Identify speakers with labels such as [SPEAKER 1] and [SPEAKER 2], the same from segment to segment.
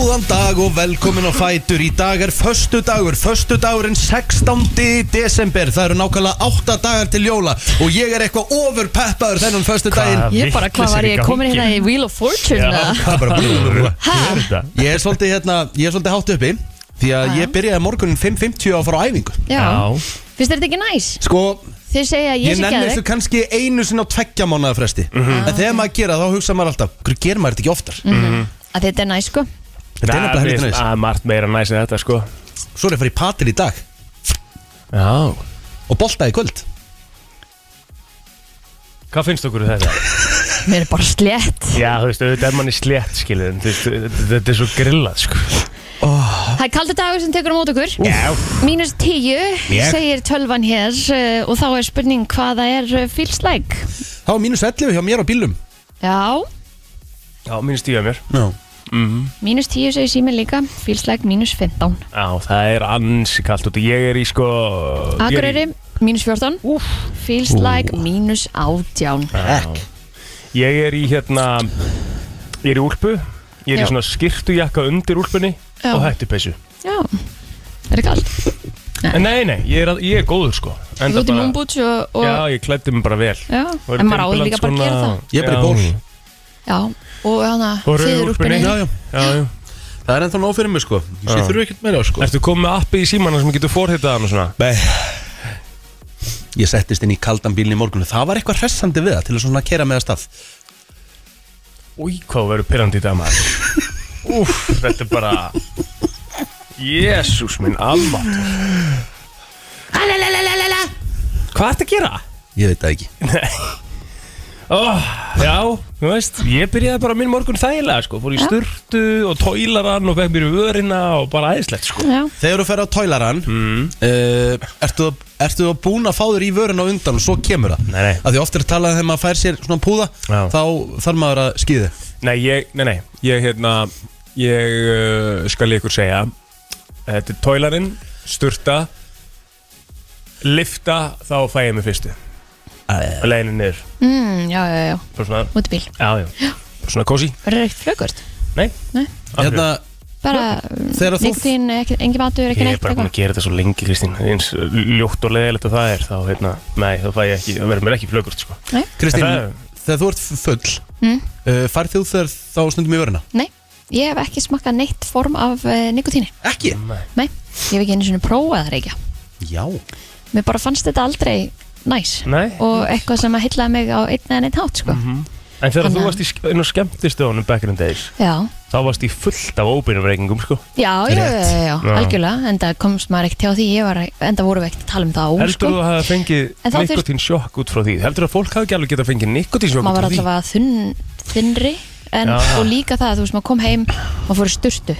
[SPEAKER 1] og velkomin á Fætur Í dag er föstu dagur, föstu dagurinn 16. desember Það eru nákvæmlega 8 dagar til jóla Og ég er eitthvað overpeppaður þennan föstu daginn
[SPEAKER 2] Hvað?
[SPEAKER 3] Ég bara, hvað var ég komin hérna í Wheel of Fortune eða?
[SPEAKER 1] Það er bara
[SPEAKER 3] Ha?
[SPEAKER 1] Ég er svolítið, hérna, ég er svolítið hátt uppi Því að ég byrjaði morgunin 5.50 á að fara á æfingu
[SPEAKER 3] Já,
[SPEAKER 2] Já.
[SPEAKER 3] finnst þér þetta ekki næs?
[SPEAKER 1] Sko,
[SPEAKER 3] Þið segja að ég
[SPEAKER 1] ég
[SPEAKER 3] sé
[SPEAKER 1] nenni þessu
[SPEAKER 3] geðveik
[SPEAKER 1] kannski einu sinna á tveggja mánuða fresti En þegar maður gera þá hugsa maður alltaf Hverju gerir maður þetta ekki oftar?
[SPEAKER 3] að þetta er næs sko
[SPEAKER 1] Þetta er nefnilega helvita næst
[SPEAKER 2] Það er margt meira næs en þetta sko
[SPEAKER 1] Svo er ég að fara í patil í dag
[SPEAKER 2] Já
[SPEAKER 1] og bolta í kvöld
[SPEAKER 2] Hvað finnst okkur um þetta?
[SPEAKER 3] Mér er bara slétt
[SPEAKER 2] Já, þú veist, auðvitað er manni slétt, skilur en þú veist, þetta- Þetta er svo grillað, sko Ah.
[SPEAKER 3] Það er kaldur dagur sem tekur á mót okkur
[SPEAKER 2] Já
[SPEAKER 3] Mínus tíu,
[SPEAKER 1] Ég.
[SPEAKER 3] segir tölvan hér eh, og þá er spurning hvaða er eh, feels like
[SPEAKER 1] Það var mínus 11 hjá mér á bílum
[SPEAKER 3] Já,
[SPEAKER 2] Já, mínst ég að mér
[SPEAKER 1] no.
[SPEAKER 2] Mhm.
[SPEAKER 3] mínus tíu segir sími líka feels like mínus 15
[SPEAKER 2] Já, það er ansi kallt út Ég er í sko ég er í-
[SPEAKER 3] Akureyri, mínus 14
[SPEAKER 2] Úff. Ah.
[SPEAKER 3] feels like mínus 18
[SPEAKER 1] Ekk
[SPEAKER 2] Ég er í hérna Ég er í úlpu Ég er
[SPEAKER 3] Já.
[SPEAKER 2] í svona skirtujakka undir úlpunni
[SPEAKER 3] Já.
[SPEAKER 2] Og hættupeysu
[SPEAKER 3] Já, er það kald
[SPEAKER 2] En nei, nei, ég er, að- ég er góður sko
[SPEAKER 3] Þú
[SPEAKER 2] Enda
[SPEAKER 3] ert í
[SPEAKER 2] bara-
[SPEAKER 3] múmbúts og, og
[SPEAKER 2] Já, ég klæddi mig bara vel
[SPEAKER 3] Já,
[SPEAKER 2] Og er
[SPEAKER 3] en maður
[SPEAKER 2] Timberland
[SPEAKER 3] áður líka bara að gera
[SPEAKER 2] svona-
[SPEAKER 3] það
[SPEAKER 1] Ég er bara í
[SPEAKER 2] Já.
[SPEAKER 1] ból.
[SPEAKER 3] Já, og hana,
[SPEAKER 2] Og rauðu
[SPEAKER 3] þiður
[SPEAKER 2] úlpunni.
[SPEAKER 3] úlpunni
[SPEAKER 1] Já, já.
[SPEAKER 2] Já, já
[SPEAKER 1] Það er ennþá nóg fyrir mig sko Ég þurfu ekkert meira sko
[SPEAKER 2] Ertu komið með appi í símanna sem getur forhitað hann og svona
[SPEAKER 1] Nei Ég settist inn í kaldan bílinn í morgunu Það var eitthvað hressandi við það til að svona kera með að stað
[SPEAKER 2] Új, hvað þú verður pyrrandi í dag maður Úf, þetta er bara Jésús minn, almátt Hvað ertu að gera?
[SPEAKER 1] Ég veit það ekki
[SPEAKER 2] Oh, já, þú veist, ég byrjaði bara minn morgun þægilega sko Fór í
[SPEAKER 3] Já.
[SPEAKER 2] sturtu og tóilarann og fekk mér í vörina og bara æðislegt sko
[SPEAKER 3] Já,
[SPEAKER 1] Þegar þú fer á tólaran mm. uh, Ertu ertu þá búin að fá þér í vörun á undan og svo kemur það
[SPEAKER 2] Nei, nei.
[SPEAKER 1] Af Því oft er talað um þegar maður fær sér svona púða
[SPEAKER 2] Já.
[SPEAKER 1] Þá þarf maður að skýði
[SPEAKER 2] Nei, ég, nei, nei, ég hérna Ég uh, skal ykkur segja Þetta er tólarinn, sturta Lifta, þá fæ ég mig fyrstu Og leiðinu niður
[SPEAKER 3] mm, já, já, já,
[SPEAKER 2] Bara svona,
[SPEAKER 3] út í bíl
[SPEAKER 2] já, já Bara svona kósi
[SPEAKER 3] Verður ekkert flögurt
[SPEAKER 2] Nei,
[SPEAKER 3] Nei.
[SPEAKER 2] Af hverju?
[SPEAKER 1] Hérna,
[SPEAKER 3] Bara,
[SPEAKER 1] Þegar þú-
[SPEAKER 3] nýttin, engin matur,
[SPEAKER 2] Ég
[SPEAKER 3] ekki
[SPEAKER 2] er
[SPEAKER 3] neitt
[SPEAKER 2] bara búin
[SPEAKER 3] eitthvað
[SPEAKER 2] að gera þetta svo lengi, Kristín Eins ljótt og leiðilegt og það er Þá, hérna, nei, þá fæ ég ekki Það verður mér ekki flögurt, sko
[SPEAKER 3] Nei,
[SPEAKER 1] Kristín,
[SPEAKER 2] En
[SPEAKER 1] þegar þú ert full mm. uh, Færð þú þegar þá stundum í vöruna?
[SPEAKER 3] nei, ég hef ekki smakkað neitt form af uh, nikotíni
[SPEAKER 1] Ekki?
[SPEAKER 3] Nei, ég hef ekki einu sinni prófað það reykja
[SPEAKER 1] Já
[SPEAKER 3] Mér bara fannst þetta aldrei næs
[SPEAKER 2] Nei. Mhm.
[SPEAKER 3] Og eitthvað sem að hyllaði mig á einn eða neitt hátt, sko
[SPEAKER 2] Mm. þegar þú
[SPEAKER 3] Þannig að-
[SPEAKER 2] varst í sk- inn á skemmtistöðunum back in the days
[SPEAKER 3] Já,
[SPEAKER 2] Þá varst í fullt af óbyrjum reykingum, sko
[SPEAKER 3] já, já, já,
[SPEAKER 1] Rétt.
[SPEAKER 3] já, já,
[SPEAKER 2] Já.
[SPEAKER 3] algjörlega Enda komst maður ekkert hjá því, ég var, enda vorum við ekkert að tala um það á,
[SPEAKER 2] Heldur
[SPEAKER 3] sko
[SPEAKER 2] þú að það
[SPEAKER 3] En
[SPEAKER 2] fengið
[SPEAKER 3] þá þurft-
[SPEAKER 2] nikotín sjokk út frá því? Heldur þú að fólk hafi ekki alveg getað fengið nikotín sjokk út
[SPEAKER 3] maður var
[SPEAKER 2] frá því?
[SPEAKER 3] allavega þunn, þunnri en,
[SPEAKER 2] Já.
[SPEAKER 3] og líka það, þú veist, maður kom heim maður fór í sturtu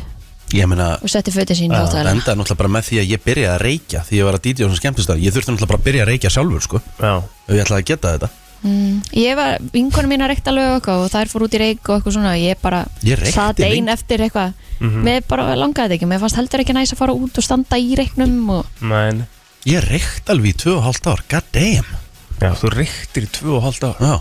[SPEAKER 3] og
[SPEAKER 1] Ég meina,
[SPEAKER 3] setti fötin sín uh,
[SPEAKER 1] Það endaði náttúrulega bara með því að ég byrjaði að reykja Því ég var að DJ á svona skemmtistað Ég þurfti náttúrulega bara að byrja að reykja sjálfur sko
[SPEAKER 2] Já,
[SPEAKER 1] Ef ég ætlaði að geta þetta
[SPEAKER 3] Mm. ég var, vinkonum mín að reykta alveg og eitthvað og þær fór út í reyk og eitthvað svona og ég bara
[SPEAKER 1] Ég reykti
[SPEAKER 3] sat ein
[SPEAKER 1] lengi. Mm.
[SPEAKER 3] eftir eitthvað mér bara langaði þetta ekki, mér fannst heldur ekki næs að fara út og standa í reyknum og
[SPEAKER 2] menn
[SPEAKER 1] Ég reykt alveg í 2,5 ár, god damn
[SPEAKER 2] Já, þú reyktir í 2,5 ára
[SPEAKER 1] Já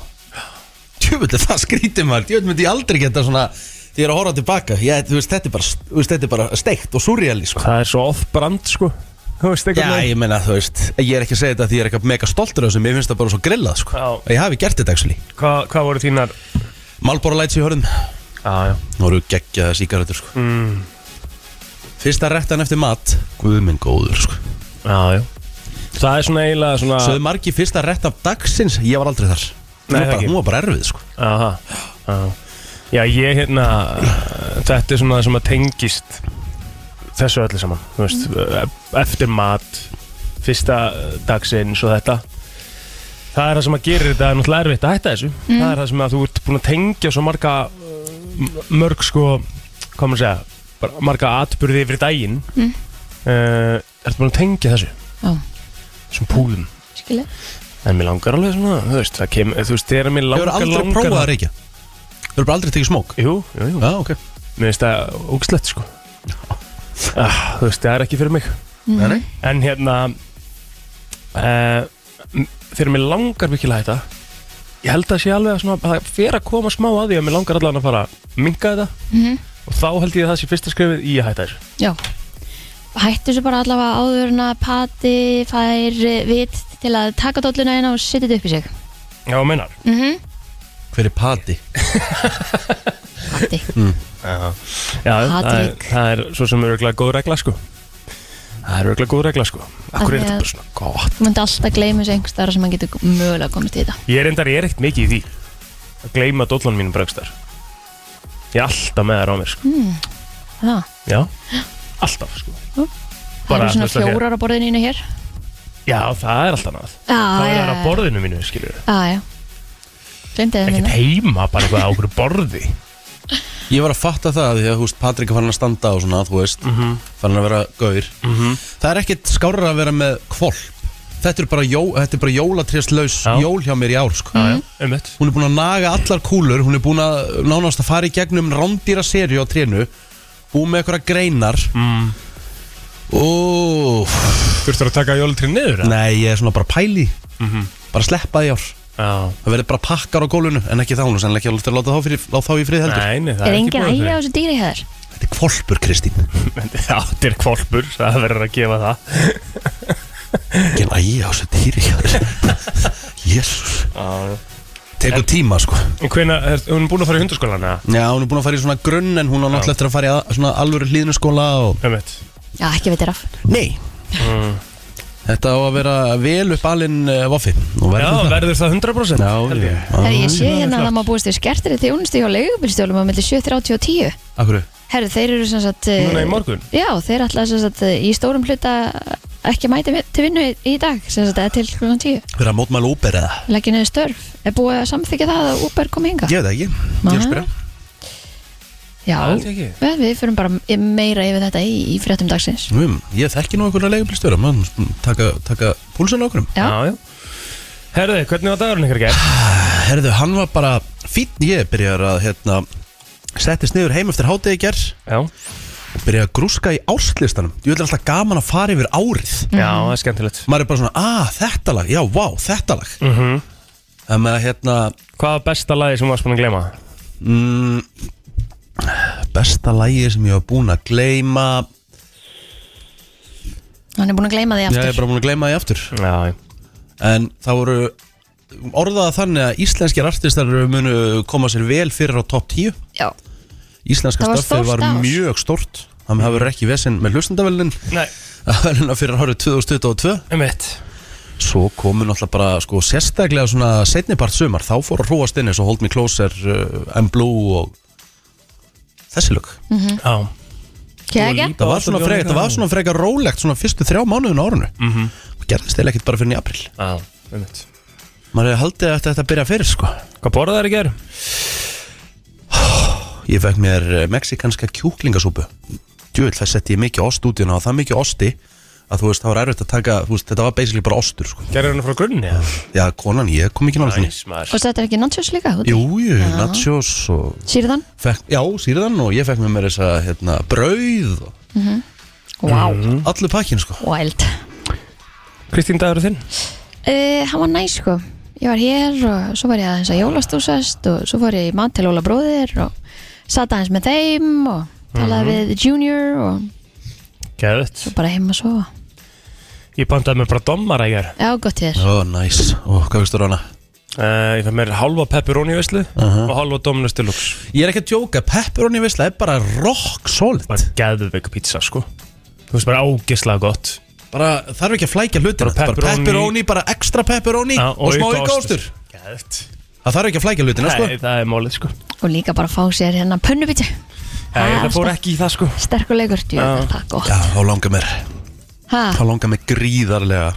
[SPEAKER 1] Tjöfull er það skrítið maður Tjöfull myndi ég aldrei geta svona Því ég er að horfa tilbaka ég, þú veist, þetta, er bara, þú veist, þetta er bara steikt og surreali sko.
[SPEAKER 2] Það er svo off-brand, sko Þú veist
[SPEAKER 1] Já,
[SPEAKER 2] eitthvað
[SPEAKER 1] ég meina þú veist Ég er ekki að segja þetta því ég er eitthvað mega stoltur af þessu Mér finnst það bara svo grillað sko.
[SPEAKER 2] Já.
[SPEAKER 1] Að Ég hafi gert þetta actually
[SPEAKER 2] Hvað hva voru þínar?
[SPEAKER 1] Malbora Lights í hörðum Það
[SPEAKER 2] Já, já
[SPEAKER 1] voru geggjaða síkaretur sko. mm. Fyrsta rektan eftir mat Guð minn góður sko.
[SPEAKER 2] Já, já Það er svona eiginlega svona
[SPEAKER 1] Söðu margi fyrsta rett af dagsins Ég var aldrei þar
[SPEAKER 2] Nei,
[SPEAKER 1] Hún var bara,
[SPEAKER 2] ekki.
[SPEAKER 1] hún var bara erfið sko.
[SPEAKER 2] Aha, já Já, ég hérna Þetta er svona það sem að tengist Þessu öllu saman Þú veist, eftir mat Fyrsta dagsins og þetta Það er það sem að gerir þetta náttúrulega erfitt að hætta þessu Það er það sem að þú ert búin að tengja svo marga uh, Mörg sko Hvað maður að segja bara Marga atbyrði yfir daginn mm. Ertu búin að tengja þessu
[SPEAKER 3] já,
[SPEAKER 2] Sem púlum
[SPEAKER 3] skilja
[SPEAKER 2] En mér langar alveg svona, þú veist, það kem, þú veist, þegar mér
[SPEAKER 1] Hefur
[SPEAKER 2] langar,
[SPEAKER 1] aldrei
[SPEAKER 2] langar
[SPEAKER 1] prófað að reykja Hefur bara aldrei tekið smók
[SPEAKER 2] Jú, jú, jú,
[SPEAKER 1] Já, ok
[SPEAKER 2] mér finnst það ógslegt, sko ah, Þú veist, það er ekki fyrir mig
[SPEAKER 1] Nei, nei.
[SPEAKER 2] En hérna, uh, þegar mér langar virkilega þetta
[SPEAKER 1] Mhm.
[SPEAKER 2] Ég held að sé alveg að svona, að það fer að koma smá að því að mér langar allavega að fara að minka þetta og þá held ég að það sé fyrsta skrifið í að hætta þessu
[SPEAKER 3] Já Hættu þessu bara allavega áður en að pati fær eh, vit til að taka dolluna eina og setja þetta upp í sig
[SPEAKER 2] Já, þú meinar
[SPEAKER 3] mm
[SPEAKER 1] Hver er pati?
[SPEAKER 3] Patti
[SPEAKER 2] Já, já það, er,
[SPEAKER 3] Patrik.
[SPEAKER 2] það er svo sem örgulega góð regla sko Það er örgulega góð regla sko Akkur er
[SPEAKER 3] Af því
[SPEAKER 2] þetta
[SPEAKER 3] að-
[SPEAKER 2] bara svona gott
[SPEAKER 3] Þú myndi alltaf gleyma þessu einhvers þar sem hann getur mögulega komist í þetta
[SPEAKER 2] Ég er endar, ég er ekkert mikið í því að gleyma dollan mínum braukstær Ég er alltaf með það á mér sko
[SPEAKER 3] mm. Það,
[SPEAKER 2] Já, alltaf sko
[SPEAKER 3] Hm? það
[SPEAKER 2] Bara,
[SPEAKER 3] eru
[SPEAKER 2] þú veist,
[SPEAKER 3] svona
[SPEAKER 2] af því að-
[SPEAKER 3] fjórar á borðinu innu hér
[SPEAKER 2] Já, það er alltaf náð
[SPEAKER 3] Já,
[SPEAKER 2] Það er
[SPEAKER 3] já,
[SPEAKER 2] það á
[SPEAKER 3] já.
[SPEAKER 2] borðinu mínu, skilur
[SPEAKER 3] Já, já hérna. Glemdi það
[SPEAKER 2] Ekkert heima, bara eitthvað á okkur borði
[SPEAKER 1] Ég var að fatta það að því að þú veist, Patrik er farin að standa og svona, þú veist mm
[SPEAKER 2] Mhm.
[SPEAKER 1] farin að vera gaur Það er ekkit skárra að vera með kvolp Þetta er bara, jó, þetta er bara jólatrjáslaus
[SPEAKER 2] Já.
[SPEAKER 1] jól hjá mér í ár sko.
[SPEAKER 2] Já, já, einmitt
[SPEAKER 1] Hún er búin að naga allar kúlur Hún er búin að nánast að fara í gegnum rándýra seri á trénu og með einhverja greinar
[SPEAKER 2] mm.
[SPEAKER 1] Úf,
[SPEAKER 2] Þurftur að taka jólutrinn niður? eða? Mhm.
[SPEAKER 1] Nei, ég er svona bara að pæli Bara sleppa í ár
[SPEAKER 2] Já
[SPEAKER 1] Það verður bara pakkar á gólunu En ekki þá hún er sennilega ekki alveg að láta þá, fyrir, lá þá í frið heldur
[SPEAKER 2] Nei, nei, það
[SPEAKER 3] Er
[SPEAKER 2] ekki
[SPEAKER 3] engin
[SPEAKER 2] búið að
[SPEAKER 3] ægja á
[SPEAKER 2] segja.
[SPEAKER 3] þessu dýri hér?
[SPEAKER 1] Þetta er kvolpur, Kristín
[SPEAKER 2] Já, þetta er kvolpur, það verður að gefa það
[SPEAKER 1] Ekki lægi á þessu dýri Jésús Tekur tíma, sko
[SPEAKER 2] En hvena, er, hún er búin að fara í hundaskólan eða?
[SPEAKER 1] Já, hún er búin að fara í svona grunn En hún á náttúrulega eftir að fara í að, svona alvöru hlýðnuskóla og...
[SPEAKER 2] Ömmett
[SPEAKER 3] Já, ekki veitir af
[SPEAKER 1] Nei
[SPEAKER 2] Mm.
[SPEAKER 1] Þetta á að vera vel upp alinn uh, vaffi
[SPEAKER 2] Já,
[SPEAKER 1] Nú verður það
[SPEAKER 2] verður það 100% held
[SPEAKER 1] Já,
[SPEAKER 2] ég.
[SPEAKER 3] Herri, ég sé
[SPEAKER 1] já
[SPEAKER 3] hérna að það má búist í skertir í þjónustu hjá leigubilstjólum á milli 7.30 og 10
[SPEAKER 1] Akkur
[SPEAKER 3] Herru, þeir eru sem sagt eh,
[SPEAKER 2] Núna í morgun
[SPEAKER 3] Já, þeir ætlaði sem sagt eh, í stórum hluta ekki að mæta til vinnu í- í dag sem sagt eða til klukkan 10
[SPEAKER 1] Verða að mótmæla Uber eða?
[SPEAKER 3] leggja niður störf er búið að samþykja það að Uber komi hinga
[SPEAKER 1] Ég veit það ekki, ég er að spyrja
[SPEAKER 2] Það held
[SPEAKER 3] Já,
[SPEAKER 2] ég ekki.
[SPEAKER 3] við, við fyrum bara meira yfir þetta í, í fréttum dagsins
[SPEAKER 1] um, Ég þekki nú einhverja leigubilstjóra Man taka, taka púlsan okkur
[SPEAKER 3] Já.
[SPEAKER 2] já Herðu, hvernig var dagurinn ykkur gerð?
[SPEAKER 1] Herðu, hann var bara fínn Ég byrjar að hérna Settist niður heim eftir hátegi gerð
[SPEAKER 2] Já
[SPEAKER 1] Og byrja að grúska í árslistanum Ég vil alltaf gaman að fara yfir árið
[SPEAKER 2] Já, það er skemmtilegt
[SPEAKER 1] Maður er bara svona, ah, þetta lag, já, vá, þetta lag
[SPEAKER 2] mm
[SPEAKER 1] Það með að hérna
[SPEAKER 2] Hvað var besta lagi sem þú varst búin að glema?
[SPEAKER 1] mm, Besta lagi sem ég var búin að gleyma
[SPEAKER 3] Hann er búin að gleyma því
[SPEAKER 1] Já, ég er
[SPEAKER 3] aftur
[SPEAKER 1] bara búin að gleyma því aftur
[SPEAKER 2] Já, já.
[SPEAKER 1] En það voru orðaða þannig að íslenskir artistar munu koma sér vel fyrir á topp 10
[SPEAKER 3] Já,
[SPEAKER 1] Íslenska
[SPEAKER 3] Það var
[SPEAKER 1] stöfið
[SPEAKER 3] stórt
[SPEAKER 1] var
[SPEAKER 3] ár.
[SPEAKER 1] mjög stórt Það hafði verið ekki vesinn með hlustendavelin
[SPEAKER 2] Nei,
[SPEAKER 1] Velina hérna fyrir árið 2022
[SPEAKER 2] ömmett
[SPEAKER 1] Svo komu náttúrulega bara sko, sérstaklega svona setnipart sumar Þá fór að hróast inn eins og Hold Me Closer, uh, I'm Blue og þessi lög
[SPEAKER 3] Mhm.
[SPEAKER 2] Já
[SPEAKER 3] kegja
[SPEAKER 2] Og líka-
[SPEAKER 1] Það var svona frekar, það var svona frekar rólegt svona fyrstu þrjá mánuðin á árinu mm -hmm. og gerðist þeir ekkert bara fyrir í april
[SPEAKER 2] Mhm. Já, ömmett
[SPEAKER 1] maður hefði haldið að þetta byrja fyrir sko
[SPEAKER 2] Hvað borðað er í gerð?
[SPEAKER 1] ég fekk mér eh, mexikanska kjúklingasúpu djúvill það setti ég mikið ost út í hana og það mikið osti að þú veist það var erfitt að taka þú veist, þetta var basically bara ostur sko
[SPEAKER 2] Gerður hann frá grunni? eða?
[SPEAKER 1] já konan ég kom ekki nála þannig
[SPEAKER 2] Næs, maður
[SPEAKER 3] Og þetta er ekki nachos líka? út í?
[SPEAKER 1] jújú nachos og
[SPEAKER 3] Sýrðan?
[SPEAKER 1] fekk, já síðan og ég fekk mér mér þess að hérna brauð og
[SPEAKER 3] Wow,
[SPEAKER 1] allu pakkin sko
[SPEAKER 3] wild
[SPEAKER 2] Kristín, dagur þinn?
[SPEAKER 3] Uh, hann var næs sko Ég var hér og svo var ég aðeins að jólastúsast og svo fór ég í mat til Óla bróðir og satt aðeins með þeim og talaði
[SPEAKER 2] Mhm.
[SPEAKER 3] við junior og
[SPEAKER 2] Gerðut
[SPEAKER 3] svo bara heim að sofa
[SPEAKER 2] Ég pantaði mér bara dommar að gerð
[SPEAKER 3] Já, gott hér
[SPEAKER 1] ó næs og hvað veistur hana
[SPEAKER 2] uh, Ég fæ mér halva pepperoni veislu
[SPEAKER 1] Aha.
[SPEAKER 2] og halva Dominus Deluxe
[SPEAKER 1] Uh-huh. ég er ekki að djóka pepperoni veisla er bara rock solid
[SPEAKER 2] bara geðveik pizza sko þú veist bara ágislega gott
[SPEAKER 1] bara þarf ekki að flækja
[SPEAKER 2] Bara
[SPEAKER 1] hlutina bara pepperoni, bara,
[SPEAKER 2] pepperoni-
[SPEAKER 1] ekstra pepperoni og, smá auka ostur
[SPEAKER 2] geðveikt
[SPEAKER 1] það þarf ekki að flækja hlutina sko
[SPEAKER 2] Nei, það er málið sko
[SPEAKER 3] og líka bara að fá sér hérna pönnubíti
[SPEAKER 2] Nei, það fór ekki í það sko
[SPEAKER 3] Sterkulegur, djú,
[SPEAKER 2] Já.
[SPEAKER 3] það er gott Ah.
[SPEAKER 1] já þá langar mér
[SPEAKER 3] ha,
[SPEAKER 1] þá langar mér gríðarlega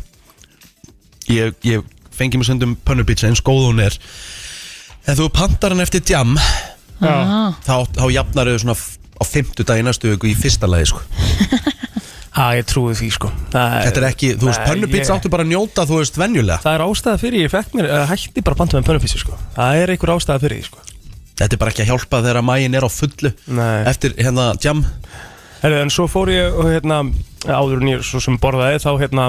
[SPEAKER 1] ég, ég fengi mér sundum pönnupizza eins góð hún er ef þú pantar hann eftir djam
[SPEAKER 3] ha.
[SPEAKER 1] þá, þá jafnar þau svona f- á fimmtudagi næstu viku í fyrsta lagi sko
[SPEAKER 2] Já, ég trúi því sko það
[SPEAKER 1] þetta er ekki þú veist
[SPEAKER 2] Nei,
[SPEAKER 1] pönnupizza
[SPEAKER 2] ég-
[SPEAKER 1] áttu bara að njóta þú veist venjulega
[SPEAKER 2] Það er ástæða fyrir ég fekk mér uh, hætti bara að banta með pönnupítsu sko Það er einhver ástæða fyrir því sko
[SPEAKER 1] þetta er bara ekki að hjálpa þegar mæin er á fullu
[SPEAKER 2] Nei.
[SPEAKER 1] eftir hérna djam
[SPEAKER 2] Herri, en svo fór ég og hérna áður en ég svo sem borðaði þá hérna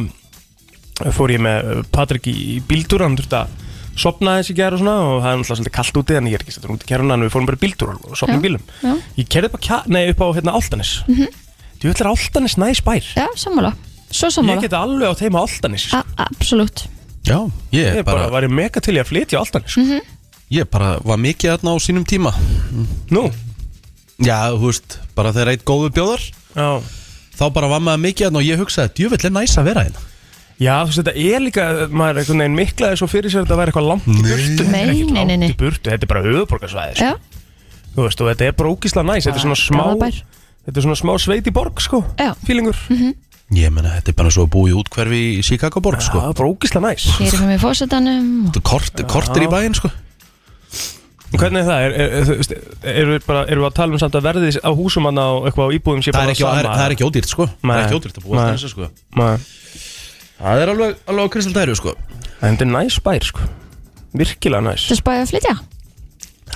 [SPEAKER 2] fór ég með eh, Patrik í, í bíldúr hann þurfti að sopnaði eins í gær og svona og það er náttúrulega svolítið kallt úti en ég er ekki stættur út í kæruna en við fórum bara í bíltúr og sopnaði í
[SPEAKER 3] Já,
[SPEAKER 2] bílum
[SPEAKER 3] já.
[SPEAKER 2] ég kerði upp á, kja, nei, upp á hérna, Altanis mm -hmm. þú ætlar Altanis næs bær
[SPEAKER 3] Mhm. Já, sammála, svo
[SPEAKER 2] ég
[SPEAKER 3] sammála
[SPEAKER 2] geti alveg á teima Altanis
[SPEAKER 3] A- Absolutt
[SPEAKER 1] Já, ég,
[SPEAKER 2] ég
[SPEAKER 1] ég
[SPEAKER 2] er bara,
[SPEAKER 1] bara,
[SPEAKER 2] bara mega til ég að flytja á Altanis
[SPEAKER 1] ég bara var mikið þarna á sínum tíma
[SPEAKER 2] nú,
[SPEAKER 1] Já, þú veist, bara þegar eitt góðu bjóðar
[SPEAKER 2] já
[SPEAKER 1] Þá bara var maður mikið þarna og ég hugsaði Djöfell er næs að vera hérna
[SPEAKER 2] Já, þú veist, þetta er líka, eh, maður einhvern veginn miklaði svo fyrir sér að þetta væri eitthvað langt í burtu
[SPEAKER 3] Nei,
[SPEAKER 2] Ekkert
[SPEAKER 3] nei, nei, nei.
[SPEAKER 2] Langt í burtu, þetta er bara höfuborgarsvæði sko.
[SPEAKER 3] Já,
[SPEAKER 2] Þú veist, og þetta er bara ógísla næs, þetta er svona smá
[SPEAKER 3] Garðabær.
[SPEAKER 2] Þetta er svona smá sveit í borg, sko
[SPEAKER 3] Já.
[SPEAKER 2] Fílingur
[SPEAKER 3] mhm.
[SPEAKER 1] Ég menna, þetta er bara svo að búa í útkverfi í Chicago borg, sko
[SPEAKER 2] Það er bara ógísla næs
[SPEAKER 3] ég er með fósitanum
[SPEAKER 1] Þetta er kort, kortir í bæinn, sko
[SPEAKER 2] En Hvernig er það? Er, er, þú veist, erum við bara, erum við að tala um samt að verðið á húsum hann á eitthvað á íbúðum sé
[SPEAKER 1] Það
[SPEAKER 2] bara
[SPEAKER 1] er ekki, það er, það er ekki ódýrt, sko Það
[SPEAKER 2] Nei.
[SPEAKER 1] er ekki ódýrt að búa
[SPEAKER 2] Nei.
[SPEAKER 1] þarna, þessu, sko
[SPEAKER 2] Maður,
[SPEAKER 1] Það er alveg, alveg á kristaldæru, sko
[SPEAKER 2] en Þetta er næs bær, sko Virkilega næs
[SPEAKER 3] Þetta er spæðið að flytja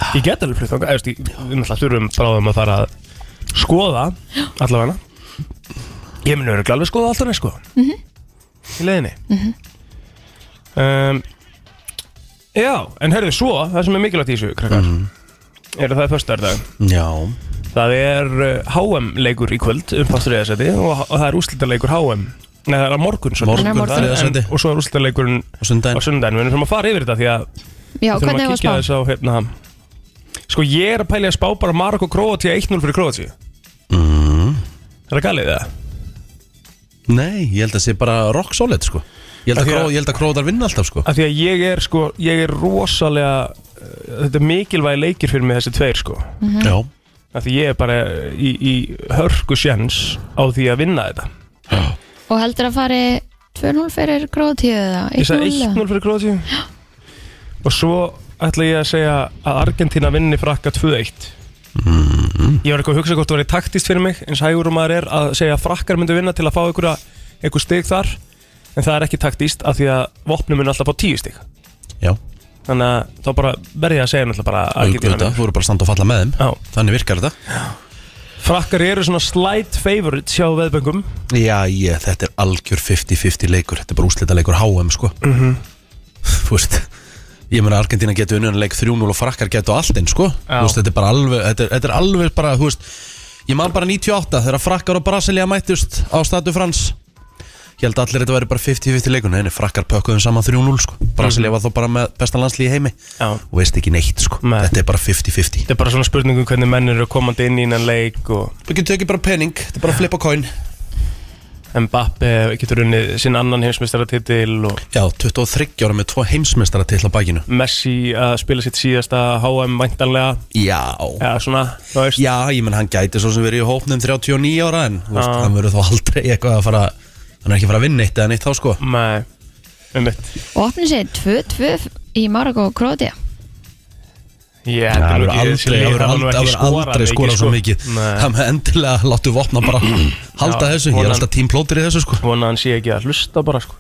[SPEAKER 2] Ég get alveg flutt þangað, eftir, við náttúrulega þurfum bráðum að fara að skoða allavega Ég mun öruglega alveg skoða alltaf næst sko
[SPEAKER 3] Mhm.
[SPEAKER 2] Í leiðinni um, Já, en herðu svo, það sem er mikilvægt í þessu, krakkar Er að það er föstudardag
[SPEAKER 1] Mhm. Já
[SPEAKER 2] Það er uh, HM leikur í kvöld um pastriðarsæti og, og það er úslitaleikur HM Nei, það er á morgun, svo
[SPEAKER 1] Morgun,
[SPEAKER 3] Morgun.
[SPEAKER 1] þriðja sæti.
[SPEAKER 2] og svo er úslitaleikurinn
[SPEAKER 1] Á
[SPEAKER 2] á
[SPEAKER 1] sundaginn
[SPEAKER 2] sundaginn Við erum að fara yfir þetta því að
[SPEAKER 3] Já,
[SPEAKER 2] Við þurfum
[SPEAKER 3] hvernig
[SPEAKER 2] að
[SPEAKER 3] var
[SPEAKER 2] kíkja
[SPEAKER 3] spáð?
[SPEAKER 2] þess á hérna Sko ég er að pælja að spá bara Marokko Kroatia 1-0 fyrir Kroatia
[SPEAKER 1] mm.
[SPEAKER 2] Er það galið það?
[SPEAKER 1] Nei, ég held að sé bara rock solid, sko Ég held
[SPEAKER 2] Af
[SPEAKER 1] að,
[SPEAKER 2] því að-
[SPEAKER 1] kró, ég held að króðar vinna alltaf, sko
[SPEAKER 2] Af því að ég er sko, ég er rosalega uh, Þetta er mikilvægi leikir fyrir mig þessi tveir sko
[SPEAKER 1] Já
[SPEAKER 2] Af því ég er bara í, í hörku sjens á því að vinna þetta
[SPEAKER 3] Og heldur að fari 2-0 fyrir gróðtíu eða
[SPEAKER 2] Ég sagði
[SPEAKER 3] 1-0 eða?
[SPEAKER 2] 1-0 fyrir Kroatia Og svo ætla ég að segja að Argentina vinni frakka 2-1 Ég var eitthvað að hugsa hvort það væri taktist fyrir mig eins hægur og maður er að segja að frakkar myndu vinna til að fá einhverja, einhver stig þar en það er ekki taktist af því að vopnum mun alltaf fá 10 stig
[SPEAKER 1] Já,
[SPEAKER 2] þannig að þá bara verði ég að segja náttúrulega bara Argentina
[SPEAKER 1] auðvitað,
[SPEAKER 2] vinna
[SPEAKER 1] þú eru bara að standa og falla með þeim
[SPEAKER 2] Já.
[SPEAKER 1] Þannig virkar þetta
[SPEAKER 2] Frakkar eru svona slight favorite sjá veðböngum
[SPEAKER 1] Já, ég, þetta er algjör 50-50 leikur Þetta er bara úslita leikur HM, sko mm
[SPEAKER 2] Mhm.
[SPEAKER 1] Þú veist Ég meina Argentina getur unnum leik 3-0 og frakkar getur allt einn, sko
[SPEAKER 2] Já.
[SPEAKER 1] Þú veist, þetta er bara alveg Þetta er, þetta er alveg bara, þú veist Ég man bara 98 þegar frakkar og Brasilia mættust á statu Frans Ég held að allir þetta væri bara 50-50 leikur Nei, nei, frakkar pökkuðum saman 3-0, sko
[SPEAKER 2] Mhm.
[SPEAKER 1] Brasilia var þó bara með besta landslíði heimi
[SPEAKER 2] Já.
[SPEAKER 1] Og veist ekki neitt, sko
[SPEAKER 2] Nei.
[SPEAKER 1] Þetta er bara 50-50
[SPEAKER 2] Þetta er bara svona spurningum hvernig menn eru komandi inn í innan leik og
[SPEAKER 1] Þú getur ekki bara pening, þetta er bara að flippa coin
[SPEAKER 2] Mbappe getur unnið sinn annan heimsmeistaratitil og
[SPEAKER 1] Já, 23 ára með tvo heimsmeistara til á bækinu
[SPEAKER 2] Messi að spila sitt síðasta HM væntanlega
[SPEAKER 1] Já
[SPEAKER 2] eða svona, þú veist
[SPEAKER 1] Já, ég menn hann gæti svo sem verið í hópnum 39 ára en þú veist,
[SPEAKER 2] Já.
[SPEAKER 1] hann verður þá aldrei eitthvað að fara hann er ekki að fara að vinna eitt eða neitt þá sko
[SPEAKER 2] Nei, um mitt
[SPEAKER 3] Og opnið sér 2-2 í Marokko og Krótia
[SPEAKER 2] Já,
[SPEAKER 1] Það
[SPEAKER 2] nú
[SPEAKER 1] verður
[SPEAKER 2] ekki- þessi
[SPEAKER 1] aldrei,
[SPEAKER 2] lið
[SPEAKER 1] það
[SPEAKER 2] hafa nú
[SPEAKER 1] verður
[SPEAKER 2] ekki sko.
[SPEAKER 1] aldrei, aldrei skorað svo mikið
[SPEAKER 2] Nei.
[SPEAKER 1] Það með endilega láttu vopna bara halda
[SPEAKER 2] Já,
[SPEAKER 1] þessu, ég
[SPEAKER 2] vonan-
[SPEAKER 1] er alltaf tímplótir í þessu sko Ah,
[SPEAKER 2] Vona hann sé ekki að hlusta bara sko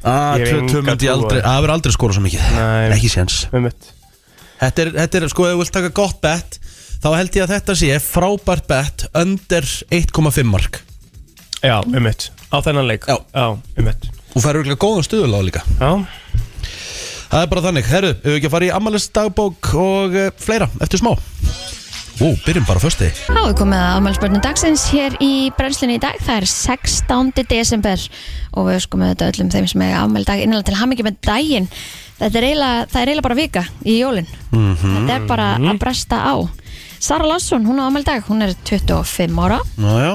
[SPEAKER 1] Það
[SPEAKER 2] Ég hef enga
[SPEAKER 1] verður
[SPEAKER 2] trú á
[SPEAKER 1] aldrei,
[SPEAKER 2] því.
[SPEAKER 1] það verður aldrei skorað svo mikið
[SPEAKER 2] Nei.
[SPEAKER 1] Ekki séns
[SPEAKER 2] Um mitt
[SPEAKER 1] Þetta er, þetta er sko, ef þú vilt taka gott bet þá held ég að þetta sé frábært bet under 1,5 mark
[SPEAKER 2] Já, um mitt Á þennan leik
[SPEAKER 1] Já.
[SPEAKER 2] um mitt
[SPEAKER 1] Þú færður ekki góðan stuðulega líka
[SPEAKER 2] Já,
[SPEAKER 1] Það er bara þannig, herru, ef við ekki að fara í ammælist dagbók og uh, fleira eftir smá Ú, byrjum bara á fösti
[SPEAKER 3] Já, við komum með afmælspörnum dagsins hér í brennslinni í dag. Það er 16. desember og við skum með þetta öllum þeim sem er afmæl dag innanlega til hamingi með daginn. Þetta er eiginlega, það er eiginlega bara vika í jólinn.
[SPEAKER 1] Mhm.
[SPEAKER 3] Þetta er bara að bresta á. Sara Larsson, hún á afmæl dag, hún er 25 ára.
[SPEAKER 1] Nája,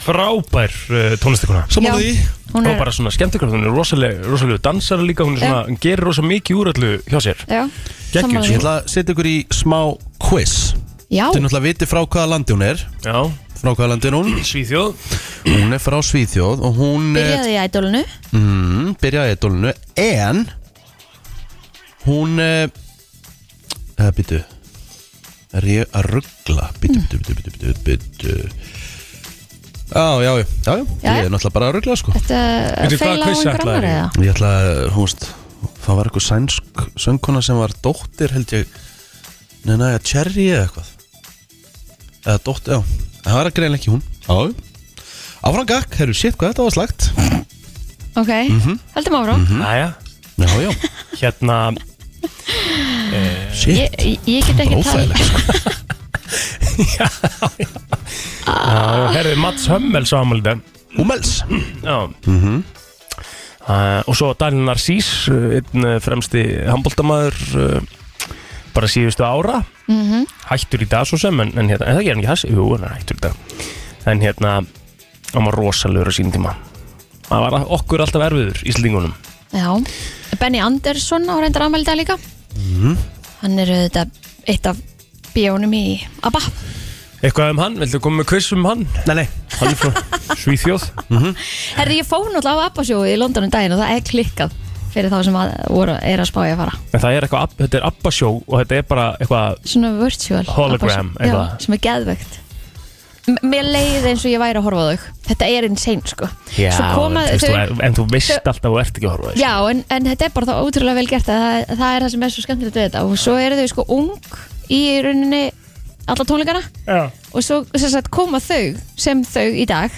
[SPEAKER 2] frábær uh, tónlistikuna
[SPEAKER 1] saman því
[SPEAKER 3] hún
[SPEAKER 2] Og
[SPEAKER 3] er,
[SPEAKER 2] bara svona skemmtikar, hún er rosalega, rosalega dansara líka Hún er
[SPEAKER 1] Eh.
[SPEAKER 2] svona, hún gerir rosalega mikið úr öllu hjá sér
[SPEAKER 3] já,
[SPEAKER 2] Geggjuð,
[SPEAKER 1] Ég
[SPEAKER 3] sammála því.
[SPEAKER 1] ætla að setja ykkur í smá quiz
[SPEAKER 3] Já,
[SPEAKER 1] Þú náttúrulega viti frá hvaða landi hún er
[SPEAKER 2] Já,
[SPEAKER 1] Frá hvaða landi er hún
[SPEAKER 2] Svíþjóð
[SPEAKER 1] Hún er frá Svíþjóð og hún eh,
[SPEAKER 3] byrjaði í ædólinu.
[SPEAKER 1] mm, Byrjaði í dólunu En Hún eh, eh, Býtu Er ég að ruggla Býtu, býtu, býtu, býtu, býtu Já, já, já, já, já,
[SPEAKER 3] Já,
[SPEAKER 1] ég
[SPEAKER 3] já.
[SPEAKER 1] er náttúrulega bara að ruggla sko
[SPEAKER 3] Þetta
[SPEAKER 2] Veitu, hvaða
[SPEAKER 3] feila á
[SPEAKER 2] quiz
[SPEAKER 3] einhver
[SPEAKER 2] ætlaði
[SPEAKER 3] annar
[SPEAKER 2] ég?
[SPEAKER 3] eða?
[SPEAKER 1] Ég ætla að, þú veist, það var eitthvað sænsk söngkona sem var dóttir held ég Nei, næja, Cherry eða eitthvað Eða dóttir, já Það var greinlega ekki hún Já Áfram gakk, herru, shit, hvað þetta var slagt Mhm.
[SPEAKER 3] Ok, höldum áfram.
[SPEAKER 2] Næja,
[SPEAKER 1] Já, já
[SPEAKER 2] Mhm. hérna Eh.
[SPEAKER 1] Shit,
[SPEAKER 3] Ég, ég- ég get ekki
[SPEAKER 1] óþægilegt sko.
[SPEAKER 2] já, já. já herri, Mats Hömmel sá ámæli í dag
[SPEAKER 1] Hummels
[SPEAKER 2] Já
[SPEAKER 1] Mhm.
[SPEAKER 2] uh, Og svo Daniel Narcís uh, einn uh, fremsti handbóltamaður uh, bara síðustu ára
[SPEAKER 1] Mm.
[SPEAKER 3] Mhm.
[SPEAKER 2] hættur í dag svo sem en, en, hérna, en það gerir hann ekki hans, jú, hann er hættur í dag en hérna, hann var rosalegur á sínum tíma hann var okkur alltaf erfiður í slíkunum
[SPEAKER 3] Já, Benny Andersson á reyndar afmæli í dag líka
[SPEAKER 1] Mhm.
[SPEAKER 3] Hann er auðvitað eitt af bjónum í ABBA
[SPEAKER 2] eitthvað um hann, viltu koma með quiz um hann
[SPEAKER 1] Nei, nei
[SPEAKER 2] hann er frá Svíþjóð
[SPEAKER 3] Herri, ég fór náttúrulega á ABBA sjóðu í London um daginn og það er klikkað fyrir þá sem að voru, er að spája að fara
[SPEAKER 2] en það er eitthvað, Ab- þetta er Abba sjó og þetta er bara eitthvað
[SPEAKER 3] Svona virtual
[SPEAKER 2] Hologram,
[SPEAKER 3] ABBA-sjó. Já,
[SPEAKER 2] eitthvað.
[SPEAKER 3] sem er geðvegt M Mér leið eins og ég væri að horfa á þau Þetta er insane sko
[SPEAKER 2] já,
[SPEAKER 3] Svo koma
[SPEAKER 2] en, þú,
[SPEAKER 3] þau-
[SPEAKER 2] þau, en þú veist alltaf og ert ekki að horfa á þessu.
[SPEAKER 3] Já, en, en þetta er bara þá ótrúlega vel gert að það, það er það sem er svo skemmtilegt við þetta og svo eru þau sko ung í rauninni alla tónleikana
[SPEAKER 2] Já.
[SPEAKER 3] og svo sem sagt, koma þau sem þau í dag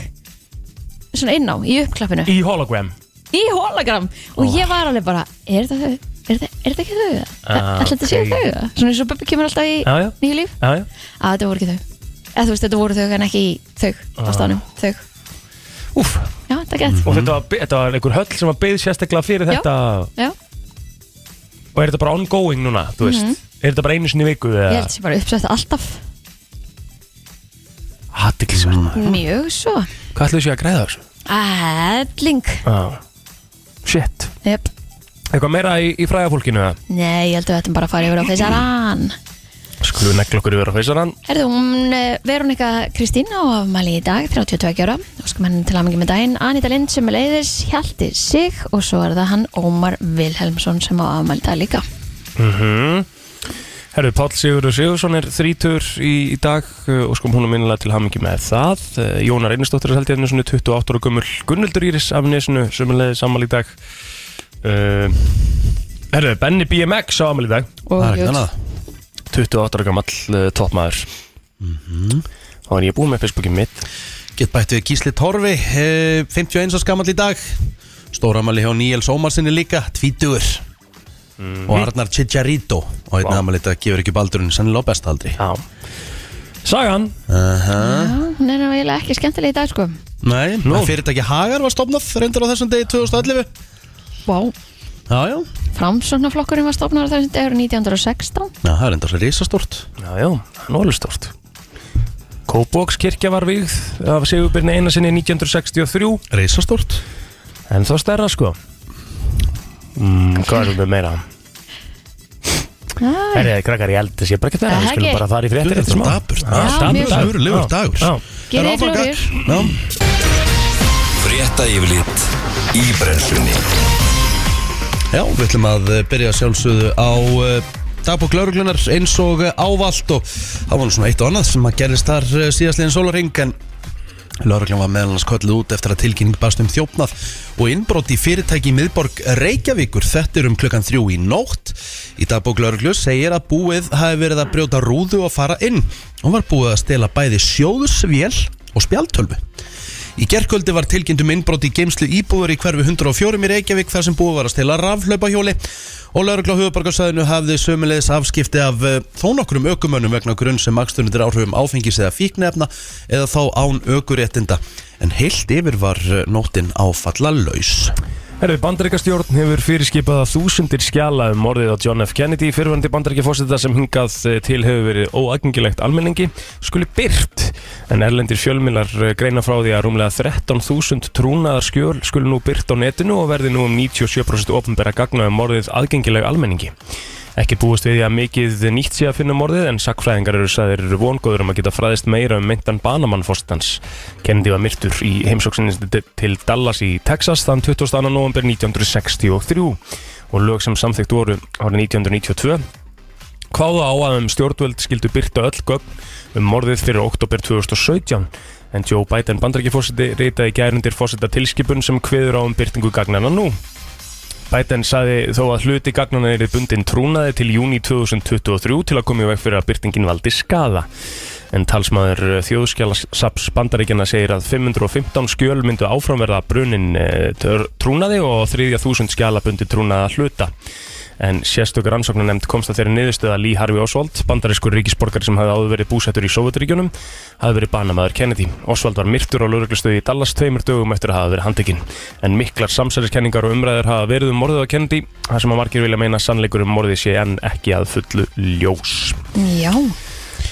[SPEAKER 3] svona inn á, í uppklappinu
[SPEAKER 2] í hologram
[SPEAKER 3] í hologram og ég var alveg bara er þetta þau? Er þetta, er þetta ekki þau?
[SPEAKER 2] Ah,
[SPEAKER 3] Ætla þetta séu
[SPEAKER 2] ok.
[SPEAKER 3] þau? eða? Svona eins og Bubbi kemur alltaf í
[SPEAKER 2] Já, já.
[SPEAKER 3] nýju líf
[SPEAKER 2] já, já.
[SPEAKER 3] að þetta voru ekki þau eða þú veist, þetta voru þau en ekki í þau á stánum, þau
[SPEAKER 2] Úf,
[SPEAKER 3] Já, þetta er gett
[SPEAKER 2] Ah. og þetta var, þetta var einhver höll sem var byggð sérstaklega fyrir
[SPEAKER 3] Já.
[SPEAKER 2] þetta
[SPEAKER 3] Já,
[SPEAKER 2] og er þetta bara ongoing núna, þú veist er þetta bara einu sinni í viku
[SPEAKER 3] Mhm. ég
[SPEAKER 2] eða
[SPEAKER 3] held sér bara uppsett alltaf
[SPEAKER 2] hattiklisvert
[SPEAKER 3] Mm. mjög svo
[SPEAKER 2] hvað ætlum við sér að græða á þessu?
[SPEAKER 3] Ætling
[SPEAKER 2] Ah. shit,
[SPEAKER 3] Jöp.
[SPEAKER 2] eitthvað meira í, í fræðafólkinu eða?
[SPEAKER 3] Nei, ég held að við ættum bara að fara yfir á feysaran
[SPEAKER 2] skulum við negla okkur yfir á feysarann
[SPEAKER 3] Herðu, hún eh, Veronika Kristín á afmæli í dag, 32 ára Óskum henni til aðmengi með daginn Anita Lind sem er leiðis, Hjalti Sig og svo er það hann Ómar Vilhelmsson sem á afmæli í dag líka
[SPEAKER 2] mm herru, Páll Sigurður Sigursson er þrítur í, í dag uh, og skum hún er minnilega til hamingi með það Uh, Jónar Einarsdóttir er held ég henni 28 ára gömul Gunnildur Íris af nesinu sem er leiðið samal í dag uh, herru, Benny BMX á amal í dag
[SPEAKER 3] og
[SPEAKER 1] Það er ekki
[SPEAKER 3] jú,
[SPEAKER 1] annað Mhm.
[SPEAKER 2] 28 ára gammal uh, toppmaður Þá er ég búinn með Facebookið mitt
[SPEAKER 1] Get bætt við Gísli Torfi eh, 51 árs gamall í dag Stóramæli hjá Níels Ómarsinni líka Tvítugur Og Arnar Chicharito Og einn
[SPEAKER 2] Mhm. Vá.
[SPEAKER 1] aðmæli þetta gefur ekki baldurinn Sennilega á besta aldri
[SPEAKER 2] Já Sagan
[SPEAKER 1] uh -huh.
[SPEAKER 3] Já, hún er náttúrulega ekki skemmtileg í dag sko
[SPEAKER 1] Nei,
[SPEAKER 2] Nú.
[SPEAKER 1] Nú. fyrirtæki Hagar var stopnað Reyndar á þessum degi 2011
[SPEAKER 3] Vá,
[SPEAKER 1] Já, já,
[SPEAKER 3] framsóknarflokkurinn var stofnar þessum dagur 1916
[SPEAKER 1] já það er reyndar svo risastórt
[SPEAKER 2] Já, já, það er nú alveg stórt Kópókskirkja var vígð af Sigurbyrni Einarsinni 1963
[SPEAKER 1] Risastórt
[SPEAKER 2] En þá stærra sko mm, Hvað erum við meira?
[SPEAKER 3] Æ,
[SPEAKER 2] Herriði, krakkar í eldis, ég er bara ekki
[SPEAKER 3] Það
[SPEAKER 2] það
[SPEAKER 3] er
[SPEAKER 2] Við skulum
[SPEAKER 3] ekki.
[SPEAKER 2] bara fara í fréttir eftir
[SPEAKER 1] Þetta er
[SPEAKER 2] smá
[SPEAKER 1] dapurt, maður.
[SPEAKER 2] Já, dapur
[SPEAKER 3] mjög.
[SPEAKER 2] dagur.
[SPEAKER 1] Örulegur dagur.
[SPEAKER 2] Já,
[SPEAKER 1] Það er
[SPEAKER 3] Gerið
[SPEAKER 1] áfram
[SPEAKER 3] ykkur
[SPEAKER 1] gakk.
[SPEAKER 3] úr.
[SPEAKER 1] Já.
[SPEAKER 4] Frétta yfirlit í brennslunni
[SPEAKER 1] Já, við ætlum að eh, byrja sjálfsögðu á uh, dagbók lauruglunar eins og eh, ávallt og það var nú svona eitt og annað sem að gerist þar uh, síðastliðin sólarring en lauruglan var meðal hans kölluð út eftir að tilkynning barst um þjófnað og innbrot í fyrirtæki í miðborg Reykjavíkur þetta er um klukkan þrjú í nótt í dagbók lauruglu segir að búið hafi verið að brjóta rúðu og fara inn hún var búið að stela bæði sjóðusvél og spjaltölvu Í gerkvöldi var tilkynntum innbrot í geimslu íbúður í hverfi 104 í Reykjavík þar sem búið var að stela rafhlaupahjóli og laurugla hugabarkarsæðinu hafði sömulegis afskipti af eh, þó nokkrum ökumönnum vegna grunn sem makstunundir áhrifum áfengis eða fíknefna eða þá án ökuréttinda en heilt yfir var eh, nóttin áfalla laus.
[SPEAKER 2] Herðu, bandaríkastjórn hefur fyrirskipað að þúsundir skjala um morðið á John F. Kennedy fyrirvandi bandaríkjafósita sem hingað eh, til hefur verið óaðgengilegt almenningi skuli byrt en erlendir fjölmilar greina frá því að rúmlega 13.000 trúnaðar skjöl skuli nú byrt á netinu og verði nú um 97% ofnbæra gagna um morðið aðgengileg almenningi Ekki búist við því að mikið nýtt sé að finna morðið en sakfræðingar eru sæðir vongóður um að geta fræðist meira um meintan banamann fórstans. Kennedy var myrtur í heimsóksinni til Dallas í Texas þann 22. november 1963 og lög sem samþygt voru árið 1992 kváða á að um stjórnvöld skildu byrta öll gögn um morðið fyrir oktober 2017 en Joe Biden bandarækjafósiti reytaði gærundir fósita tilskipun sem kviður á um byrtingu gagnana nú. Biden saði þó að hluti gagnana er bundin trúnaði til júni 2023 til að koma í veg fyrir að byrtingin valdi skada. En talsmaður þjóðskjálasaps bandaríkjana segir að 515 skjöl myndu eh, áframverða brunin trúnaði og 3000 skjala bundi trúnaða hluta. en sérstök rannsóknarnemnd komst að þeirri niðurstöð að Lee Harvey Oswald, bandarískur ríkisborgari sem hafði áður verið búsettur í Sovjeturíkjunum, hafði verið banamaður Kennedy. Oswald var myrtur á lauruglustöði í Dallas tveimur dögum eftir að hafa verið handekinn. En miklar samsæliskenningar og umræður hafa verið um morðið á Kennedy, þar sem að margir vilja meina að sannleikur um morðið sé enn ekki að fullu ljós.
[SPEAKER 3] Já,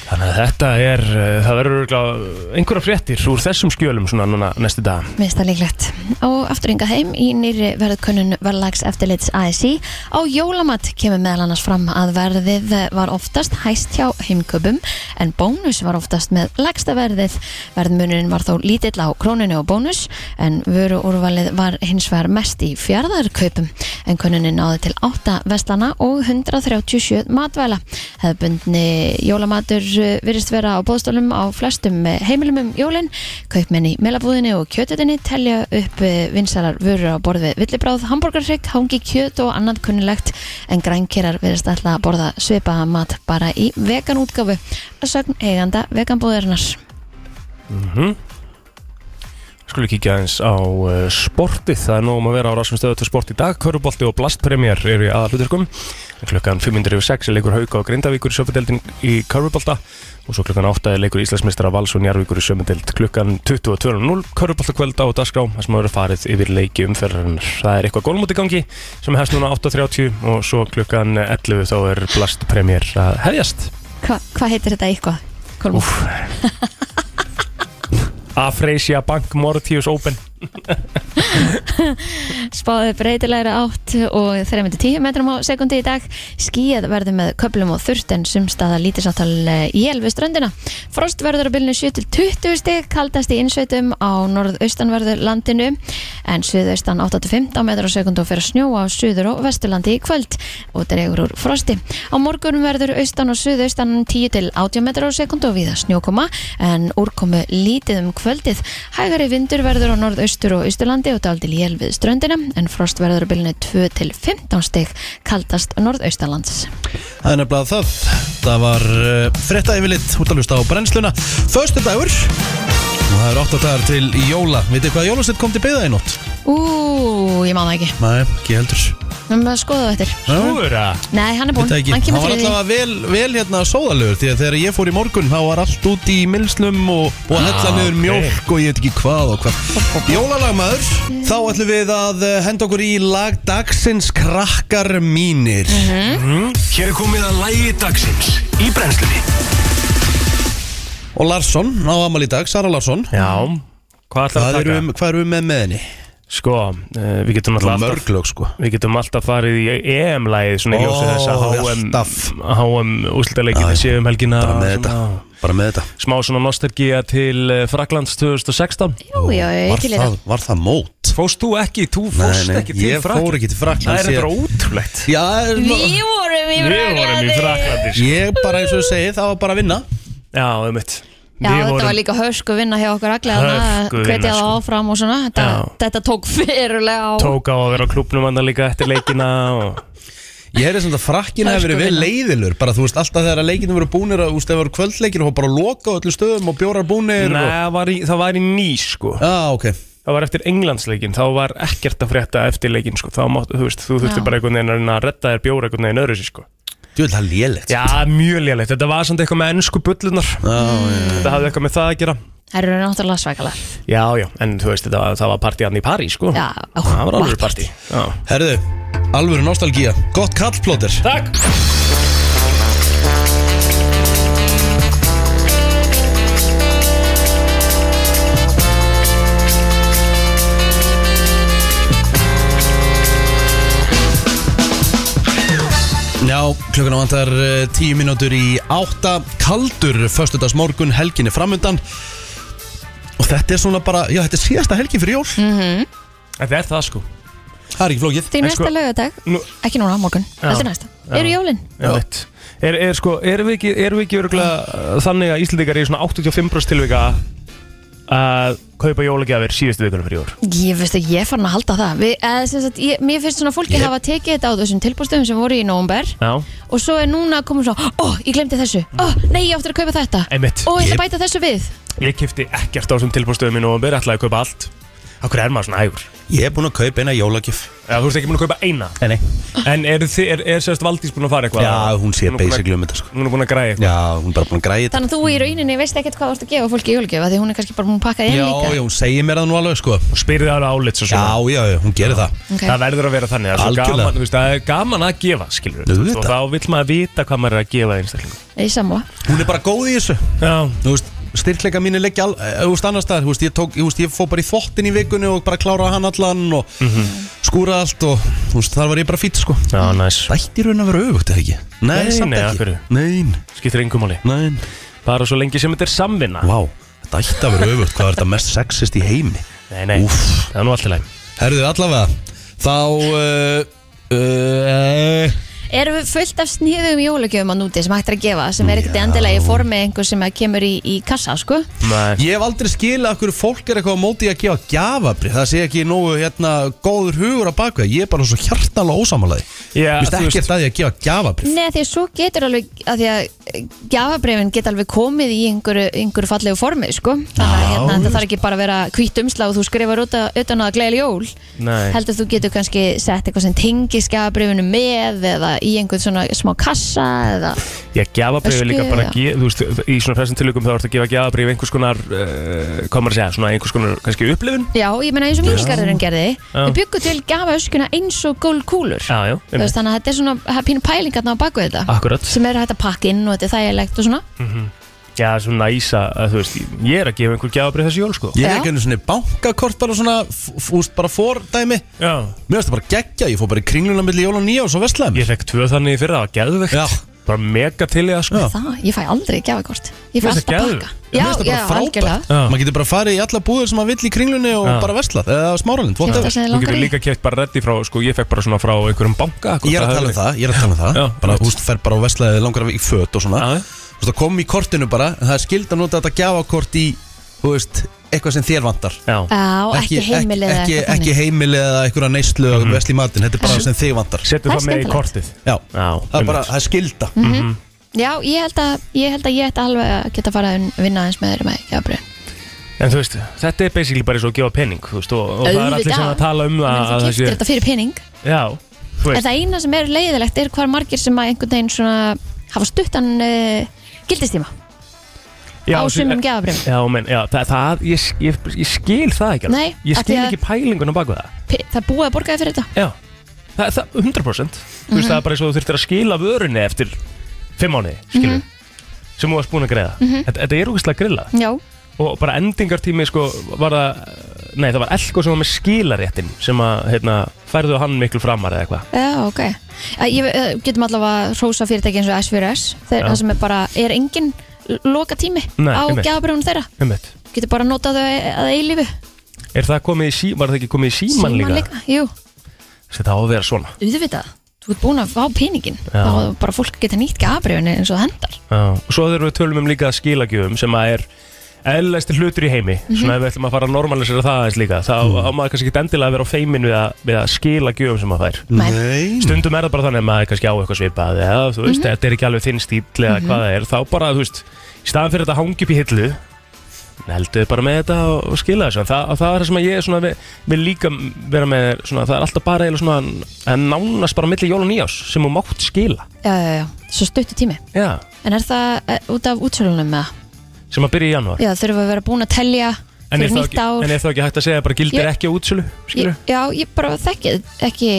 [SPEAKER 2] Þannig að þetta er, eh, það verður örugglega einhverja fréttir úr þessum skjölum svona núna næstu dag.
[SPEAKER 3] minnst það líklegt. Og aftur hingað heim í nýri verðkönnun verðlags eftirlits ASI. Á jólamat kemur meðal annars fram að verðið var oftast hæst hjá heimköpum en bónus var oftast með lagsta verðið. Verðmunurinn var þó lítill á krónunni og bónus en vöru úrvalið var hins vegar mest í fjardarkaupum en könnunin náði til 8 vestlana og 137 matvæla. Hefðbundni jólamatur eh, virðist vera á bóðstólum á flestum eh, heimilum um jólin. Kaupmenn í melabúðinni og kjötutinni telja upp eh, vinsalar vörur á borð við villibráð, hambúrgarhrygg, hangi kjöt og annað kunnilegt en grænkerar virðist alltaf að borða svipaða mat bara í veganútgáfu. Að Sögn eiganda veganbúðarinnar.
[SPEAKER 2] Mm Skulum kíkja aðeins á uh, sportið, það er nógum að vera á rásum stöðu til sport í dag. Körubolti og blastpremjör eru í aðalutverkum. Klukkan 5.06 er leikur Hauka og Grindavíkur í sömudeldin í Körubolta og svo klukkan 8 er leikur Íslandsmeistara Vals og Njarvíkur í sömudeld. Klukkan 22.00 Körubolta kvölda og dagskrá, þar sem að vera farið yfir leiki umferðarinnar. Það er eitthvað gólmóti gangi sem hefst núna 8.30 og svo klukkan 11 þá er blastpremjör að hefjast.
[SPEAKER 3] Hva- Hvað heitir þetta eitthvað? Kolmú?
[SPEAKER 2] Úff Afreysja Bank Mortius Open
[SPEAKER 3] Spáði breytilegri átt og 3-10 metrum á sekundi í dag. Skíið verður með köplum og þurft en sumstaða lítisáttal él við ströndina. Frost verður á bylnu 7-20 stig, kaldast í innsveitum á norðaustanverður landinu en suðaustan 8-15 metrum á sekundi og fer að snjóa á suður og vesturlandi í kvöld og dregur úr frosti. Á morgun verður austan og suðaustan 10-80 metrum á sekundi og viða snjókoma en úrkomu lítið um kvöldið. Hægari vindur verður á norðaustur og austurlandi og daldi lél við ströndina en frost verður á bylunni 2 til 15 stig kaldast norðaustalands.
[SPEAKER 1] Það er nefnilega það Það var uh, frétta yfirlit út að hlusta á brennsluna Föstu dagur Og það er 8 dagar til jóla Vitið hvað jólasett kom til byggða í nótt?
[SPEAKER 3] Ú, ég má það ekki.
[SPEAKER 1] Nei, ekki heldur
[SPEAKER 3] Við erum að skoða það eftir.
[SPEAKER 1] Nei,
[SPEAKER 2] Úra
[SPEAKER 3] Nei, hann er búinn.
[SPEAKER 1] Þetta ekki
[SPEAKER 3] Hann
[SPEAKER 1] Hann
[SPEAKER 3] kemur
[SPEAKER 1] var
[SPEAKER 3] fyrir því.
[SPEAKER 1] allavega vel, vel hérna sóðalegur Því að þegar ég fór í morgun Þá var allt út í millslum Og, og að hella
[SPEAKER 2] Ah,
[SPEAKER 1] niður
[SPEAKER 2] ok.
[SPEAKER 1] mjólk Og ég veit ekki hvað og hvað Jólalagmaður Þá ætlum við að eh, henda okkur í lag Dagsins krakkar mínir
[SPEAKER 3] Mhm.
[SPEAKER 2] Mhm.
[SPEAKER 4] Hér er komið að lægi dagsins í brennslunni
[SPEAKER 1] Og Larsson á amal í dag Sara Larsson
[SPEAKER 2] Já Hvað ætlar að
[SPEAKER 1] Hvað
[SPEAKER 2] taka?
[SPEAKER 1] erum, hvað erum við með með henni?
[SPEAKER 2] Sko, uh, við getum
[SPEAKER 1] Það var
[SPEAKER 2] alltaf alltaf
[SPEAKER 1] mörglög sko
[SPEAKER 2] Við getum alltaf farið í EM-lægið svona í
[SPEAKER 1] Ó,
[SPEAKER 2] ljósið þess að HM
[SPEAKER 1] alltaf.
[SPEAKER 2] HM úslitaleikin séu um helgina
[SPEAKER 1] Bara með
[SPEAKER 2] svona,
[SPEAKER 1] þetta Bara með þetta
[SPEAKER 2] Smá svona nostalgía til eh, Fraklands 2016
[SPEAKER 3] Jú, jú,
[SPEAKER 1] var,
[SPEAKER 3] til í
[SPEAKER 1] það,
[SPEAKER 3] það.
[SPEAKER 1] var það mót?
[SPEAKER 2] Fóst þú ekki, þú fóst ekki til
[SPEAKER 1] ég fór ekki til
[SPEAKER 2] Það
[SPEAKER 1] Fraklands
[SPEAKER 2] er þetta
[SPEAKER 1] ég-
[SPEAKER 2] ótrúlegt
[SPEAKER 1] Já, er-
[SPEAKER 3] Við vorum í
[SPEAKER 2] Við vorum í
[SPEAKER 3] Fraklandi.
[SPEAKER 2] Fraklandi sko.
[SPEAKER 1] ég bara eins og ég segi Það var bara að vinna
[SPEAKER 2] Já, um mitt
[SPEAKER 3] Já, þetta var líka hösku vinna hjá okkur allir þannig að
[SPEAKER 2] Hörkuvinna,
[SPEAKER 3] hvetja það
[SPEAKER 2] sko.
[SPEAKER 3] áfram og svona þetta,
[SPEAKER 2] Já.
[SPEAKER 3] þetta tók fyrirlega á
[SPEAKER 2] tók á að vera á klubnum hann líka eftir leikina og
[SPEAKER 1] Ég hefði samt að frakkin
[SPEAKER 3] Það er
[SPEAKER 1] hefur verið
[SPEAKER 3] sko
[SPEAKER 1] vel
[SPEAKER 3] vinna.
[SPEAKER 1] leiðilur Bara þú veist alltaf þegar að leikinu voru búnir að, Þú veist, þegar voru kvöldleikir og bara að loka á öllu stöðum Og bjórar búnir
[SPEAKER 2] Nei,
[SPEAKER 1] og...
[SPEAKER 2] það var í, það var í ný sko
[SPEAKER 1] Já, Ah, ok
[SPEAKER 2] Það var eftir Englandsleikin, þá var ekkert að frétta eftir leikin sko Þá máttu, þú veist, þú
[SPEAKER 3] Já.
[SPEAKER 2] þurfti bara einhvern veginn að reyna að redda þér bjóra einhvern veginn öðru sér sko
[SPEAKER 1] Þú veist það er lélegt
[SPEAKER 2] Já, mjög lélegt, þetta var samt eitthvað með ennsku bullunar Þetta hafði eitthvað með það að gera
[SPEAKER 3] Það eru náttúrulega svakalar
[SPEAKER 2] Já, já, en þú veist, þetta var, það var partíðan í París sko
[SPEAKER 3] Já, ó,
[SPEAKER 2] Það var alveg
[SPEAKER 3] vakkert.
[SPEAKER 2] partí Já.
[SPEAKER 1] Herðu, alvöru nostalgía Gott kallplóter
[SPEAKER 2] Takk!
[SPEAKER 1] Já, klukkan vantar eh, tíu mínútur í átta Kaldur, föstudags morgun, helginni framundan Og þetta er svona bara, já þetta er síðasta helgin fyrir jól
[SPEAKER 2] Þetta er það sko
[SPEAKER 1] Það er ekki flókið
[SPEAKER 3] Því
[SPEAKER 2] En
[SPEAKER 3] næsta
[SPEAKER 2] sko-
[SPEAKER 3] laugardag,
[SPEAKER 2] Nú-
[SPEAKER 3] ekki núna, morgun
[SPEAKER 2] Já.
[SPEAKER 3] Þetta er næsta, eru jólin
[SPEAKER 2] Já. mitt. Er, er sko, erum við ekki, erum við ekki örgulega þannig að Íslandingar eru svona 85% tilvika að kaupa jólagjafir síðustu vikunum fyrir jól?
[SPEAKER 3] Ég veist að ég er farin að halda það Við, eða, sem sagt, ég, Mér finnst svona fólki hafa tekið þetta á þessum tilbúrstöfum sem voru í nóumber
[SPEAKER 2] Já.
[SPEAKER 3] og svo er núna komið svo, ó, ég glemdi þessu ó, nei, ég átti að kaupa þetta
[SPEAKER 2] Einmitt.
[SPEAKER 3] og ég ætla
[SPEAKER 1] Ég-
[SPEAKER 3] að bæta þessu við
[SPEAKER 2] Ég kifti ekkert á þessum tilbúrstöðum í november, ætlaði að kaupa allt. Akkur er maður svona ægur?
[SPEAKER 1] Ég er búin að kaupa eina jólagjöf
[SPEAKER 2] Já, þú ert ekki búin að kaupa eina
[SPEAKER 1] Nei, nei
[SPEAKER 2] En er, þið, er, er sérst Valdís búin að fara eitthvað?
[SPEAKER 1] Já, hún sé
[SPEAKER 2] er búin að-
[SPEAKER 1] basically um þetta sko
[SPEAKER 2] Hún er búin að græja eitthvað
[SPEAKER 1] Já, hún er bara búin að græja þetta
[SPEAKER 3] Þannig að þú í rauninni veist ekkert hvað þú ert að gefa fólki í jólgjöf Því hún er kannski bara múin að pakka þér
[SPEAKER 1] Já,
[SPEAKER 3] líka
[SPEAKER 1] já, hún segir mér það nú alveg sko
[SPEAKER 2] Og spyrir það alveg álits og
[SPEAKER 1] Já,
[SPEAKER 2] svona
[SPEAKER 1] já, já, hún gerir það
[SPEAKER 3] Ok.
[SPEAKER 2] Það verður að vera þannig Það er, svo
[SPEAKER 1] Algjörlega.
[SPEAKER 2] gaman, þú veist, það er gaman að gefa, skilur
[SPEAKER 1] Þú veit
[SPEAKER 2] Og þá vill maður vita hvað maður er að gefa einstaklingum
[SPEAKER 3] Í sammála
[SPEAKER 1] Hún er bara góð í þessu
[SPEAKER 2] Já,
[SPEAKER 1] Þú veist, styrkleika mínu leggja al- eh, Þú veist, annars staðar, þú veist, ég tók Þú veist, ég fó bara í þvottin í vikunni og bara kláraði hann allan og skúraði allt og þú veist, þar var ég bara fýtt sko
[SPEAKER 2] Mhm. já, næs
[SPEAKER 1] Ætti í raun að vera öfugt, eða ekki? Nei,
[SPEAKER 2] Nei,
[SPEAKER 1] samt
[SPEAKER 2] nei, af
[SPEAKER 1] ekki
[SPEAKER 2] hverju?
[SPEAKER 1] Nein,
[SPEAKER 2] Skiptir engum máli
[SPEAKER 1] nein
[SPEAKER 2] Bara svo lengi sem þetta er samvinna
[SPEAKER 1] Vá, þetta ætti að vera öfugt Hvað er þetta mest sexist í heimi?
[SPEAKER 2] Nei, nei,
[SPEAKER 1] Úff.
[SPEAKER 2] það er nú alltaf læg
[SPEAKER 1] Herðu, allavega Þá uh, uh,
[SPEAKER 3] Erum við fullt af sniðum jólagjöfum á núti sem hægt er að gefa sem er ekkert
[SPEAKER 1] Já.
[SPEAKER 3] endilega í formi einhver sem að kemur í, í kassa sko.
[SPEAKER 2] Nei,
[SPEAKER 1] Ég hef aldrei skilið af hverju fólk er eitthvað á móti í að gefa gjafabrið Það sé ekki nógu hérna góður hugur á bakveð Ég er bara svo hjartalega ósamalæði
[SPEAKER 2] Já,
[SPEAKER 1] Ég veist
[SPEAKER 2] þú
[SPEAKER 1] ekkert
[SPEAKER 2] veist-
[SPEAKER 1] að ég að gefa gjafabrið
[SPEAKER 3] Nei, því að svo getur alveg að því að gafabrefin geta alveg komið í einhverju, einhverju fallegu formi sko. þannig að
[SPEAKER 1] Já,
[SPEAKER 3] hérna,
[SPEAKER 1] veist.
[SPEAKER 3] það þarf ekki bara að vera hvítt umslag og þú skrifar utan, utan á að gleðli jól
[SPEAKER 2] Nei.
[SPEAKER 3] heldur þú getur kannski sett eitthvað sem tengis gafabrefinu með eða í einhvern svona smá kassa eða
[SPEAKER 2] ég gjafabrifi
[SPEAKER 3] Ösku,
[SPEAKER 2] líka bara
[SPEAKER 3] já.
[SPEAKER 2] að gefa Þú veist, í svona flestum tilökum þá ertu að gefa gjafabrifi einhvers konar, uh, hvað maður að segja, svona einhvers konar kannski upplifun
[SPEAKER 3] Já, ég meina eins og mínusgarðurinn gerði
[SPEAKER 2] Já.
[SPEAKER 3] Við byggum til gafaöskuna eins og gól kúlur
[SPEAKER 2] Já, já,
[SPEAKER 3] Þú
[SPEAKER 2] einmitt.
[SPEAKER 3] veist, Þannig að þetta er svona það er pínu pælingarna á baku þetta
[SPEAKER 2] akkurat
[SPEAKER 3] sem eru hægt að pakka inn og þetta er þægilegt og svona
[SPEAKER 2] Mhm. Já, svona næsa, að, þú veist, ég er að gefa einhver gjafabrif þessi jól, sko
[SPEAKER 1] Ég er
[SPEAKER 3] Já.
[SPEAKER 1] ekki einu svona bankakort bara svona f- f- Úst bara fordæmi
[SPEAKER 2] Já,
[SPEAKER 1] Mér finnst það bara geggja Ég fór bara í kringluna milli jól og nýja og svo vestlaði
[SPEAKER 2] ég
[SPEAKER 1] mér
[SPEAKER 2] fekk tvö þannig fyrir það, geðvegt
[SPEAKER 1] Já.
[SPEAKER 2] Bara mega til í það, sko
[SPEAKER 1] Já.
[SPEAKER 3] Það, ég fæ aldrei gjafakort Ég fæ
[SPEAKER 2] Mér finnst
[SPEAKER 3] alltaf
[SPEAKER 2] það
[SPEAKER 3] að
[SPEAKER 2] geðveikt.
[SPEAKER 3] pakka
[SPEAKER 1] Mér
[SPEAKER 3] Já,
[SPEAKER 1] finnst það
[SPEAKER 3] já,
[SPEAKER 1] bara frábært
[SPEAKER 3] algjörlega
[SPEAKER 2] Já.
[SPEAKER 1] Maður getur bara farið í alla búðir sem maður vill í kringlunni og
[SPEAKER 2] Já.
[SPEAKER 1] bara vestlað Eða smáralind,
[SPEAKER 3] Kemta
[SPEAKER 1] whatever
[SPEAKER 3] sem þið
[SPEAKER 2] Þú getur
[SPEAKER 3] langar í
[SPEAKER 2] líka keft bara reddi frá, sko, ég fekk bara svona frá einhverjum banka
[SPEAKER 1] Ég er að tala um það, ég er að tala um það
[SPEAKER 2] Já,
[SPEAKER 1] Bara,
[SPEAKER 2] einmitt.
[SPEAKER 1] þú veist, fer bara á vestlaðið langar í föt og svona
[SPEAKER 2] Já.
[SPEAKER 1] Þú veist, það kom í kortinu bara en Það er skild að nota þetta gjafakort í, þú veist, eitthvað sem þér vantar
[SPEAKER 2] Já,
[SPEAKER 3] Já, ekki heimilið eða
[SPEAKER 1] ekki,
[SPEAKER 3] eitthvað
[SPEAKER 1] ekki
[SPEAKER 3] þannig.
[SPEAKER 1] heimilið eða einhverja neyslu mm -hmm. í matinn, þetta er bara sem þig vantar
[SPEAKER 2] Mhm. setur
[SPEAKER 3] Það er
[SPEAKER 2] það með í
[SPEAKER 3] skemmtilegt. Mhm.
[SPEAKER 2] kortið
[SPEAKER 1] Já,
[SPEAKER 2] Já,
[SPEAKER 1] það
[SPEAKER 2] einmitt.
[SPEAKER 1] er bara,
[SPEAKER 2] Mhm.
[SPEAKER 1] það er skilda
[SPEAKER 3] Já, ég held að ég held að ég ætti alveg að geta að fara að vinna aðeins með þeirra með gjafabrefin
[SPEAKER 2] En þú veist, þetta er basically bara eins og að gefa pening þú veist, og, og það er
[SPEAKER 3] Auðvitað.
[SPEAKER 2] allir sem að tala um að,
[SPEAKER 3] Þú
[SPEAKER 2] að
[SPEAKER 3] kiptir þetta fyrir pening
[SPEAKER 2] Já, þú
[SPEAKER 3] En
[SPEAKER 2] veist,
[SPEAKER 3] það eina sem er leiðilegt er hvar margir sem að einhvern veginn svona hafa stuttan uh, gildistíma
[SPEAKER 2] já,
[SPEAKER 3] á
[SPEAKER 2] þú-
[SPEAKER 3] sumum gjafabréfum.
[SPEAKER 2] Já, menn, já, það, það ég, ég, ég skil það ekki alveg.
[SPEAKER 3] Nei,
[SPEAKER 2] Ég
[SPEAKER 3] af
[SPEAKER 2] skil
[SPEAKER 3] því að-
[SPEAKER 2] ekki pælingunum baku það
[SPEAKER 3] P- Það er búið að borga þér fyrir þetta
[SPEAKER 2] Já, það, það 100% Þú veist, það er bara eins og þú þurftir að skila vörunni eftir fimm mánuði, skilur sem þú varst búin að greiða þetta, þetta er úkvæslega grilla
[SPEAKER 3] Já,
[SPEAKER 2] og bara endingartími sko, var það, nei það var elko sem var með skilaréttin sem að hérna, færðu hann miklu framar eða eitthvað
[SPEAKER 3] Já, ok. Eh, Ég, eh, getum allavega að hrósa fyrirtæki eins og S4S, þeir,
[SPEAKER 2] Já.
[SPEAKER 3] það sem er bara, er engin loka tími
[SPEAKER 2] Nei,
[SPEAKER 3] á
[SPEAKER 2] einmitt.
[SPEAKER 3] gjafabrjónu þeirra.
[SPEAKER 2] Einmitt.
[SPEAKER 3] Getur bara að nota þau að eilífu.
[SPEAKER 2] Er það komið í sí, var það ekki komið í síman, líka?
[SPEAKER 3] Jú,
[SPEAKER 2] Sér það á að vera svona
[SPEAKER 3] auðvitað. Þú ert búin að fá peningin.
[SPEAKER 2] Já.
[SPEAKER 3] Þá að bara fólk geta nýtt gjafabrjónu eins og það hendar.
[SPEAKER 2] Já, og svo þurfum við tölum um líka skilagjöfum sem að er eðlæsti hlutur í heimi svona ef við ætlum að fara að normalisera það aðeins líka þá á maður kannski ekki endilega að vera á feimin við að, við að skila gjöfum sem maður fær
[SPEAKER 3] Nei.
[SPEAKER 1] Nei,
[SPEAKER 2] stundum er það bara þannig að maður kannski á eitthvað svipað eða þú veist, þetta er ekki alveg þinn stíl eða hvað það er, þá bara, þú veist í staðan fyrir þetta hangi upp í hillu heldur bara með þetta og, og skila þessu En það, og það er það sem að ég svona, vil, vil líka vera með, svona, það er alltaf bara eiginlega svona að nánast bara milli jól og nýjás sem þú mátt skila
[SPEAKER 3] Já, já, já. Svo stuttu tími.
[SPEAKER 2] Já,
[SPEAKER 3] En er það eh, út af útsölunum með það?
[SPEAKER 2] sem að byrja í janúar
[SPEAKER 3] Já, þurfum við að vera búin að telja
[SPEAKER 2] En er,
[SPEAKER 3] fyrir
[SPEAKER 2] þá
[SPEAKER 3] nýtt
[SPEAKER 2] ekki,
[SPEAKER 3] ár.
[SPEAKER 2] en er þá ekki hægt að segja bara gildir
[SPEAKER 3] Ég-
[SPEAKER 2] ekki á útsölu, skilur?
[SPEAKER 3] ég, já, ég bara þekki ekki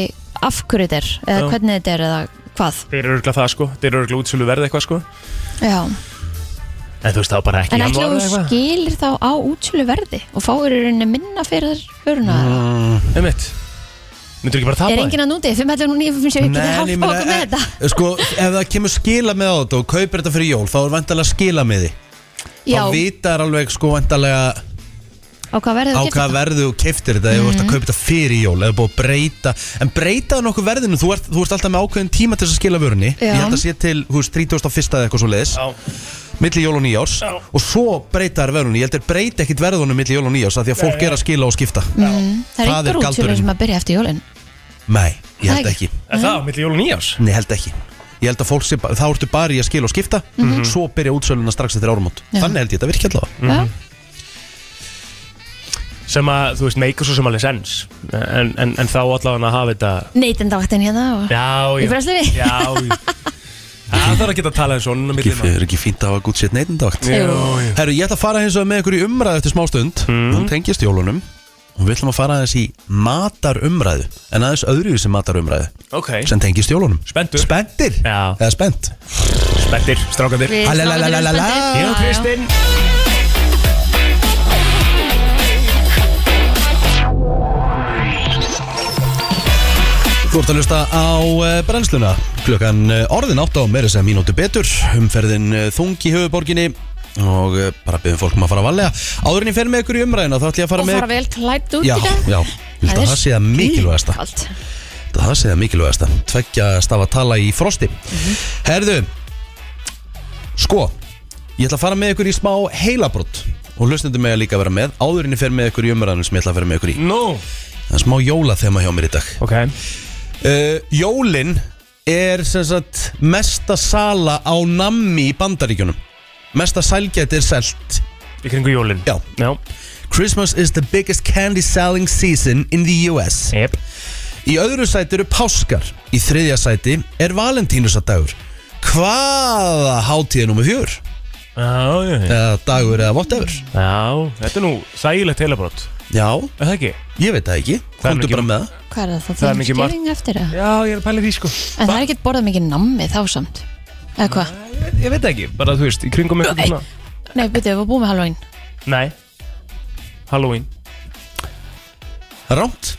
[SPEAKER 3] af hverju þetta er, eða
[SPEAKER 2] Já.
[SPEAKER 3] hvernig þetta er, eða hvað.
[SPEAKER 2] Þeir eru örgla það sko, þeir eru örgla útsölu verð eitthvað sko
[SPEAKER 3] Já.
[SPEAKER 2] En þú veist þá bara ekki
[SPEAKER 3] En
[SPEAKER 2] í
[SPEAKER 3] ætla
[SPEAKER 2] janúar
[SPEAKER 3] þú
[SPEAKER 2] eða eitthvað.
[SPEAKER 3] skilir þá á útsölu verði og fáir í rauninni minna fyrir vöruna mm,
[SPEAKER 2] Einmitt Myndur ekki bara
[SPEAKER 3] Er
[SPEAKER 2] tapa
[SPEAKER 3] enginn að núti? 511 og 957 getur
[SPEAKER 1] en ég
[SPEAKER 3] hálfa okkur
[SPEAKER 2] eh,
[SPEAKER 3] með þetta
[SPEAKER 1] e, sko, ef það kemur skila með á þetta og kaupir þetta fyrir jól, þá er vantalega skila með því
[SPEAKER 3] Já,
[SPEAKER 1] Þá vitar alveg sko vantalega
[SPEAKER 3] á hvað verður
[SPEAKER 1] á
[SPEAKER 3] þú
[SPEAKER 1] hvað
[SPEAKER 3] kipta?
[SPEAKER 1] verðu og keiftir þetta ef þú ert
[SPEAKER 3] Mhm.
[SPEAKER 1] að kaupa þetta fyrir jól, eða búið að breyta En breytaðu nokkuð verðinu, þú ert, þú ert alltaf með ákveðin tíma til þess að skila vörunni
[SPEAKER 3] Já.
[SPEAKER 1] Ég held að sé til, hú veist, 31. eða eitthvað svo leiðis
[SPEAKER 2] Já,
[SPEAKER 1] milli jól og nýjárs
[SPEAKER 2] Já.
[SPEAKER 1] og svo breyta þær verðunni, ég held að breyta ekkit verðunum milli jól og nýjárs af því að fólk er að skila og skipta
[SPEAKER 3] Mm, Það er
[SPEAKER 1] það er
[SPEAKER 3] einhver útsölu
[SPEAKER 1] galdurinn.
[SPEAKER 3] sem að byrja eftir jólin
[SPEAKER 1] Nei, ég held
[SPEAKER 3] Það
[SPEAKER 1] ekki
[SPEAKER 2] er það á milli jól og nýjás?
[SPEAKER 1] Nei, ég held ekki Ég held að fólk sé, bara- þá ertu bara í að skila og skipta svo byrja útsöluna strax eftir árumót
[SPEAKER 3] Mhm. Já.
[SPEAKER 2] Mhm.
[SPEAKER 1] Þannig held ég þetta virki allavega
[SPEAKER 3] Já,
[SPEAKER 2] sem að, þú veist, meikar svo sem alveg sens en, en, en þá allavega að hafa þetta
[SPEAKER 3] Neytendavaktin hérna og...
[SPEAKER 2] Já,
[SPEAKER 3] Í brenslunni?
[SPEAKER 2] Já, já Það þarf að geta að tala eins og hann
[SPEAKER 1] Ekki, er ekki fínt að hafa gútt sétt neitindagt
[SPEAKER 2] Já,
[SPEAKER 3] Jú. Mm.
[SPEAKER 2] já
[SPEAKER 1] Herru, ég ætla að fara hins vegar með ykkur í umræðu eftir smá stund Hún tengist jólunum Og við ætlum að fara aðeins í matarumræðu En aðeins öðruvísi matarumræðu
[SPEAKER 2] Ok,
[SPEAKER 1] Sem tengist jólunum
[SPEAKER 2] Spenntur.
[SPEAKER 1] Spenntir
[SPEAKER 2] Já.
[SPEAKER 1] Eða spennt
[SPEAKER 2] spettir, strákandir
[SPEAKER 3] Við
[SPEAKER 1] Halalalalala.
[SPEAKER 3] strákarnir erum
[SPEAKER 2] Ég og
[SPEAKER 3] spenntir. Já, já.
[SPEAKER 2] Kristinn
[SPEAKER 1] Þú ert að hlusta á eh, brennsluna Klukkan eh, orðin átt á meira sem mínútu betur Umferðin eh, þung í höfuborginni Og eh, bara byggðum fólkum að fara að valega Áðurinn ég fer með ykkur í umræðina Þá ætlum ég að fara
[SPEAKER 3] Og
[SPEAKER 1] með
[SPEAKER 3] fara vel klætt út
[SPEAKER 1] Já,
[SPEAKER 3] í dag
[SPEAKER 1] já, ég held að það sé það mikilvægasta
[SPEAKER 3] Allt
[SPEAKER 1] Ég held að Það sé það mikilvægasta Tveggja stafa tala í frosti
[SPEAKER 3] Mhm.
[SPEAKER 1] Herðu Sko, ég ætla að fara með ykkur í smá heilabrott Og hlustandi með að líka vera með Áðurinn ég fer með ykkur í umræðinu sem ég ætla að vera með ykkur í
[SPEAKER 2] Nú
[SPEAKER 1] Það er smá jólaþema hjá mér í dag
[SPEAKER 2] Ok
[SPEAKER 1] uh, Jólin er sem sagt mesta sala á nammi í bandaríkjunum Mesta sælgæti er selt
[SPEAKER 2] Í kringu jólin
[SPEAKER 1] Já.
[SPEAKER 2] Já
[SPEAKER 1] Christmas is the biggest candy selling season in the US
[SPEAKER 2] Jep
[SPEAKER 1] Í öðru sæti eru páskar Í þriðja sæti er valentínusadagur Hvaða hátíð er nummer fjör?
[SPEAKER 2] Já, já, já
[SPEAKER 1] Eða dagur eða whatever
[SPEAKER 2] Já, þetta er nú þægilegt heilabrótt
[SPEAKER 1] Já,
[SPEAKER 2] Er það ekki?
[SPEAKER 1] ég veit það ekki
[SPEAKER 2] Það er
[SPEAKER 1] Komdu
[SPEAKER 2] mikið-
[SPEAKER 1] bara með það
[SPEAKER 3] Hvað er það? Það,
[SPEAKER 2] Það
[SPEAKER 3] það
[SPEAKER 2] er
[SPEAKER 3] er
[SPEAKER 2] mikið margt.
[SPEAKER 3] eftir það
[SPEAKER 2] Já, ég er að pæla í því sko
[SPEAKER 3] En það er ekkert borðað mikið nammi þá samt Eða hvað?
[SPEAKER 2] Ég veit, ég veit ekki, bara þú veist, í kringum eitthvað
[SPEAKER 3] Nei.
[SPEAKER 2] svona
[SPEAKER 3] Nei, byrjuðu, við erum búið með halvaðin
[SPEAKER 2] Nei Halloween
[SPEAKER 1] Rámt,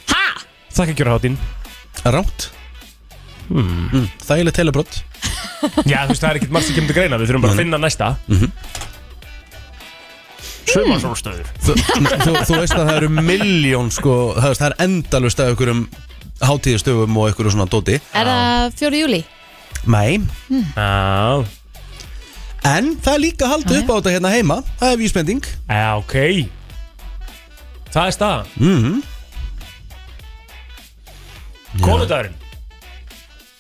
[SPEAKER 2] Þakka kjöra hátín
[SPEAKER 1] rámt
[SPEAKER 2] Hmm.
[SPEAKER 1] mm. Þægilegt heilabrótt
[SPEAKER 2] Já, þú veist, það er ekkert margt sem kemur til greina Við þurfum bara að finna næsta
[SPEAKER 1] Mhm.
[SPEAKER 2] mm -hmm. Sumarsólstöður
[SPEAKER 1] þú, þú, þú veist að það eru miljón sko, það, veist, það er endalust af einhverjum hátíðistöfum og einhverju svona dóti
[SPEAKER 3] Er það fjóri júli?
[SPEAKER 1] Nei,
[SPEAKER 3] Hmm.
[SPEAKER 2] Já,
[SPEAKER 1] en það er líka haldið
[SPEAKER 3] Já,
[SPEAKER 1] upp á þetta hérna heima það er vísbending
[SPEAKER 2] já, ok Það er staðan
[SPEAKER 1] Mhm.
[SPEAKER 2] -hmm. Konudagurinn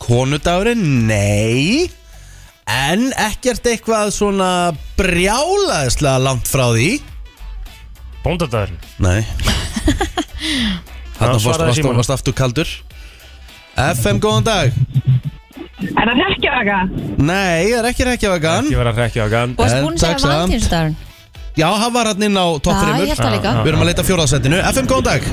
[SPEAKER 1] Konudagurinn, nei en ekkert eitthvað svona brjálaðislega langt frá því
[SPEAKER 2] Bóndadagurinn
[SPEAKER 1] Nei Þarna
[SPEAKER 2] Já,
[SPEAKER 1] varst,
[SPEAKER 2] svaraði
[SPEAKER 1] varst,
[SPEAKER 2] símanum.
[SPEAKER 1] varst aftur kaldur FM, góðan dag
[SPEAKER 5] Er það hrekkjavaka?
[SPEAKER 1] Nei, það er ekki reykjavagan
[SPEAKER 2] Ég var að rekja á gann
[SPEAKER 3] Og það
[SPEAKER 1] En
[SPEAKER 3] er búin að
[SPEAKER 1] Eh,
[SPEAKER 3] segja
[SPEAKER 1] takk samt.
[SPEAKER 3] valentínsdagurinn
[SPEAKER 1] Já, hann var hann inn á topp
[SPEAKER 3] Það,
[SPEAKER 1] 3
[SPEAKER 3] ég held það líka
[SPEAKER 1] Við erum að leita fjóraðsætinu FM, góðan dag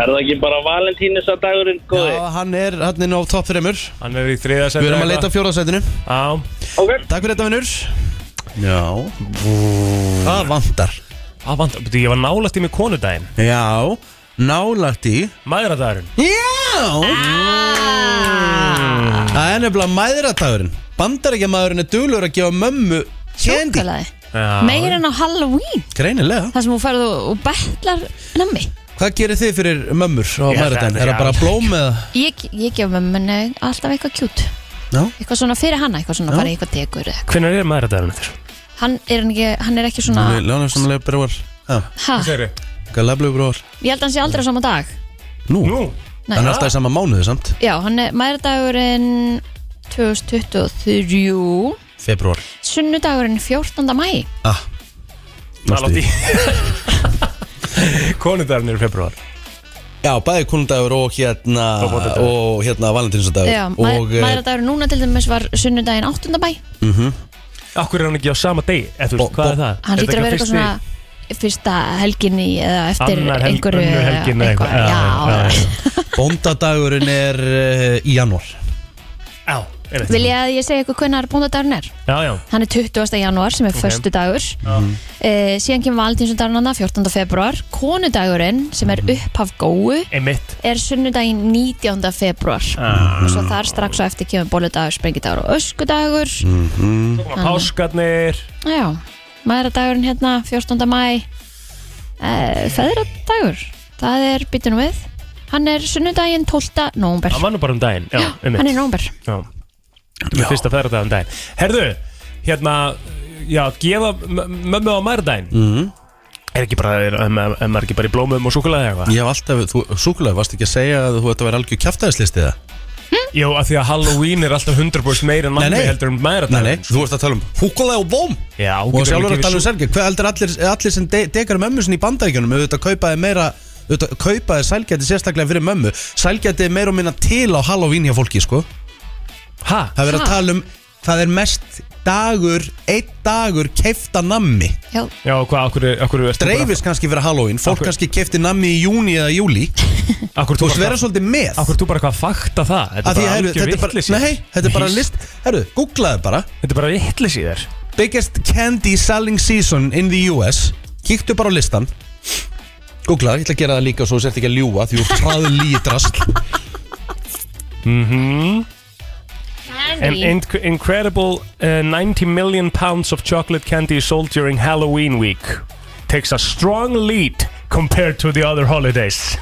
[SPEAKER 6] Er það ekki bara valentínusadagurinn, góði?
[SPEAKER 1] Já, hann er hann inn á topp þreymur Við
[SPEAKER 2] Hann er í þriða sæti
[SPEAKER 1] erum að leita fjóraðsætinu
[SPEAKER 2] Já,
[SPEAKER 1] Takk fyrir þetta vinnur Já Það vantar
[SPEAKER 2] að vanda, betur, ég var nálægt í mig konudaginn
[SPEAKER 1] Já, nálægt í
[SPEAKER 2] Mæðradagurinn
[SPEAKER 1] Já
[SPEAKER 2] Ah.
[SPEAKER 1] Það er nefnilega mæðratagurinn Bandarækjamaðurinn er duglur að gefa mömmu Kendi
[SPEAKER 3] Sjókalaði
[SPEAKER 2] Já.
[SPEAKER 3] Meir en á Halloween
[SPEAKER 1] Greinilega
[SPEAKER 3] Það sem hún færðu og betlar nammi
[SPEAKER 1] Hvað gerir þið fyrir mömmur á
[SPEAKER 2] Ég-
[SPEAKER 1] mæðrataginn? Er það bara blóm eða?
[SPEAKER 3] Ég, ég gef mömmunni alltaf eitthvað kjút
[SPEAKER 1] Já
[SPEAKER 3] Eitthvað svona fyrir hana, eitthvað svona
[SPEAKER 1] Já.
[SPEAKER 3] bara í eitthvað degur eða eitthvað.
[SPEAKER 2] Hvenær er mæðradagurinn eftir?
[SPEAKER 3] Hann er, hann ekki, hann er ekki svona
[SPEAKER 1] Lánum svona leif brúar
[SPEAKER 3] ha,
[SPEAKER 2] Seri
[SPEAKER 1] Galablu brúar
[SPEAKER 3] Ég held að hann sé aldrei á sama dag
[SPEAKER 1] Nú,
[SPEAKER 2] Nú
[SPEAKER 3] Nei.
[SPEAKER 1] hann er alltaf í sama mánuði samt
[SPEAKER 3] Já, hann er mæðardagurinn 2023
[SPEAKER 1] Febrúar
[SPEAKER 3] Sunnudagurinn 14. mæ
[SPEAKER 1] Ah,
[SPEAKER 2] Nálægt í Konudagurinn er í februar
[SPEAKER 1] Já, bæði konundagur og hérna
[SPEAKER 2] Og bóndadagur.
[SPEAKER 1] og hérna valentinusadagur
[SPEAKER 3] Já, mæ,
[SPEAKER 1] og eh,
[SPEAKER 3] Mæðardagurinn núna til dæmis var sunnudaginn 8. mæ
[SPEAKER 2] Akkur er hann ekki á sama degi? Eða, þú
[SPEAKER 1] Mhm. Bo-
[SPEAKER 2] veist, hvað
[SPEAKER 1] bo-
[SPEAKER 2] er það?
[SPEAKER 3] Hann
[SPEAKER 2] Er
[SPEAKER 3] hlýtur að
[SPEAKER 2] þetta
[SPEAKER 3] vera eitthvað svona
[SPEAKER 2] fyrsti-
[SPEAKER 3] fyrsta helginni eða eftir
[SPEAKER 2] Annar helg-
[SPEAKER 3] einhverju
[SPEAKER 2] önnur helgin eða
[SPEAKER 3] eitthvað.
[SPEAKER 2] eitthvað. Já, já,
[SPEAKER 3] Já,
[SPEAKER 2] já.
[SPEAKER 1] Bóndadagurinn er uh, í janúar
[SPEAKER 2] Já, ég veit
[SPEAKER 3] Vil ég að ég segja eitthvað hvernig bóndadagurinn er?
[SPEAKER 2] Já, já
[SPEAKER 3] Hann er 20. janúar sem er okay. förstu dagur
[SPEAKER 1] Mhm.
[SPEAKER 3] Síðan kemur valentínsundagurinn 14. februar Konudagurinn sem
[SPEAKER 2] Mhm.
[SPEAKER 3] er upphaf góu
[SPEAKER 2] Emitt
[SPEAKER 3] er sunnudaginn 19. februar
[SPEAKER 2] Ah.
[SPEAKER 3] og svo þar strax á eftir kemur bóludagur, sprengidagur og öskudagur
[SPEAKER 1] Mhm.
[SPEAKER 2] Páskarnir
[SPEAKER 3] Já, maðuradagurinn hérna 14. mæ uh, Feðradagur Það er býtunum við Hann er sunnudaginn 12. nóvumber
[SPEAKER 2] Hann var nú bara um daginn Já, um
[SPEAKER 3] Hann er nóvumber
[SPEAKER 2] Já Þetta er fyrsta ferðardag um daginn Herðu, hérna Já, gefa m- mömmu á mærdaginn mm
[SPEAKER 1] Mhm.
[SPEAKER 2] -hmm. Er ekki bara Er, er, er, er maður ekki bara í blómum og súkulaði eða eitthvað?
[SPEAKER 1] Ég hef alltaf, þú, súkulega, varst ekki að segja að þú ætti að vera algjör kjaftaðislistið
[SPEAKER 2] Jú, af því að Halloween er alltaf 100% meira en manni heldur en maður
[SPEAKER 1] nei, nei, þú ert að tala um húkulega og vóm
[SPEAKER 2] Já,
[SPEAKER 1] Og sjálfur að tala um selgja Hvað heldur allir, allir sem de dekar mömmu sinni í bandaríkjunum auðvitað kaupaði meira auðvitað kaupaði sælgæti sérstaklega fyrir mömmu Sælgæti er meira og minna til á Halloween hjá fólki sko
[SPEAKER 2] Hæ?
[SPEAKER 1] Það er verið að
[SPEAKER 3] Ha?
[SPEAKER 1] tala um Það er mest dagur, einn dagur keifta nammi
[SPEAKER 3] Já,
[SPEAKER 2] Já, hvað, okkur, okkur er
[SPEAKER 1] Dreifist kannski fyrir Halloween Fólk
[SPEAKER 2] Akkur-
[SPEAKER 1] kannski keifti nammi í júni eða júli
[SPEAKER 2] Akkur
[SPEAKER 1] Þú
[SPEAKER 2] þú
[SPEAKER 1] veist vera svolítið með
[SPEAKER 2] Akkur þú bara hvað að fakta það Þetta
[SPEAKER 1] Af
[SPEAKER 2] er
[SPEAKER 1] því,
[SPEAKER 2] bara
[SPEAKER 1] heyrðu,
[SPEAKER 2] algjör
[SPEAKER 1] Þetta er bara,
[SPEAKER 2] vitleysi.
[SPEAKER 1] nei, þetta er bara list Herru, googlaðu bara
[SPEAKER 2] Þetta er bara vittlis í þér
[SPEAKER 1] Biggest candy selling season in the US Kíktu bara á listan Googla, ég ætla að gera það líka svo þú sért ekki að ljúa því þú hraðu lítrast
[SPEAKER 2] Mhm. An inc- incredible uh, 90 million pounds of chocolate candy is sold during Halloween week Takes a strong lead compared to the other holidays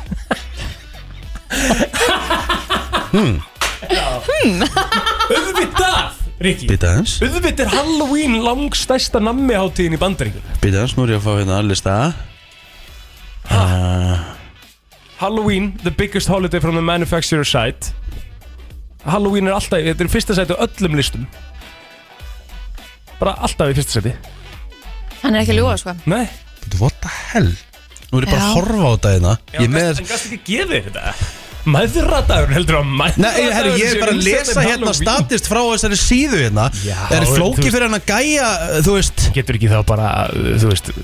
[SPEAKER 2] hmm. Auðvitað, Rikki
[SPEAKER 1] Býta hans,
[SPEAKER 2] Auðvitað er Halloween langstæsta nammiháttíðin í bandaríkun
[SPEAKER 1] býta hans, nú er ég að fá hérna að lista Ah.
[SPEAKER 2] Halloween, the biggest holiday from the manufacturer side Halloween er alltaf, þetta er fyrsta sæti á öllum listum Bara alltaf í fyrsta sæti
[SPEAKER 3] hann er ekki að ljúa sko
[SPEAKER 2] Nei
[SPEAKER 1] Býta, what the hell Nú er ég bara
[SPEAKER 3] Já.
[SPEAKER 1] að horfa á þetta hérna Ég er með
[SPEAKER 2] En gæst ekki gefið þér þetta Mæðradagur heldur að
[SPEAKER 1] Nei,
[SPEAKER 2] mæðradagur
[SPEAKER 1] herru, ég er bara að lesa hérna statist frá þessari síðu hérna
[SPEAKER 2] um Já,
[SPEAKER 1] Það er
[SPEAKER 2] en
[SPEAKER 1] flóki
[SPEAKER 2] þú-
[SPEAKER 1] fyrir hann að gæja, þú veist
[SPEAKER 2] Getur ekki þá bara, uh, þú veist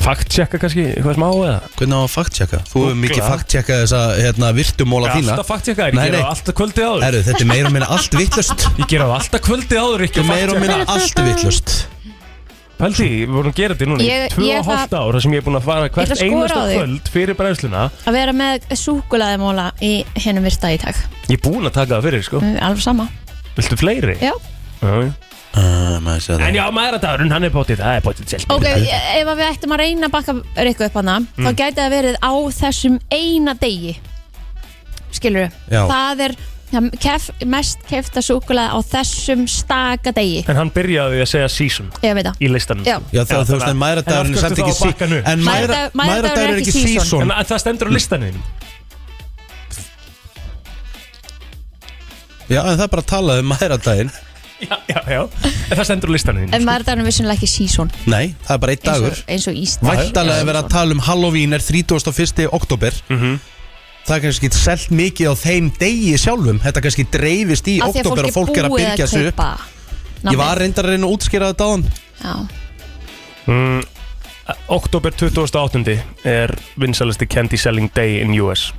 [SPEAKER 2] Fact-checka kannski, eitthvað smá eða
[SPEAKER 1] Hvernig á að fact-checka? Þú hefur mikið
[SPEAKER 2] Googla.
[SPEAKER 1] fact-checka þessa hérna, virtumóla
[SPEAKER 2] Ég er
[SPEAKER 1] þína
[SPEAKER 2] Alltaf fact-checka, þér,
[SPEAKER 1] Nei,
[SPEAKER 2] ég gera
[SPEAKER 1] nei.
[SPEAKER 2] það alltaf kvöldið áður
[SPEAKER 1] Herru, þetta er meira og minna allt vittlust
[SPEAKER 2] Ég gera það alltaf kvöldið áður, ekki
[SPEAKER 1] Þetta er meira og minna allt vittlust
[SPEAKER 2] Pældi, við vorum að gera þetta núna
[SPEAKER 3] Ég-
[SPEAKER 2] í tvö
[SPEAKER 3] ég
[SPEAKER 2] og hálft
[SPEAKER 3] það-
[SPEAKER 2] ár þar sem ég er búin að fara
[SPEAKER 3] ætla
[SPEAKER 2] hvert
[SPEAKER 3] að skora
[SPEAKER 2] einasta
[SPEAKER 3] á þig.
[SPEAKER 2] kvöld fyrir brennsluna
[SPEAKER 3] Að vera með súkulaðimóla í hennum virta í dag
[SPEAKER 2] Ég er búin að taka það fyrir, sko
[SPEAKER 3] Alveg sama,
[SPEAKER 2] Viltu fleiri?
[SPEAKER 3] Mm. já
[SPEAKER 2] Já.
[SPEAKER 1] Uh, maður sé það.
[SPEAKER 2] En já, maðuradagurinn, hann er bótið, það er bótið sjálf
[SPEAKER 3] Ok, e- ef að við ættum að reyna að bakka Rikku upp hana Þá
[SPEAKER 1] Mm.
[SPEAKER 3] gæti það verið á þessum eina degi Skilur
[SPEAKER 1] Já.
[SPEAKER 3] Það er það kef, mest kefta súkulaði á þessum staka degi
[SPEAKER 2] En hann byrjaði að segja season
[SPEAKER 3] Ég veit það
[SPEAKER 2] í listanum
[SPEAKER 3] Já.
[SPEAKER 1] Já, það, þú veist, en mæradagurinn er samt ekki sí- En
[SPEAKER 3] Mæðra-
[SPEAKER 1] mæðra-
[SPEAKER 3] mæðradagur
[SPEAKER 1] mæðradagur er ekki
[SPEAKER 2] En
[SPEAKER 1] season
[SPEAKER 2] að- það stendur á listanum
[SPEAKER 1] Já, en það er bara að tala um mæradaginn
[SPEAKER 2] Já, já, já En það stendur á listanum
[SPEAKER 3] En maður er vissunlega ekki sísón
[SPEAKER 1] Nei, það er bara einn
[SPEAKER 3] eins,
[SPEAKER 1] dagur
[SPEAKER 3] og- eins og íst
[SPEAKER 1] Væntalega er verið að tala um Halloween er 31. oktober
[SPEAKER 2] Mhm.
[SPEAKER 1] Það er kannski selt mikið á þeim degi sjálfum Þetta kannski dreifist í oktober og fólk er að byrja þessu upp Ég var reyndar að reyna að útskýra þetta á hann
[SPEAKER 3] Já,
[SPEAKER 2] Oktober 2008 er vinsalasti candy selling day in US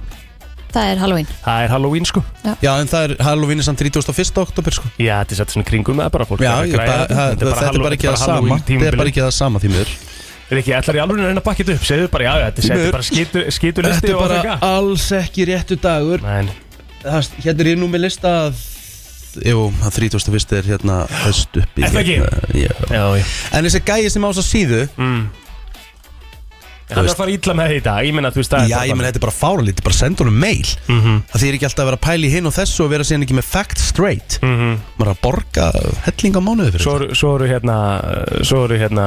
[SPEAKER 3] það er Halloween
[SPEAKER 2] Það er Halloween sko
[SPEAKER 1] Já, en það er Halloween er samt 31. oktober sko
[SPEAKER 2] Já, þetta er satt svona í kringum með bara fólk
[SPEAKER 1] Já,
[SPEAKER 2] er að
[SPEAKER 1] ég,
[SPEAKER 2] græja
[SPEAKER 1] bara, það,
[SPEAKER 2] þetta.
[SPEAKER 1] þetta er bara ekki það sama
[SPEAKER 2] Halloween
[SPEAKER 1] Þetta er bara
[SPEAKER 2] tímabilið.
[SPEAKER 1] ekki það sama því miður
[SPEAKER 2] Er ekki allar í alveg að reyna að bakka þetta upp Segðu bara, já, já, þetta
[SPEAKER 1] miður.
[SPEAKER 2] er bara skitu, skitu listi og það
[SPEAKER 1] alls ekki réttu dagur
[SPEAKER 2] Nei,
[SPEAKER 1] Það- Hérna er ég nú með lista að Jú, það 31. er hérna höst uppi
[SPEAKER 2] Er það ekki?
[SPEAKER 1] hérna,
[SPEAKER 2] já,
[SPEAKER 1] já.
[SPEAKER 2] já Mm.
[SPEAKER 1] En þessi gæi sem á þess að síðu
[SPEAKER 2] Hann er að fara ítla með þetta í dag, ég meina þú veist það er
[SPEAKER 1] Já,
[SPEAKER 2] bara
[SPEAKER 1] ég menn
[SPEAKER 2] þannig.
[SPEAKER 1] þetta er bara fára lítið, bara senda honum mail Það þýr ekki alltaf að vera að pæla í hinn og þessu og vera síðan ekki með fact straight mm -hmm. Maður er að borga helling á mánuði
[SPEAKER 2] Mhm.
[SPEAKER 1] fyrir
[SPEAKER 2] Svo eru- Svo eru hérna, svo eru hérna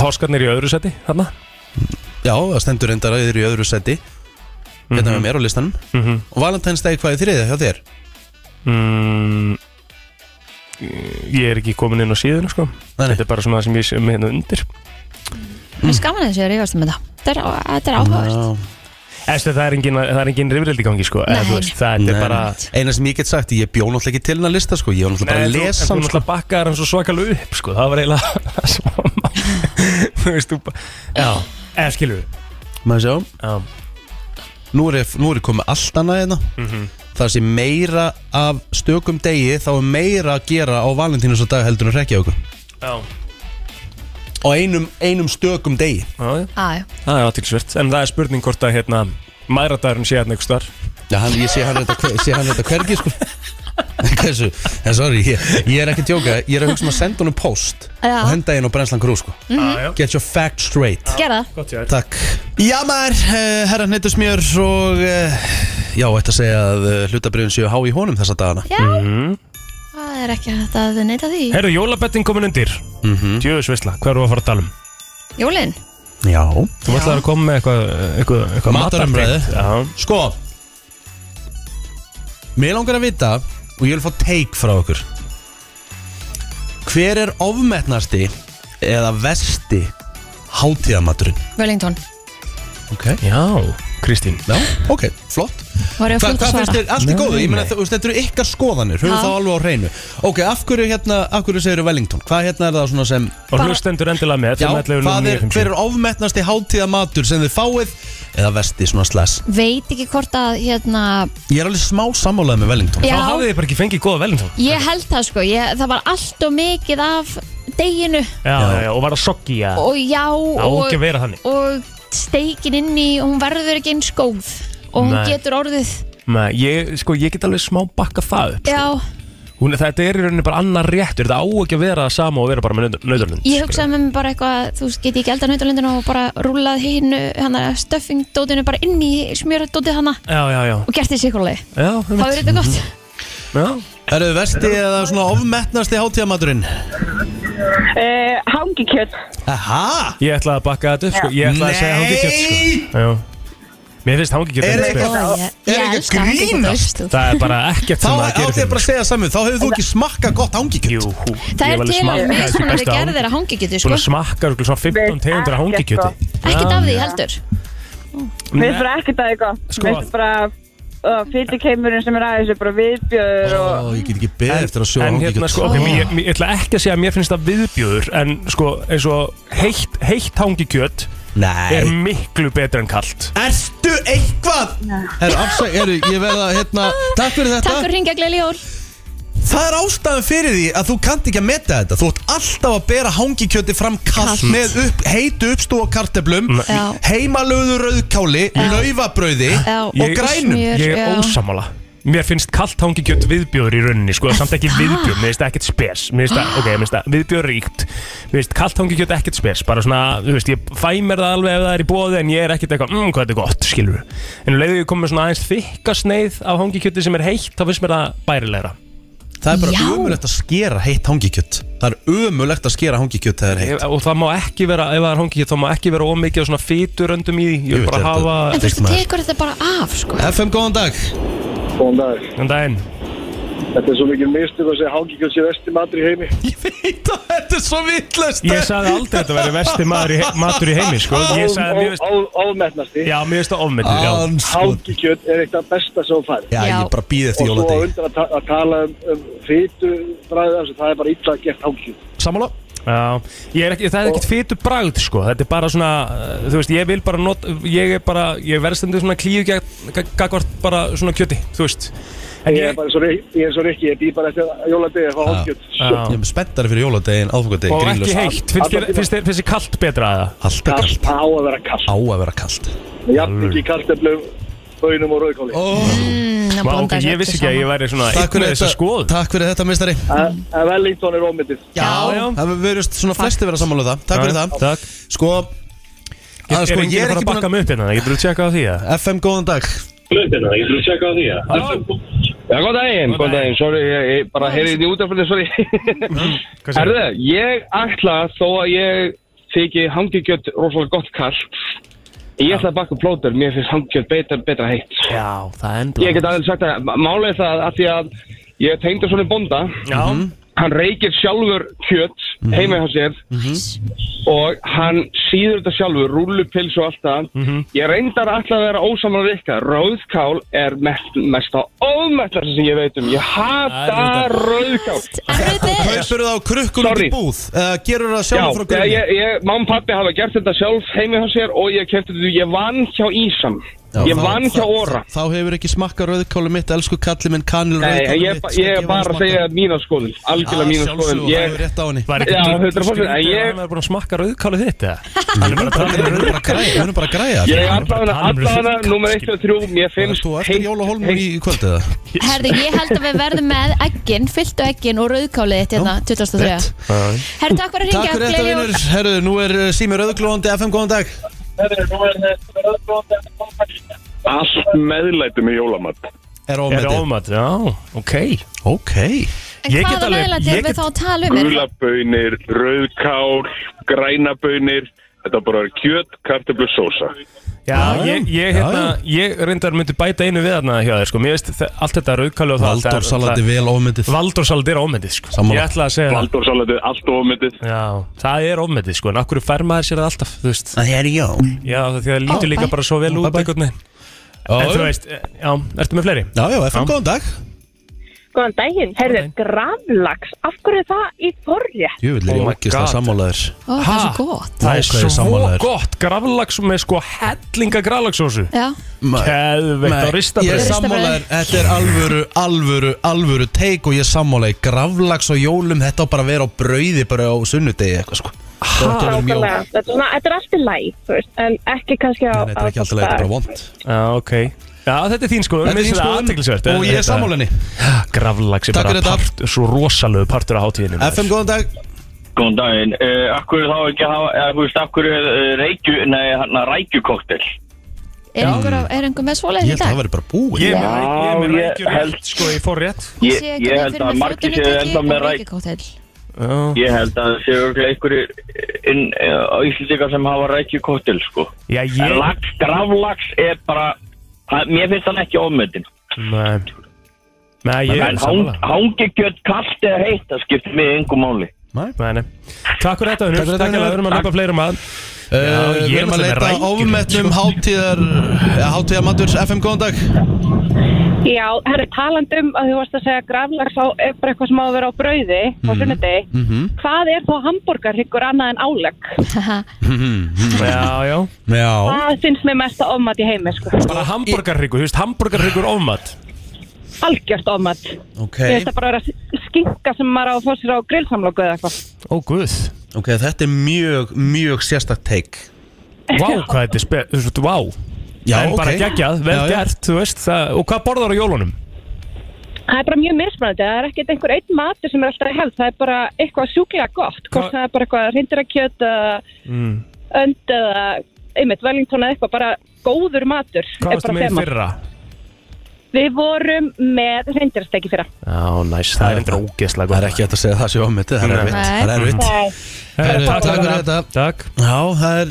[SPEAKER 2] Páskarnir í öðru seti, þarna
[SPEAKER 1] þetta. Já, það stendur reyndar að þið eru í öðru seti Hérna með mér á listanum
[SPEAKER 2] Mhm.
[SPEAKER 1] Og Valentine's Day hvað er þriðið hjá þér?
[SPEAKER 2] mm, Ég er ekki komin inn á síðuna, sko
[SPEAKER 1] Nei, nei.
[SPEAKER 2] Þetta er bara svona það sem ég sé með hérna undir
[SPEAKER 1] Mm.
[SPEAKER 3] Það er skaman þessu að rífast um þetta Þetta er, á- þetta er áhugavert
[SPEAKER 1] Já.
[SPEAKER 2] Eftir það er engin, það er engin rifrildi í gangi, sko eða
[SPEAKER 3] Nei.
[SPEAKER 2] þú veist, Það þetta
[SPEAKER 1] Nei.
[SPEAKER 2] er bara
[SPEAKER 1] Eina sem ég get sagt, ég bjó náttúrulega ekki til hennar lista sko. Ég var náttúrulega bara
[SPEAKER 2] Nei,
[SPEAKER 1] að
[SPEAKER 2] þú-
[SPEAKER 1] lesa
[SPEAKER 2] en þú
[SPEAKER 1] hann sko.
[SPEAKER 2] náttúrulega bakkaðar hann svo svakalega upp sko. það var eiginlega það sem var málið. þú veist þú bara já, eða skilur við
[SPEAKER 1] Maður sjá,
[SPEAKER 2] já,
[SPEAKER 1] nú er, ég- nú er ég komið allt annað hérna
[SPEAKER 2] Mhm.
[SPEAKER 1] Það sé meira af stökum degi Þá er meira að gera á valentínus og dag heldur en rekja okkur
[SPEAKER 2] já,
[SPEAKER 1] Á einum, einum stökum degi
[SPEAKER 2] já,
[SPEAKER 3] Á, Ah, já.
[SPEAKER 2] það er aðtilsvert en það er spurning hvort að hérna mæradagurinn sé hérna einhvers þar
[SPEAKER 1] Já, hann, ég sé hann hérna. þetta, hver- sé hann þetta hvergi sko Hversu, en sorry, ég, ég er ekki að djóka Ég er að hugsa um að senda honum post
[SPEAKER 3] Já.
[SPEAKER 1] Og henda inn á Brenslan Krú sko
[SPEAKER 2] Ah, já, já,
[SPEAKER 1] Get your fact straight
[SPEAKER 3] Gerða það
[SPEAKER 2] gott ég
[SPEAKER 1] Takk Já maður, eh, herra hneytusmjör og eh, já, ætti að segja að hlutabriðin séu há í honum þessa dagana
[SPEAKER 3] Já,
[SPEAKER 2] Mhm.
[SPEAKER 3] það er ekki hægt að neita því
[SPEAKER 2] Herru, jólabettin komin undir mm -hmm. Djöðusvisla, hvað erum við að fara að tala um?
[SPEAKER 3] Jólin,
[SPEAKER 1] Já
[SPEAKER 2] Þú ætlaði að koma með eitthvað, eitthvað, eitthvað
[SPEAKER 1] Matarumræðu.
[SPEAKER 2] matartengt. Já,
[SPEAKER 1] Sko Mér Sko, langar að vita og ég vil fá take frá okkur Hver er ofmetnasti eða vesti hátíðamaturinn?
[SPEAKER 3] Wellington
[SPEAKER 1] Ok
[SPEAKER 2] Já, Kristín
[SPEAKER 1] Já, ok, flott
[SPEAKER 3] Var
[SPEAKER 1] Hva, Hvað
[SPEAKER 3] ég að fljóta að
[SPEAKER 1] finnst
[SPEAKER 3] svara?
[SPEAKER 1] þér, allt í
[SPEAKER 2] Nei,
[SPEAKER 1] góðu, ég meina
[SPEAKER 2] nei.
[SPEAKER 1] þú veist, þetta eru ykkar skoðanir, höfum
[SPEAKER 3] Já.
[SPEAKER 1] það alveg á hreinu Ok, af hverju hérna, af hverju segir Wellington? Hvað hérna er það svona sem
[SPEAKER 2] Og
[SPEAKER 3] Bara-
[SPEAKER 2] hlustendur endilega með
[SPEAKER 1] Já, hvað er, hver er ofmetnasti hátíðamatur sem þið fáið eða vesti svona slæs
[SPEAKER 3] Veit ekki hvort að hérna
[SPEAKER 1] Ég er alveg smá sammálaðið með Wellington
[SPEAKER 2] Þá
[SPEAKER 3] Já,
[SPEAKER 2] hafið þið bara ekki fengið góða Wellington
[SPEAKER 3] ég held það sko ég, Það var allt og mikið af deginu
[SPEAKER 2] Já, já, já, og var að soggi já
[SPEAKER 3] Og já
[SPEAKER 2] Ah. Á ekki að
[SPEAKER 3] og,
[SPEAKER 2] vera þannig
[SPEAKER 3] og steikin inn í Hún verður ekki eins góð Og hún
[SPEAKER 2] Nei.
[SPEAKER 3] getur orðið
[SPEAKER 2] Nei, ég, sko, ég get alveg smá bakka það upp
[SPEAKER 3] Já,
[SPEAKER 2] Hún, Þetta er í rauninni bara annar réttur Þetta á ekki að vera sama og vera bara með nöðurlund
[SPEAKER 3] ég hugsaði með mér bara eitthvað að, Þú veist, get ég ekki elda nautalundinu og bara rúlað hinu Hann að stöffingdótinu bara inn í smjöradótið hana
[SPEAKER 2] Já, já, já,
[SPEAKER 3] Og gert því sikurlega
[SPEAKER 2] já,
[SPEAKER 3] Það verður þetta gott
[SPEAKER 2] já.
[SPEAKER 1] Er þið vesti eða svona ofmetnasti hátíðamaturinn?
[SPEAKER 5] Uh, Hangikjöt.
[SPEAKER 1] Aha,
[SPEAKER 2] Ég ætla að bakka þetta upp sko. Ég ætla að segja
[SPEAKER 1] Nei!
[SPEAKER 2] hangikjöt sko. Já. Mér finnst hangikjöt
[SPEAKER 1] Er
[SPEAKER 2] ekki
[SPEAKER 1] eitthvað-
[SPEAKER 2] spil.
[SPEAKER 3] Ó, ég-
[SPEAKER 1] Er
[SPEAKER 3] ég
[SPEAKER 1] ekki að
[SPEAKER 3] elska hangikjöt,
[SPEAKER 1] grínast?
[SPEAKER 3] veist þú.
[SPEAKER 2] Það er bara ekkert
[SPEAKER 1] þá
[SPEAKER 2] sem að
[SPEAKER 1] átti
[SPEAKER 2] gera
[SPEAKER 1] ég bara að segja saman Þá hefur þú ekki smakkað gott hangikjöt
[SPEAKER 2] Jú, hú,
[SPEAKER 3] Það er til og með svona við gerðir að hangikjötu
[SPEAKER 2] Búin
[SPEAKER 3] sko.
[SPEAKER 2] að smakka örugglega svona 15 tegundur af
[SPEAKER 5] Ekkert,
[SPEAKER 2] hangikjöti
[SPEAKER 3] Ekkert af því heldur
[SPEAKER 5] Mér finnst bara ekkert að það er gott.
[SPEAKER 2] Sko-
[SPEAKER 5] Mér finnst bara uh, fytikheimurinn sem er aðeins er bara viðbjöður og...
[SPEAKER 1] Ó, ég get ekki beðið eftir að sjóða
[SPEAKER 2] En
[SPEAKER 1] hangikjöt
[SPEAKER 2] hérna sko, ok, ég, ég, ég ætla ekki að segja að mér finnst það viðbjöður En sko, eins og heitt, heitt hangikjöt er
[SPEAKER 1] Nei
[SPEAKER 2] miklu betra en kalt
[SPEAKER 1] Ertu eitthvað? Herru, afsæk, herru, ég verða, hérna, takk fyrir þetta
[SPEAKER 3] Takk fyrir hringja gleyli jól
[SPEAKER 1] Það er ástæðan fyrir því að þú kannt ekki að meta þetta Þú ert alltaf að bera hangikjöti fram kallt
[SPEAKER 3] Kalt.
[SPEAKER 1] Með upp, heitu uppstúa karteblum
[SPEAKER 2] Mm.
[SPEAKER 3] Já.
[SPEAKER 1] Heimalöðu rauðkáli Laufabrauði
[SPEAKER 3] Já.
[SPEAKER 1] Og grænum
[SPEAKER 3] Smjör,
[SPEAKER 2] Ég er
[SPEAKER 3] já.
[SPEAKER 2] ósamála Mér finnst kalt hangikjöt viðbjóður í rauninni sko, samt
[SPEAKER 3] Ah.
[SPEAKER 2] ekki viðbjóður, mér finnst það ekkert spes mér finnst það, ok, mér finnst það viðbjóður ríkt mér finnst kalt hangikjöt ekkert spes bara svona, þú veist, ég fæ mér það alveg ef það er í bóði en ég er ekkert eitthvað, mmm, hvað þetta er gott, skilur en um leiðu ég kom með svona aðeins þykka sneið af hangikjöti sem er heitt, þá finnst mér það bærilegra
[SPEAKER 1] Það er bara
[SPEAKER 3] Já.
[SPEAKER 1] umulegt að skera heitt hangikjöt Það er umulegt að skera hangikjöt þegar það er heitt
[SPEAKER 2] Ef- og það má ekki vera, ef það er hangikjöt þá má ekki vera ómikið af svona fituröndum í því ég
[SPEAKER 1] Ég
[SPEAKER 2] vil
[SPEAKER 1] veit
[SPEAKER 2] bara
[SPEAKER 1] þetta.
[SPEAKER 2] hafa,
[SPEAKER 3] En þú veist,
[SPEAKER 1] Veist
[SPEAKER 3] þú
[SPEAKER 1] maður.
[SPEAKER 3] tekur þetta bara af sko.
[SPEAKER 1] FM, góðan dag
[SPEAKER 7] Góðan dag.
[SPEAKER 2] en það en
[SPEAKER 7] Þetta er svo mikil mistök að segja hangikjöld sé vesti matur í heimi.
[SPEAKER 1] Ég veit að þetta er svo vittlust
[SPEAKER 2] ég sagði aldrei að þetta veri vesti maður í, he- matur í heimi sko. ég sagði, mér finnst-
[SPEAKER 7] Ámetnasti.
[SPEAKER 2] já, mér finnst það ofmyndið, já
[SPEAKER 1] Anskot
[SPEAKER 7] Hangikjöld er eitt af besta sem þú færð.
[SPEAKER 1] Já,
[SPEAKER 3] Já.
[SPEAKER 1] ég bara býð
[SPEAKER 7] Og
[SPEAKER 1] eftir
[SPEAKER 7] svo
[SPEAKER 1] jóladegi
[SPEAKER 7] undan að, ta að tala um, um fytu bræðið þessu, það er bara illa gert hangikjöld.
[SPEAKER 1] Sammála?
[SPEAKER 2] Já, ég er ekki, það er ekkert fytu bragð sko, þetta er bara svona, uh, þú veist, ég vil bara not, ég er bara, ég verðstendur svona klíu gegn- gag- gagvart bara svona kjöti, þú veist En
[SPEAKER 7] Ég er
[SPEAKER 2] ég,
[SPEAKER 7] bara eins og Rik- ég er svo rikki, ég býð bara eftir jóladegi að fá hangikjöld.
[SPEAKER 2] já,
[SPEAKER 1] Ég er spenntari fyrir jóladegin, aðfokkadegin,
[SPEAKER 2] og
[SPEAKER 1] grínlust
[SPEAKER 2] ekki heitt, finnst þér,
[SPEAKER 7] Alla tíma.
[SPEAKER 2] finnst þér, finnst þér kalt betra að það?
[SPEAKER 1] Alltaf
[SPEAKER 7] Kalt,
[SPEAKER 1] kallt
[SPEAKER 7] það á að vera kalt.
[SPEAKER 1] Á að vera kallt
[SPEAKER 7] Jafn ekki karteflum, bönum og rauðkóli.
[SPEAKER 3] Mm, að
[SPEAKER 2] Má, ok,
[SPEAKER 3] blanda þessu
[SPEAKER 2] ég vissi
[SPEAKER 3] öllu
[SPEAKER 2] ekki að
[SPEAKER 3] saman.
[SPEAKER 2] ég væri svona
[SPEAKER 1] Takk
[SPEAKER 2] einn með
[SPEAKER 1] fyrir
[SPEAKER 2] þessa
[SPEAKER 1] þetta,
[SPEAKER 2] skoð
[SPEAKER 1] takk fyrir þetta, mistari
[SPEAKER 7] En en Wellington er ómyndið.
[SPEAKER 2] Já, já.
[SPEAKER 1] Það verðist svona flesti vera sammála um það Takk fyrir það
[SPEAKER 2] Takk,
[SPEAKER 1] Sko, að,
[SPEAKER 2] er
[SPEAKER 1] sko
[SPEAKER 2] enginn
[SPEAKER 1] ég er
[SPEAKER 2] að fara að
[SPEAKER 1] ekki búin
[SPEAKER 2] bakka
[SPEAKER 1] að
[SPEAKER 2] mig upp hérna, getur þú tjekkað á því að?
[SPEAKER 1] FM, góðan dag
[SPEAKER 6] Hlutina, ég vil tjekka á því að
[SPEAKER 8] Já, góð daginn, góð daginn, sorry, ég, ég bara heyrði því út af fyrir, sorry.
[SPEAKER 2] Hvað segirðu?
[SPEAKER 8] Herðu, ég ætla þó að ég þyki hangikjött rosalega gott kallt, ég ætla að baka plóter, mér finnst hangikjött betra, betra heitt.
[SPEAKER 2] Já, það er
[SPEAKER 8] Ég get aðeins sagt að málega það að því að ég tengdi svona bónda,
[SPEAKER 2] Já,
[SPEAKER 8] hann reykir sjálfur kjött
[SPEAKER 2] Mhm.
[SPEAKER 8] heima hjá sér og hann síður þetta sjálfur, rúllupils og allt það.
[SPEAKER 2] Mhm.
[SPEAKER 8] Ég reyndar alltaf að vera ósamlega rikka. Rauðkál er mest, mest á ómettast sem ég veit um. Ég hata
[SPEAKER 2] Það er reyndar-
[SPEAKER 8] rauðkál.
[SPEAKER 3] En veitir,
[SPEAKER 1] Kaupur það á krukkur út í
[SPEAKER 8] Sorry.
[SPEAKER 1] búð uh, Gerur það
[SPEAKER 8] Já,
[SPEAKER 1] sjálf frá
[SPEAKER 8] ég,
[SPEAKER 1] grunni
[SPEAKER 8] ég, ég, mamma og pappi hafa gert þetta sjálf heima hjá sér og ég kefti þetta, ég vann hjá Ísam.
[SPEAKER 1] Já,
[SPEAKER 8] ég
[SPEAKER 1] þá-
[SPEAKER 8] vann
[SPEAKER 1] þá-
[SPEAKER 8] hjá Óra.
[SPEAKER 1] Þá hefur ekki smakka rauðkáli mitt, elsku kalli minn kanil
[SPEAKER 8] Nei,
[SPEAKER 1] rauðkáli
[SPEAKER 8] ég,
[SPEAKER 1] mitt
[SPEAKER 8] ég er bara að segja mína skoðun, algjörlega mína skoðun.
[SPEAKER 1] Sjálfsög, það
[SPEAKER 8] Ég,
[SPEAKER 1] hefur rétt á henni
[SPEAKER 2] var ekki
[SPEAKER 8] Já,
[SPEAKER 2] drullu
[SPEAKER 8] 100%,
[SPEAKER 2] skrítið að
[SPEAKER 8] ég-
[SPEAKER 2] Hann er búin að smakka rauðkálið þitt eða? Hann er bara að tala um
[SPEAKER 1] Við erum
[SPEAKER 2] rauðkálið
[SPEAKER 1] bara að græja, við erum bara að græja
[SPEAKER 8] ég
[SPEAKER 2] er bara að
[SPEAKER 8] allavega,
[SPEAKER 2] tala um
[SPEAKER 8] allavega,
[SPEAKER 2] rauðkál,
[SPEAKER 8] nummer 1 og 3, mér finnst
[SPEAKER 1] Þú eftir jólahólmur í kvöldið það?
[SPEAKER 3] herðu, ég held að við verðum með eggin, fylltu eggin og rauðkálið þitt hérna 2003 Herðu, takk
[SPEAKER 1] Takk
[SPEAKER 3] fyrir að hringja,
[SPEAKER 1] fyrir þetta
[SPEAKER 3] gleyli jól
[SPEAKER 1] vinnur, herru, nú er uh, Sími Rauðglóðandi, FM góðan dag
[SPEAKER 7] Allt meðlætum í jólamat.
[SPEAKER 1] Er
[SPEAKER 2] Er
[SPEAKER 1] ofmetið
[SPEAKER 2] ofmat, já, ok
[SPEAKER 1] Ok
[SPEAKER 3] En
[SPEAKER 2] Ég get
[SPEAKER 3] hvaða
[SPEAKER 2] alveg-
[SPEAKER 3] meðlæti
[SPEAKER 2] ég
[SPEAKER 3] erum
[SPEAKER 2] get-
[SPEAKER 3] við þá að tala um? Er-
[SPEAKER 7] Gulabönir, rauðkál, grænabönir, þetta er bara kjöt, kartöflu, sósa.
[SPEAKER 2] Já,
[SPEAKER 1] Já, já.
[SPEAKER 2] ég, ég, hérna, ég reyndar myndi bæta einu við þarna hjá þér sko. Mér veist þe- allt þetta rauðkáli og það allt-
[SPEAKER 1] Valdórsalati
[SPEAKER 2] það-
[SPEAKER 1] vel ofmyndið
[SPEAKER 2] Valdórsalati er ofmyndið sko.
[SPEAKER 1] Sammála.
[SPEAKER 2] Ég ætla að segja það
[SPEAKER 9] Valdórsalatið, allt ofmyndið
[SPEAKER 2] Já, það er ofmyndið sko En af hverju fær maður sér það alltaf, þú veist
[SPEAKER 1] Það er já
[SPEAKER 2] Já, það- því það lítur
[SPEAKER 3] Ó,
[SPEAKER 2] líka
[SPEAKER 3] bæ.
[SPEAKER 2] bara svo vel út
[SPEAKER 1] Bæ, bæ.
[SPEAKER 2] einhvern veginn En þú veist, eh, já, ertu með fleiri?
[SPEAKER 1] Já, já, FM,
[SPEAKER 2] Já.
[SPEAKER 1] góðan dag
[SPEAKER 5] Góðan daginn, herðu, gravlags, af hverju er það í forrið?
[SPEAKER 1] Jöfull er
[SPEAKER 2] Oh
[SPEAKER 1] ég
[SPEAKER 2] my
[SPEAKER 1] ógist að
[SPEAKER 2] God.
[SPEAKER 1] sammálaður
[SPEAKER 3] Ó, það er svo gott
[SPEAKER 2] Það er
[SPEAKER 1] Ákveðið
[SPEAKER 2] svo
[SPEAKER 1] sammálaður.
[SPEAKER 2] gott, graflags með sko hellinga graflagsósu
[SPEAKER 3] Já,
[SPEAKER 2] Keðveikt á
[SPEAKER 1] Ég er
[SPEAKER 2] ristabröð
[SPEAKER 3] Ristabrauð.
[SPEAKER 1] sammálaður, þetta er alvöru, alvöru, alvöru teik og ég er sammálaði Gravlags og jólum, þetta á bara að vera á brauði bara á sunnudegi eitthvað sko Það er ekki að vera um jól.
[SPEAKER 5] Nákvæmlega, þetta er svona, þetta er alltaf læg, þú veist, en ekki kannski á...
[SPEAKER 1] Nei, Þetta er ekki alltaf leið, þetta er bara vond
[SPEAKER 2] Já, ok Já, þetta er þín sko,
[SPEAKER 1] Þetta er þín skoðun Og ég er sammálaðinni
[SPEAKER 2] Graflags er
[SPEAKER 1] Takk
[SPEAKER 2] bara
[SPEAKER 1] fyrir þetta.
[SPEAKER 2] part, svo rosalegu partur af hátíðinu maður.
[SPEAKER 1] FM, góðan dag
[SPEAKER 9] Góðan daginn, uh, akkur þá ekki að hafa, eða þú veist, akkur uh, reykju, nei, hann að rækjukoktel
[SPEAKER 3] er einhver, á- er einhver með
[SPEAKER 1] Ég
[SPEAKER 3] svoleiðið í
[SPEAKER 1] held að það
[SPEAKER 3] dag?
[SPEAKER 1] væri bara búið
[SPEAKER 2] Ég er
[SPEAKER 9] Já,
[SPEAKER 2] með
[SPEAKER 9] ég
[SPEAKER 2] rækjur
[SPEAKER 9] held-
[SPEAKER 2] rétt, sko, ég fór rétt
[SPEAKER 9] Ég, ég held að margir séu enda með ræk
[SPEAKER 3] ræk
[SPEAKER 9] Ég held að það séu örugglega einhverjir inn eh, á Íslandika sem hafa rækjukoktel, sko
[SPEAKER 2] Já,
[SPEAKER 9] En
[SPEAKER 2] ég
[SPEAKER 9] lax, gravlax er bara, það, mér finnst hann ekki ofmyndin
[SPEAKER 2] Nei, Nei ég
[SPEAKER 9] En hang,
[SPEAKER 2] er sammála
[SPEAKER 9] hangikjöt kallt eða heitt, það skiptir mig engum máli
[SPEAKER 2] Nei, nei. Takk fyrir þetta, Unur. Takk
[SPEAKER 1] Takk fyrir
[SPEAKER 2] fyrir
[SPEAKER 1] þetta,
[SPEAKER 2] að við erum að löpa fleirum um að. ég
[SPEAKER 1] Uh, Við
[SPEAKER 2] er
[SPEAKER 1] erum að
[SPEAKER 2] náttúrulega
[SPEAKER 1] leita
[SPEAKER 2] með rækjur,
[SPEAKER 1] ofmetnum hátíðar eh, eða hátíðarmatur FM, góðan dag
[SPEAKER 5] Já, herru, talandum að þú varst að segja gravlags á, er bara eitthvað sem á að vera á brauði á sunnudegi.
[SPEAKER 1] Mhm.
[SPEAKER 5] Hvað er þá hambúrgarhyggur annað en álegg?
[SPEAKER 2] Já, já.
[SPEAKER 1] Já
[SPEAKER 5] Það finnst mér mesta ofmat í heimi, sko.
[SPEAKER 2] Bara hambúrgarryggur, þú veist, hambúrgarryggur ofmat.
[SPEAKER 5] Algjört ofmat.
[SPEAKER 1] Ok,
[SPEAKER 5] Ég veist að bara vera skinka sem maður á að fá sér á grillsamlokku eða eitthvað.
[SPEAKER 2] Ó, guð.
[SPEAKER 1] ok, þetta er mjög, mjög sérstakt teik
[SPEAKER 2] Vá, hvað þetta er spil, þú veist, vá.
[SPEAKER 1] Já,
[SPEAKER 2] en bara
[SPEAKER 1] ok.
[SPEAKER 2] geggjað, vel
[SPEAKER 1] Já, já.
[SPEAKER 2] gert, þú veist það. Og hvað borðar á jólunum?
[SPEAKER 5] Það er bara mjög mismunandi, það er ekkert einhver einn matur sem er alltaf í held, það er bara eitthvað sjúklega gott, hvort
[SPEAKER 2] Hva-
[SPEAKER 5] það er bara eitthvað rindirakjöt eða önd eða einmitt velingtón eða eitthvað, bara góður matur
[SPEAKER 2] Hvað varstu
[SPEAKER 5] bara
[SPEAKER 2] með í
[SPEAKER 5] þema.
[SPEAKER 2] fyrra?
[SPEAKER 5] Við vorum með rindirasteki fyrra.
[SPEAKER 2] Já, næs, það er endur ógeðslega gott.
[SPEAKER 1] Það er ekki hægt að segja það sé ofmetið, það er erfitt
[SPEAKER 3] Nei.
[SPEAKER 1] Það er erfitt
[SPEAKER 2] Herru,
[SPEAKER 1] Takk fyrir þetta.
[SPEAKER 2] Takk.
[SPEAKER 1] Já, það er,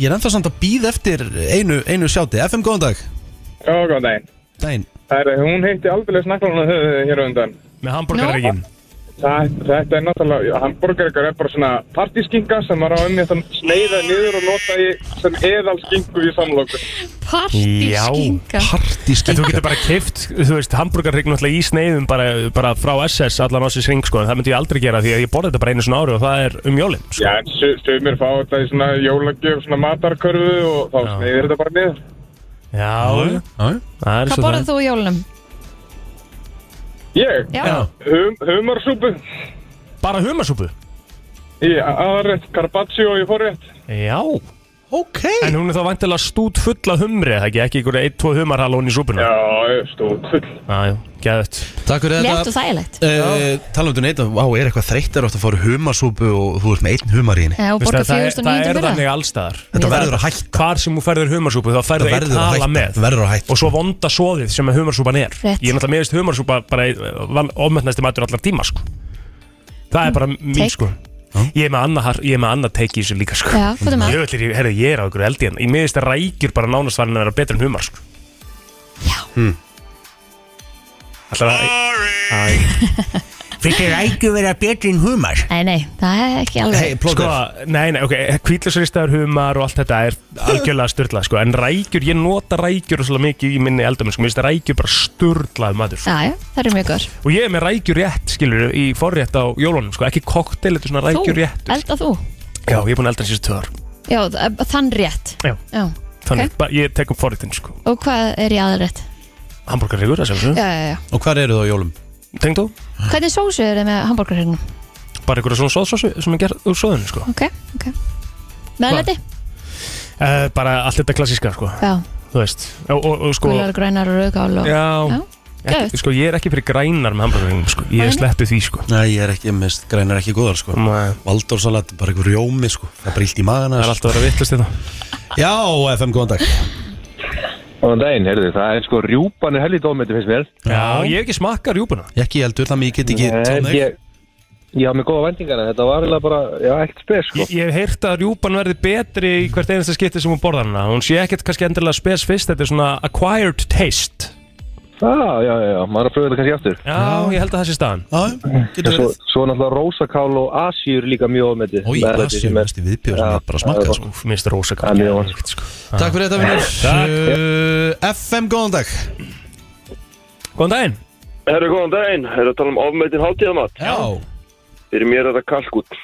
[SPEAKER 1] ég er ennþá samt að býða eftir einu, einu sjáti FM, góðan dag
[SPEAKER 10] Já, góðan daginn.
[SPEAKER 1] Dæn
[SPEAKER 10] Það er, hún heitti aldrei snaklan á höfuðu eh, hér á undan.
[SPEAKER 2] Með hambúrgarrygginn.
[SPEAKER 10] Það, þetta er náttúrulega, hambúrgarikar er bara svona partyskinga sem maður á um þetta sneiða niður og nota í sem eðal skingu í samlokku.
[SPEAKER 2] Já.
[SPEAKER 3] Partyskinga
[SPEAKER 2] En þú
[SPEAKER 1] Partyskinga
[SPEAKER 2] getur bara keift, þú veist, hambúrgarrygg náttúrulega í sneiðum bara, bara frá SS allan á sér sving, sko, en það myndi ég aldrei gera því að ég borði þetta bara einu svona ári og það er um jólinn, sko.
[SPEAKER 10] Já, en su- sumir fá þetta í svona jólagjöf, svona matarkörfu og þá
[SPEAKER 2] Já.
[SPEAKER 10] sneiðir þetta bara niður.
[SPEAKER 2] Já, það er
[SPEAKER 3] Hvað
[SPEAKER 2] svo það.
[SPEAKER 3] borðað þú í jólunum?
[SPEAKER 10] Ég,
[SPEAKER 3] Já,
[SPEAKER 10] hum, humarsúpu,
[SPEAKER 2] Bara humarsúpu?
[SPEAKER 10] í aðrætt, carpaccio í forrétt.
[SPEAKER 2] Já.
[SPEAKER 1] Ok
[SPEAKER 2] En hún er þá vantilega stút full af humri, eða ekki, ekki einhverja 1-2 humarhalón í súpuna.
[SPEAKER 10] Já, stúd, full.
[SPEAKER 2] Já, já, geðvett.
[SPEAKER 1] Takk fyrir
[SPEAKER 3] létt
[SPEAKER 1] þetta
[SPEAKER 3] og þægilegt
[SPEAKER 1] Uh, talandu neitt, vá, er eitthvað þreytt er ofta að fara humarsúpu og þú ert með einn humar í henni
[SPEAKER 3] Já, og borga
[SPEAKER 2] það, er- það
[SPEAKER 3] 4900
[SPEAKER 2] er
[SPEAKER 3] fyrir
[SPEAKER 2] þannig allstaðar.
[SPEAKER 1] Þetta verður að hætta
[SPEAKER 2] Hvar sem þú færður humarsúpu, þá
[SPEAKER 1] Það
[SPEAKER 2] færður eitt
[SPEAKER 1] verður að
[SPEAKER 2] hala
[SPEAKER 1] hætta
[SPEAKER 2] með.
[SPEAKER 1] Það verður að hætta
[SPEAKER 2] Og svo vonda svoðið sem að humarsúpan er.
[SPEAKER 3] Rétt.
[SPEAKER 2] Ég er náttúrulega meðist humarsúpa bara ofmennast í matur allar tíma, sko. Það er bara mín,
[SPEAKER 3] Mm, take.
[SPEAKER 2] sko. Ég er með annað har- ég er með annað teik í þessu líka, sko.
[SPEAKER 3] Já, hvað er maður?
[SPEAKER 2] Jöfnir, ég, herri, ég er á ykkur eldi hérna. en Ég meðist að rækjur bara nánast farin að vera betur en humar sko.
[SPEAKER 3] Já.
[SPEAKER 1] Hmm.
[SPEAKER 2] Ætlar að
[SPEAKER 1] Fyrir rækju vera betri en humar
[SPEAKER 3] Nei, nei, það er ekki
[SPEAKER 1] Hei,
[SPEAKER 3] alveg
[SPEAKER 2] Sko,
[SPEAKER 1] plóður
[SPEAKER 2] nei, nei, ok Hvítlusristaður humar og allt þetta er algjörlega styrlað sko. En rækjur, ég nota rækjur svolítið mikið í minni eldamenn sko. Mér finnst að rækjur bara styrlað maður sko.
[SPEAKER 3] Já, já, það eru mjög góður
[SPEAKER 2] Og ég er með rækjur rétt, skilur Í forrétt á jólunum, sko. ekki koktel Þetta er svona
[SPEAKER 3] Þú,
[SPEAKER 2] rækjur rétt
[SPEAKER 3] elda þú
[SPEAKER 2] Já, ég er búin að elda þessi tvöðar
[SPEAKER 3] Já, þ- þann rétt
[SPEAKER 2] Já. Þannig, okay. ég tek upp forréttin sko.
[SPEAKER 3] Og hvað er í aðrætt?
[SPEAKER 2] Hamburgarryggur, það sem
[SPEAKER 3] Já, já, já
[SPEAKER 1] Og hvar eru það á jólum?
[SPEAKER 2] Tengd þú?
[SPEAKER 3] Hvernig sósu er þið með hambúrgarhregnum?
[SPEAKER 2] bara einhverja svona sóðsósu sem er gerð úr sóðunni sko.
[SPEAKER 3] Ok, ok Meðlæti?
[SPEAKER 2] uh, bara allt þetta klassíska sko.
[SPEAKER 3] Já,
[SPEAKER 2] þú veist og, og, og sko
[SPEAKER 3] gular, grænar og rauðgál og...
[SPEAKER 2] já,
[SPEAKER 3] Já,
[SPEAKER 2] ekki, sko, ég er ekki fyrir grænar með hamburgerinn sko. ég
[SPEAKER 3] Nei,
[SPEAKER 2] er
[SPEAKER 3] nei.
[SPEAKER 2] sleppu því sko.
[SPEAKER 1] Nei, ég er ekki, mest grænar ekki góðar sko
[SPEAKER 2] það
[SPEAKER 1] Valdórsalat, bara einhver rjómi sko Það er bara illt í magana
[SPEAKER 2] er alltaf að vera vittlust
[SPEAKER 3] hérna.
[SPEAKER 2] þetta
[SPEAKER 1] Já, FM, góðan dag
[SPEAKER 11] Góðan daginn, heyrðu, það er sko rjúpan er helvítið ofmyndi finnst mér
[SPEAKER 2] já, ég hef ekki smakkað rjúpuna
[SPEAKER 1] Ekki heldur, þannig ég get ekki
[SPEAKER 11] Nei,
[SPEAKER 1] tjáð mig
[SPEAKER 11] ég,
[SPEAKER 12] Ég hafði með góða vendingar en Eh, þetta var eiginlega bara, já, ekkert spes sko.
[SPEAKER 2] Ég, ég hef heyrt að rjúpan verði betri í hvert einasta skipti sem hún borðar hana Hún sé ekkert kannski endurlega spes fyrst, þetta er svona acquired taste
[SPEAKER 12] Já, já, já, já, maður er að pröfa þetta kannski aftur.
[SPEAKER 2] Já, ég held að það sé staðan
[SPEAKER 1] Já,
[SPEAKER 12] getur verið. Svo, svo náttúrulega rósakál og asjur líka mjög ofmeti.
[SPEAKER 1] Í Asíu, mest í viðbjóð sem
[SPEAKER 12] Já,
[SPEAKER 1] er bara að smakka sko.
[SPEAKER 2] Minnst rósakál
[SPEAKER 12] Það er mjög ofmeti.
[SPEAKER 2] sko.
[SPEAKER 1] Takk fyrir þetta,
[SPEAKER 2] Takk.
[SPEAKER 1] vinnur uh, FM, góðan dag
[SPEAKER 2] Góðan daginn
[SPEAKER 9] Herru, góðan daginn, herru að tala um ofmeitin hátíðamat
[SPEAKER 1] Já
[SPEAKER 9] Fyrir mér er það kalkút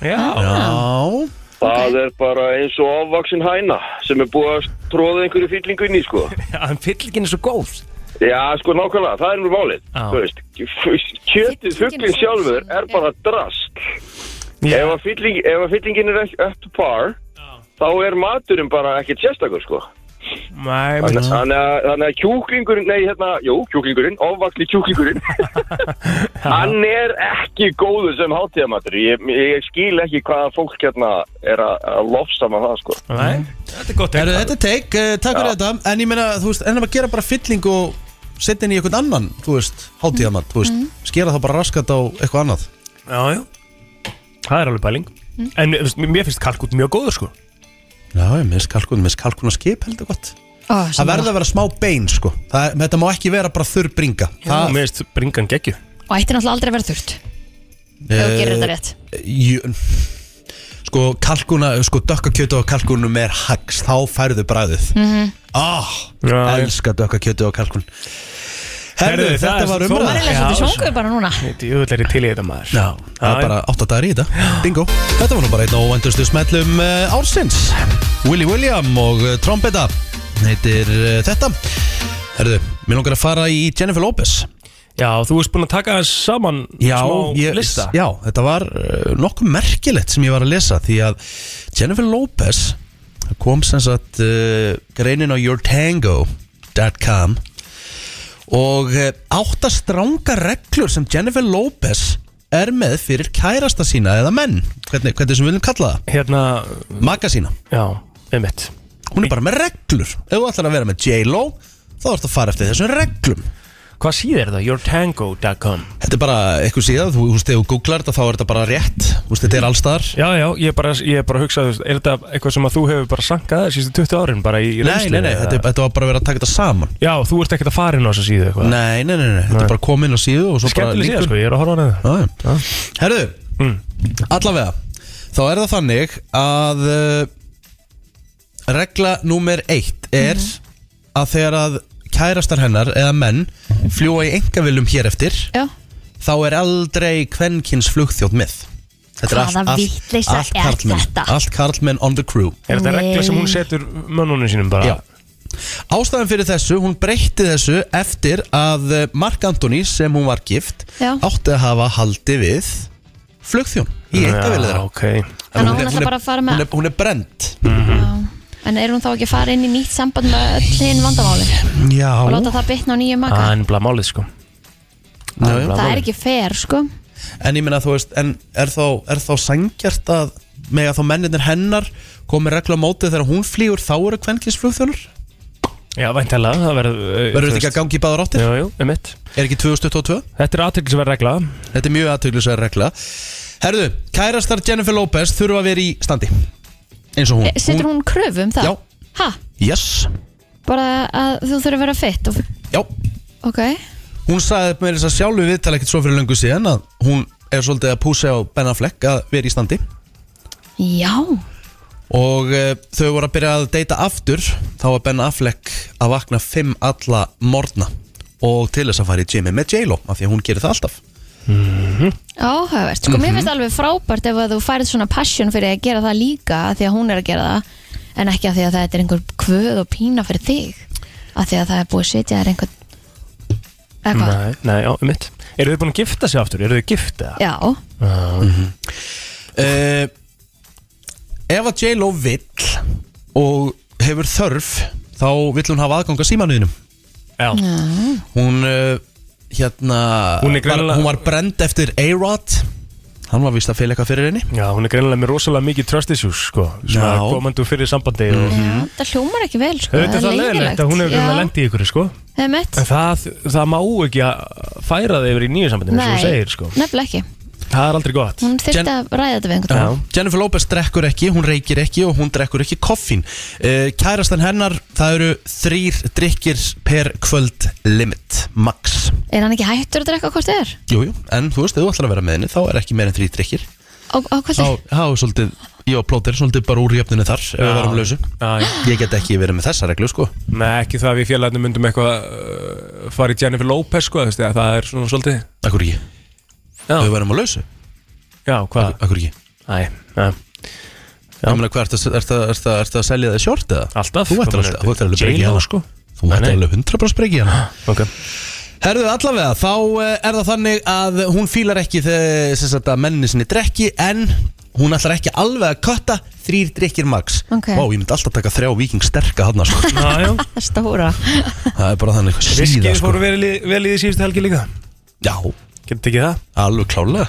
[SPEAKER 2] Já,
[SPEAKER 1] Já.
[SPEAKER 9] Það er bara eins og ofvaksin hæna sem er búið að tróða einhverju fyllingu inn í sko
[SPEAKER 2] en fyllingin er svo góð
[SPEAKER 9] Já, sko nákvæmlega, það er mjög málið
[SPEAKER 2] Já.
[SPEAKER 9] Þú veist, kjötið fugglin sjálfur er bara drast
[SPEAKER 2] Já.
[SPEAKER 9] Ef að fylling, ef að fyllingin er ekki up to par þá er maturinn bara ekkert sérstakur sko
[SPEAKER 2] Nei,
[SPEAKER 9] Þannig
[SPEAKER 2] minnst
[SPEAKER 9] þannig að, þannig að kjúklingurinn, nei hérna, jú, kjúklingurinn, ofvaksli kjúklingurinn, hann er ekki góður sem hátíðamatur. Ég, ég skil ekki hvaða fólk hérna er að, að lofsama það, sko.
[SPEAKER 2] Nei, þetta er gott
[SPEAKER 1] Heru, Þetta er take, uh, takk fyrir þetta En ég meina, þú veist, ennum að gera bara fylling og setja inn í einhvern annan, þú veist, hátíðamann þú veist, skera það bara raskat á eitthvað annað
[SPEAKER 2] Já, já Það er alveg pæling En þú veist, mér finnst kalkút mjög góður sko
[SPEAKER 1] Já, ég minnst kalkun, minnst kalkun að skip heldur gott
[SPEAKER 3] Ó,
[SPEAKER 1] Það verður að vera smá bein, sko það, Þetta má ekki vera bara þurr bringa
[SPEAKER 2] Já, mér finnst bringan geggju
[SPEAKER 3] Og ætti náttúrulega aldrei að vera þurrt Ef þú gerir þetta rétt
[SPEAKER 1] Eh, Jú, sko kalkuna, sko dökkakjötu á kalkunum er hags, þá færðu bræðið
[SPEAKER 3] mm
[SPEAKER 1] Ah, elska dökkakjötu á kalkun Herðu,
[SPEAKER 2] Herðu, það
[SPEAKER 1] þetta
[SPEAKER 2] er
[SPEAKER 1] var
[SPEAKER 2] svo-
[SPEAKER 1] umræð
[SPEAKER 3] Maður er
[SPEAKER 2] Já,
[SPEAKER 3] svolítið
[SPEAKER 2] svona.
[SPEAKER 3] sjóngur bara núna
[SPEAKER 2] Þetta er jöðlega til í þetta maður
[SPEAKER 1] Já, það er
[SPEAKER 2] Já,
[SPEAKER 1] bara 8 dagar í þetta Bingo Þetta var nú bara einn á endustu smellum uh, ársins Willy William og uh, Trombetta heitir uh, þetta Herðu, mér langar að fara í Jennifer Lopez
[SPEAKER 2] Já, þú veist búin að taka þess saman
[SPEAKER 1] Já,
[SPEAKER 2] smá
[SPEAKER 1] ég,
[SPEAKER 2] lista
[SPEAKER 1] já, þetta var uh, nokkuð merkilegt sem ég var að lesa því að Jennifer Lopez kom sem sagt uh, greinin á yourtango.com og uh, átta stranga reglur sem Jennifer Lopez er með fyrir kærasta sína eða menn, hvernig, hvernig sem við viljum kalla það
[SPEAKER 2] Hérna
[SPEAKER 1] Maka sína
[SPEAKER 2] Já, einmitt
[SPEAKER 1] Hún er bara með reglur Ef þú ætlar að vera með J-Lo Þá ertu að fara eftir þessum reglum
[SPEAKER 2] Hvað síð er það? Yourtango.com
[SPEAKER 1] Þetta er bara eitthvað síðan Þú veist, ef þú googlar þetta þá er þetta bara rétt Þú veist, þetta er allstaðar
[SPEAKER 2] Já, já, ég er bara, ég er bara að hugsa, þú veist, er þetta eitthvað sem að þú hefur bara sankað þér síðustu 20 árin bara í, í
[SPEAKER 1] Nei, nei, nei, þetta, er- þetta var bara að vera að taka þetta saman
[SPEAKER 2] Já, þú ert ekkert að fara inn á þessa síðu eitthvað
[SPEAKER 1] Nei, nei, nei, nei, þetta er bara að koma inn á síðu og svo bara
[SPEAKER 2] Skemmtileg síða,
[SPEAKER 1] líkur.
[SPEAKER 2] sko, ég er að horfa á hana
[SPEAKER 1] Já, já. Herðu,
[SPEAKER 2] Mm.
[SPEAKER 1] allavega Þá er það þannig að uh, Regla númer eitt er
[SPEAKER 3] Mhm.
[SPEAKER 1] Að þegar að kærastar hennar eða menn Fljúa í engavilum hér eftir
[SPEAKER 3] Já.
[SPEAKER 1] Þá er aldrei kvenkins flugþjótt með Þetta er
[SPEAKER 3] Hvaða
[SPEAKER 1] allt, allt,
[SPEAKER 3] vitleysa
[SPEAKER 1] allt
[SPEAKER 3] er
[SPEAKER 1] karlmenn
[SPEAKER 3] þetta?
[SPEAKER 1] Allt karlmenn on the crew
[SPEAKER 2] Er þetta regla sem hún
[SPEAKER 3] Nei.
[SPEAKER 2] setur mönnunum sínum bara?
[SPEAKER 1] Já. Ástæðan fyrir þessu, hún breytti þessu eftir að eh, Mark Antoni sem hún var gift
[SPEAKER 3] Já.
[SPEAKER 1] átti að hafa haldi við flugþjón í einkavilið þeirra
[SPEAKER 2] ok
[SPEAKER 3] Þannig að hún
[SPEAKER 1] er-
[SPEAKER 3] ætlar
[SPEAKER 1] er-
[SPEAKER 3] bara að fara með- Mhm.
[SPEAKER 1] hún er, hún er brend
[SPEAKER 3] En er hún þá ekki að fara inn í nýtt samband með öll hinn vandamáli
[SPEAKER 1] Já
[SPEAKER 3] og láta það bitna á nýju maka
[SPEAKER 2] Það er bara málið, sko
[SPEAKER 1] Já, já.
[SPEAKER 3] Það er ekki fair sko
[SPEAKER 1] En ég meina þú veist, en er þá, er þá sangjart að með að þá menninir hennar komi regla á mótið þegar hún flýgur þá eru kvenkins flugþjónar?
[SPEAKER 2] Já, væntalega, það verður uh,
[SPEAKER 1] Verður þetta ekki að gangi í báðar áttir?
[SPEAKER 2] Jú, jú, um mitt
[SPEAKER 1] Er ekki 2022?
[SPEAKER 2] Þetta er aðtöklisverð regla
[SPEAKER 1] Þetta er mjög aðtöklusverð regla Herðu, kærastar Jennifer Lopez þurfa að vera í standi eins og hún
[SPEAKER 3] Eh, Setur hún kröfu um það?
[SPEAKER 1] Já.
[SPEAKER 3] Ha?
[SPEAKER 1] Yes,
[SPEAKER 3] Bara að þú þurfur að vera fitt og...
[SPEAKER 1] já
[SPEAKER 3] Ok
[SPEAKER 1] Hún sagði með þess að sjálfu viðtal ekkert svo fyrir löngu síðan að hún er svolítið að púsa á Ben Affleck að vera í standi
[SPEAKER 3] Já
[SPEAKER 1] og uh, þau voru að byrja að deyta aftur þá var Ben Affleck að vakna fimm alla morgna og til þess að fara í gymið með J-Lo af því að hún gerir það alltaf Mhm.
[SPEAKER 3] Áhugavert, sko
[SPEAKER 2] Mhm.
[SPEAKER 3] mér finnst alveg frábært ef að þú færið svona passion fyrir að gera það líka af því að hún er að gera það en ekki af því að þetta er einhver kvöð og pína fyrir þig af því að það er búið að setja þér einhvern eitthvað,
[SPEAKER 2] Nei, nei, já, um mitt Eru þið búin að gifta sig aftur? Eru þið gift eða?
[SPEAKER 3] já
[SPEAKER 2] Já
[SPEAKER 1] Mhm. uh, Ef að J-Lo vill og hefur þörf þá vill hún hafa aðgang að símanuðinum
[SPEAKER 2] Já
[SPEAKER 1] Hún uh, hérna
[SPEAKER 2] Hún er greinilega-
[SPEAKER 1] var, hún var brend eftir A-Rod Hann var vist að fylgja eitthvað fyrir henni
[SPEAKER 2] Já, hún er greinilega með rosalega mikið trust issues, sko Svona
[SPEAKER 1] Já. Mhm.
[SPEAKER 2] komandu fyrir sambandi og
[SPEAKER 3] Já, þetta hljómar ekki vel sko,
[SPEAKER 2] Þetta er það leiðilegt að hún hefur greinilega lendi í ykkur, sko
[SPEAKER 3] lendið
[SPEAKER 2] En það, það má ekki að færa það yfir í nýju sambandi eins og hún segir, sko
[SPEAKER 3] Nefnilega ekki
[SPEAKER 2] Það er aldrei gott
[SPEAKER 3] Hún þurfti að ræða þetta við einhvern
[SPEAKER 1] Já. Jennifer Lopez drekkur ekki, hún reykir ekki og hún drekkur ekki koffín uh, Kærastan hennar, það eru þrýr drikkir per kvöld limit, max
[SPEAKER 3] Er hann ekki hættur að drekka hvort þið er?
[SPEAKER 1] Jújú, jú. en þú veist, ef þú ætlar að vera með henni þá er ekki meir en þrýr drikkir
[SPEAKER 3] Á, á
[SPEAKER 1] Þá
[SPEAKER 3] kvöldi?
[SPEAKER 1] þá er svolítið, ég og plóter, svolítið bara úr jöfninu þar ef við
[SPEAKER 2] Já.
[SPEAKER 1] varum lausu Ég get ekki verið með þessa reglu, sko
[SPEAKER 2] Nei, ekki það að við félagarnir myndum eitthvað uh, fara í Jennifer Lopez sko, þú veist, eða það er svona svolítið
[SPEAKER 1] Akkur ekki
[SPEAKER 2] Já.
[SPEAKER 1] Við verðum að lausu
[SPEAKER 2] Já, hvað?
[SPEAKER 1] Akkur ekki
[SPEAKER 2] Æ, ja.
[SPEAKER 1] Ég meina, hvað, ertu að- ertu að- ertu að- ertu að selja þið short eða?
[SPEAKER 2] Alltaf
[SPEAKER 1] Þú ættir
[SPEAKER 2] Hvað
[SPEAKER 1] alveg
[SPEAKER 2] meinar,
[SPEAKER 1] þú ættir alveg að breyka í
[SPEAKER 2] J-Lo,
[SPEAKER 1] hana
[SPEAKER 2] sko.
[SPEAKER 1] Þú ættir alveg 100% breyki hana
[SPEAKER 2] Ok
[SPEAKER 1] Herðu allavega, þá eh, er það þannig að hún fílar ekki þegar sem sagt, að menni sinni drekki en hún ætlar ekki alveg að kötta þrýr drikkir max
[SPEAKER 3] Ok.
[SPEAKER 1] Vá, ég myndi alltaf taka þrjá viking sterka hann sko.
[SPEAKER 2] Já, já
[SPEAKER 3] Stóra
[SPEAKER 1] Það er bara þannig eitthvað síða
[SPEAKER 2] Viskið
[SPEAKER 1] sko.
[SPEAKER 2] fóru vel í- vel í því síðustu helgi líka
[SPEAKER 1] Já,
[SPEAKER 2] Getur ekki það?
[SPEAKER 1] alveg klálega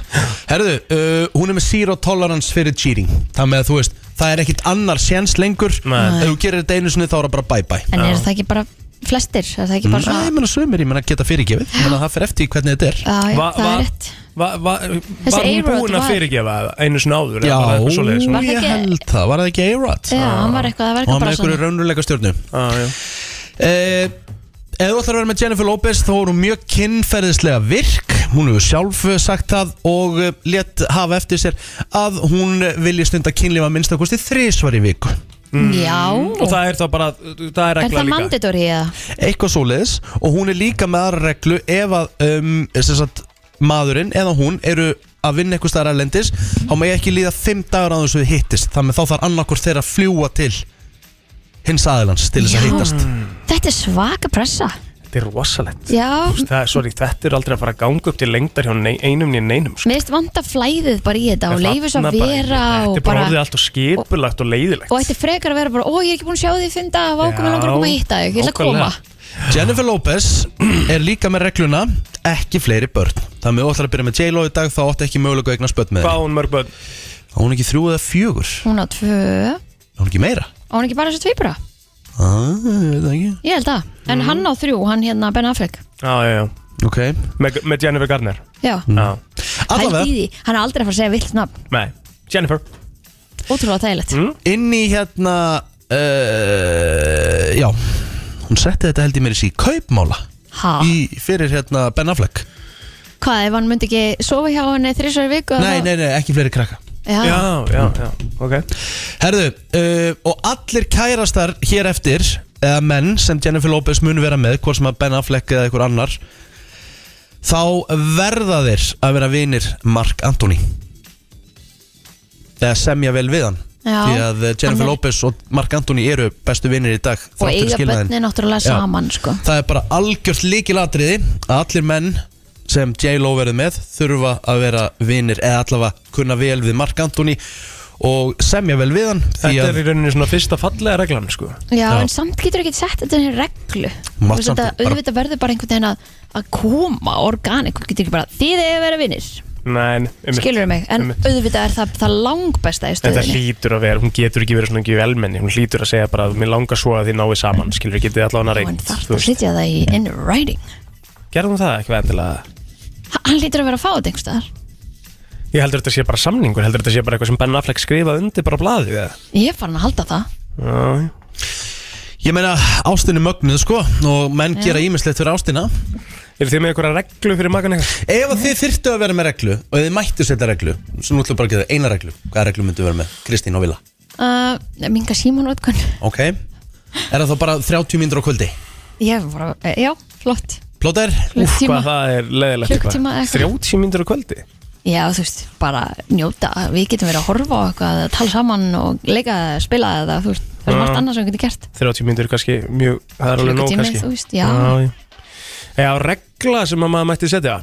[SPEAKER 1] Herðu, uh, hún er með zero tolerance fyrir cheating Það með að þú veist, það er ekkit annar séns lengur
[SPEAKER 2] Nei.
[SPEAKER 1] Ef þú gerir þetta einu sinni þá er það bara bye bye
[SPEAKER 3] En eru það ekki bara flestir? Er það ekki bara
[SPEAKER 1] Nei, ég
[SPEAKER 3] svona?
[SPEAKER 1] meina sömur, ég meina geta fyrirgefið Ég meina það fer eftir því hvernig þetta er
[SPEAKER 3] Já, já,
[SPEAKER 2] Va-
[SPEAKER 3] það
[SPEAKER 2] va-
[SPEAKER 3] er rétt
[SPEAKER 2] va, va,
[SPEAKER 3] Þessi
[SPEAKER 2] Var hún
[SPEAKER 3] A-Rod
[SPEAKER 2] búin að
[SPEAKER 3] var-
[SPEAKER 2] fyrirgefa einu svona áður?
[SPEAKER 1] Já,
[SPEAKER 2] eða var það eitthvað svoleiðis?
[SPEAKER 3] Var það
[SPEAKER 1] ég
[SPEAKER 3] ekki-
[SPEAKER 1] held það, var það ekki A-Rod?
[SPEAKER 3] Já, hann var eitthvað, það var
[SPEAKER 1] Og hann með
[SPEAKER 3] eitthvað bara
[SPEAKER 1] einhverju
[SPEAKER 3] svona
[SPEAKER 1] raunurleika stjórnu
[SPEAKER 2] Ah, Já, já
[SPEAKER 1] eh, Ef þú ætlar að vera með Jennifer Lopez þá er hún mjög kynferðislega virk Hún hefur sjálf eh, sagt það og eh, létt hafa eftir sér að hún eh, vilji stunda kynlífa minnstakosti þrísvar í viku
[SPEAKER 2] Og
[SPEAKER 3] Mm. Já,
[SPEAKER 2] það er þá bara, það er
[SPEAKER 3] er
[SPEAKER 2] regla
[SPEAKER 3] það
[SPEAKER 2] líka
[SPEAKER 3] manditóri eða?
[SPEAKER 1] eitthvað svoleiðis og hún er líka með aðra reglu ef að um, sem sagt, maðurinn eða hún eru að vinna eitthvað staðar erlendis þá má ég ekki líða fimm dagar á þessu hittist þannig að þá þarf annarkur þeirra að fljúa til hins aðilans til þess að
[SPEAKER 3] Já.
[SPEAKER 1] hittast
[SPEAKER 3] Þetta er svaka pressa
[SPEAKER 2] Þetta er rosalegt
[SPEAKER 3] Já,
[SPEAKER 2] Það er, sorry, þetta er aldrei að fara að ganga upp til lengdar hjá nei- einum nýjum neinum sko.
[SPEAKER 3] mér finnst vanda flæðið bara í þetta og
[SPEAKER 2] En
[SPEAKER 3] leifur svo
[SPEAKER 2] þarna
[SPEAKER 3] að vera
[SPEAKER 2] bara, Þetta
[SPEAKER 3] og
[SPEAKER 2] er bara orðið
[SPEAKER 3] bara
[SPEAKER 2] allt og skipulagt og leiðilegt
[SPEAKER 3] og þetta er frekar að vera bara, ó ég er ekki búin að sjá því fynda, vá komið
[SPEAKER 2] Já,
[SPEAKER 3] langar að koma að hitta þig, ég ætla að koma
[SPEAKER 2] nákvæmlega.
[SPEAKER 1] Jennifer Lopez er líka með regluna ekki fleiri börn þannig að þú ætlar að byrja með J-Lo í dag þá átti ekki mögulega að eigna spött með
[SPEAKER 2] Hvað á
[SPEAKER 1] henni
[SPEAKER 2] hún mörg börn?
[SPEAKER 1] á hún ekki þrjú eða fjögur,
[SPEAKER 3] Hún á tvö, á
[SPEAKER 1] á hún ekki meira
[SPEAKER 3] hún ekki bara þessu tvíbura?
[SPEAKER 1] ah, ég veit það ekki
[SPEAKER 3] Ég held það, en hann á þrjú, hann hérna Ben Affleck
[SPEAKER 2] Já, já, já
[SPEAKER 1] okay.
[SPEAKER 2] Með, með Jennifer Garner
[SPEAKER 3] Já,
[SPEAKER 2] Já
[SPEAKER 3] pældi í
[SPEAKER 1] allavega,
[SPEAKER 3] því, hann er aldrei að fara að segja vilt nafn,
[SPEAKER 2] Nei, Jennifer
[SPEAKER 3] ótrúlega þægilegt
[SPEAKER 1] inn í hérna uh, já hún setti þetta held ég mér í sí kaupmála
[SPEAKER 3] Ha,
[SPEAKER 1] í, fyrir hérna Ben Affleck
[SPEAKER 3] hvað ef hann myndi ekki sofa hjá henni þrísar viku
[SPEAKER 1] nei,
[SPEAKER 3] að þá-
[SPEAKER 1] nei, nei, ekki fleiri krakka
[SPEAKER 3] Já,
[SPEAKER 2] Já, já, já, ok
[SPEAKER 1] herðu, uh, og allir kærastar hér eftir eða menn sem Jennifer Lopez mun vera með hvort sem að Ben Affleck eða einhver annar þá verða þeir að vera vinir Mark Anthony eða semja vel við hann
[SPEAKER 3] Já.
[SPEAKER 1] því að eh,
[SPEAKER 3] Hann
[SPEAKER 1] Jennifer
[SPEAKER 3] er-
[SPEAKER 1] Lopez og Mark Anthony eru bestu vinir í dag þrátt
[SPEAKER 3] og
[SPEAKER 1] fyrir
[SPEAKER 3] eiga
[SPEAKER 1] skilnaðinn.
[SPEAKER 3] bönni náttúrulega
[SPEAKER 1] Já.
[SPEAKER 3] saman sko.
[SPEAKER 1] Það er bara algjört líkilatriði að allir menn sem J-Lo verður með þurfa að vera vinnir eða allavega kunna vel við Mark Anthony og semja vel við hann því
[SPEAKER 2] Þetta er
[SPEAKER 1] að
[SPEAKER 2] í rauninni svona fyrsta fallega reglan, sko
[SPEAKER 3] Já,
[SPEAKER 1] Já.
[SPEAKER 3] en samt getur ekki sett þetta er reglu
[SPEAKER 1] Mátt
[SPEAKER 3] Þú veist,
[SPEAKER 1] samt
[SPEAKER 3] þetta
[SPEAKER 1] bara-
[SPEAKER 3] auðvitað verður bara einhvern veginn að, að koma organik, þú getur ekki bara þið eða vera vinnir,
[SPEAKER 2] Nei, um
[SPEAKER 3] skilur mig en
[SPEAKER 2] Einmitt.
[SPEAKER 3] auðvitað er það, það langbesta í
[SPEAKER 2] En það
[SPEAKER 3] stöðinni
[SPEAKER 2] hlýtur að vera, hún getur ekki verið svona ekki velmenni Hún hlýtur að segja bara að mér langar svo að þið náið saman Skilur, getið þið allavega
[SPEAKER 3] og hann
[SPEAKER 2] reynd
[SPEAKER 3] þarf
[SPEAKER 2] þú
[SPEAKER 3] að
[SPEAKER 2] veist.
[SPEAKER 3] sitja það í in writing
[SPEAKER 2] Gerðum það ekki vendilega
[SPEAKER 3] Ha- hann lítur að vera að fá þetta einhverstaðar
[SPEAKER 2] Ég heldur þetta sé bara samningur, heldur þetta sé bara eitthvað sem Ben Affleck skrifað undir bara á blaði Já,
[SPEAKER 3] ég er farin að halda það
[SPEAKER 2] já
[SPEAKER 1] ég meina ástinni mögnuð sko og menn gera ímislegt fyrir ástina
[SPEAKER 2] Eru þið með einhverja reglu fyrir makan eitthvað?
[SPEAKER 1] Ef að þið þyrftu að vera með reglu og þið mættu setja reglu svo nú ætlum við bara að geta eina reglu hvaða reglu myndu vera með? Kristín og Vila
[SPEAKER 3] uh, minga símónu ötkun
[SPEAKER 1] Ok Er það þá bara 30 mínútur á kvöldi?
[SPEAKER 3] ég er bara, eh, já, flott
[SPEAKER 1] Plóter?
[SPEAKER 2] Hvað
[SPEAKER 3] klukktíma,
[SPEAKER 2] það er leðilegt
[SPEAKER 3] Klukkutíma eða eitthvað.
[SPEAKER 2] 30 myndur á kvöldi?
[SPEAKER 3] já, þú veist, bara njóta við getum verið að horfa á eitthvað, tala saman og leika, eða spila eða þú veist, það er margt
[SPEAKER 2] Já.
[SPEAKER 3] annað sem við getum gert
[SPEAKER 2] 30 myndur er kannski mjög, það er alveg nóg
[SPEAKER 3] Klukkutími,
[SPEAKER 2] kannski
[SPEAKER 3] þú veist, já.
[SPEAKER 2] já. Já, regla sem að maður mætti setja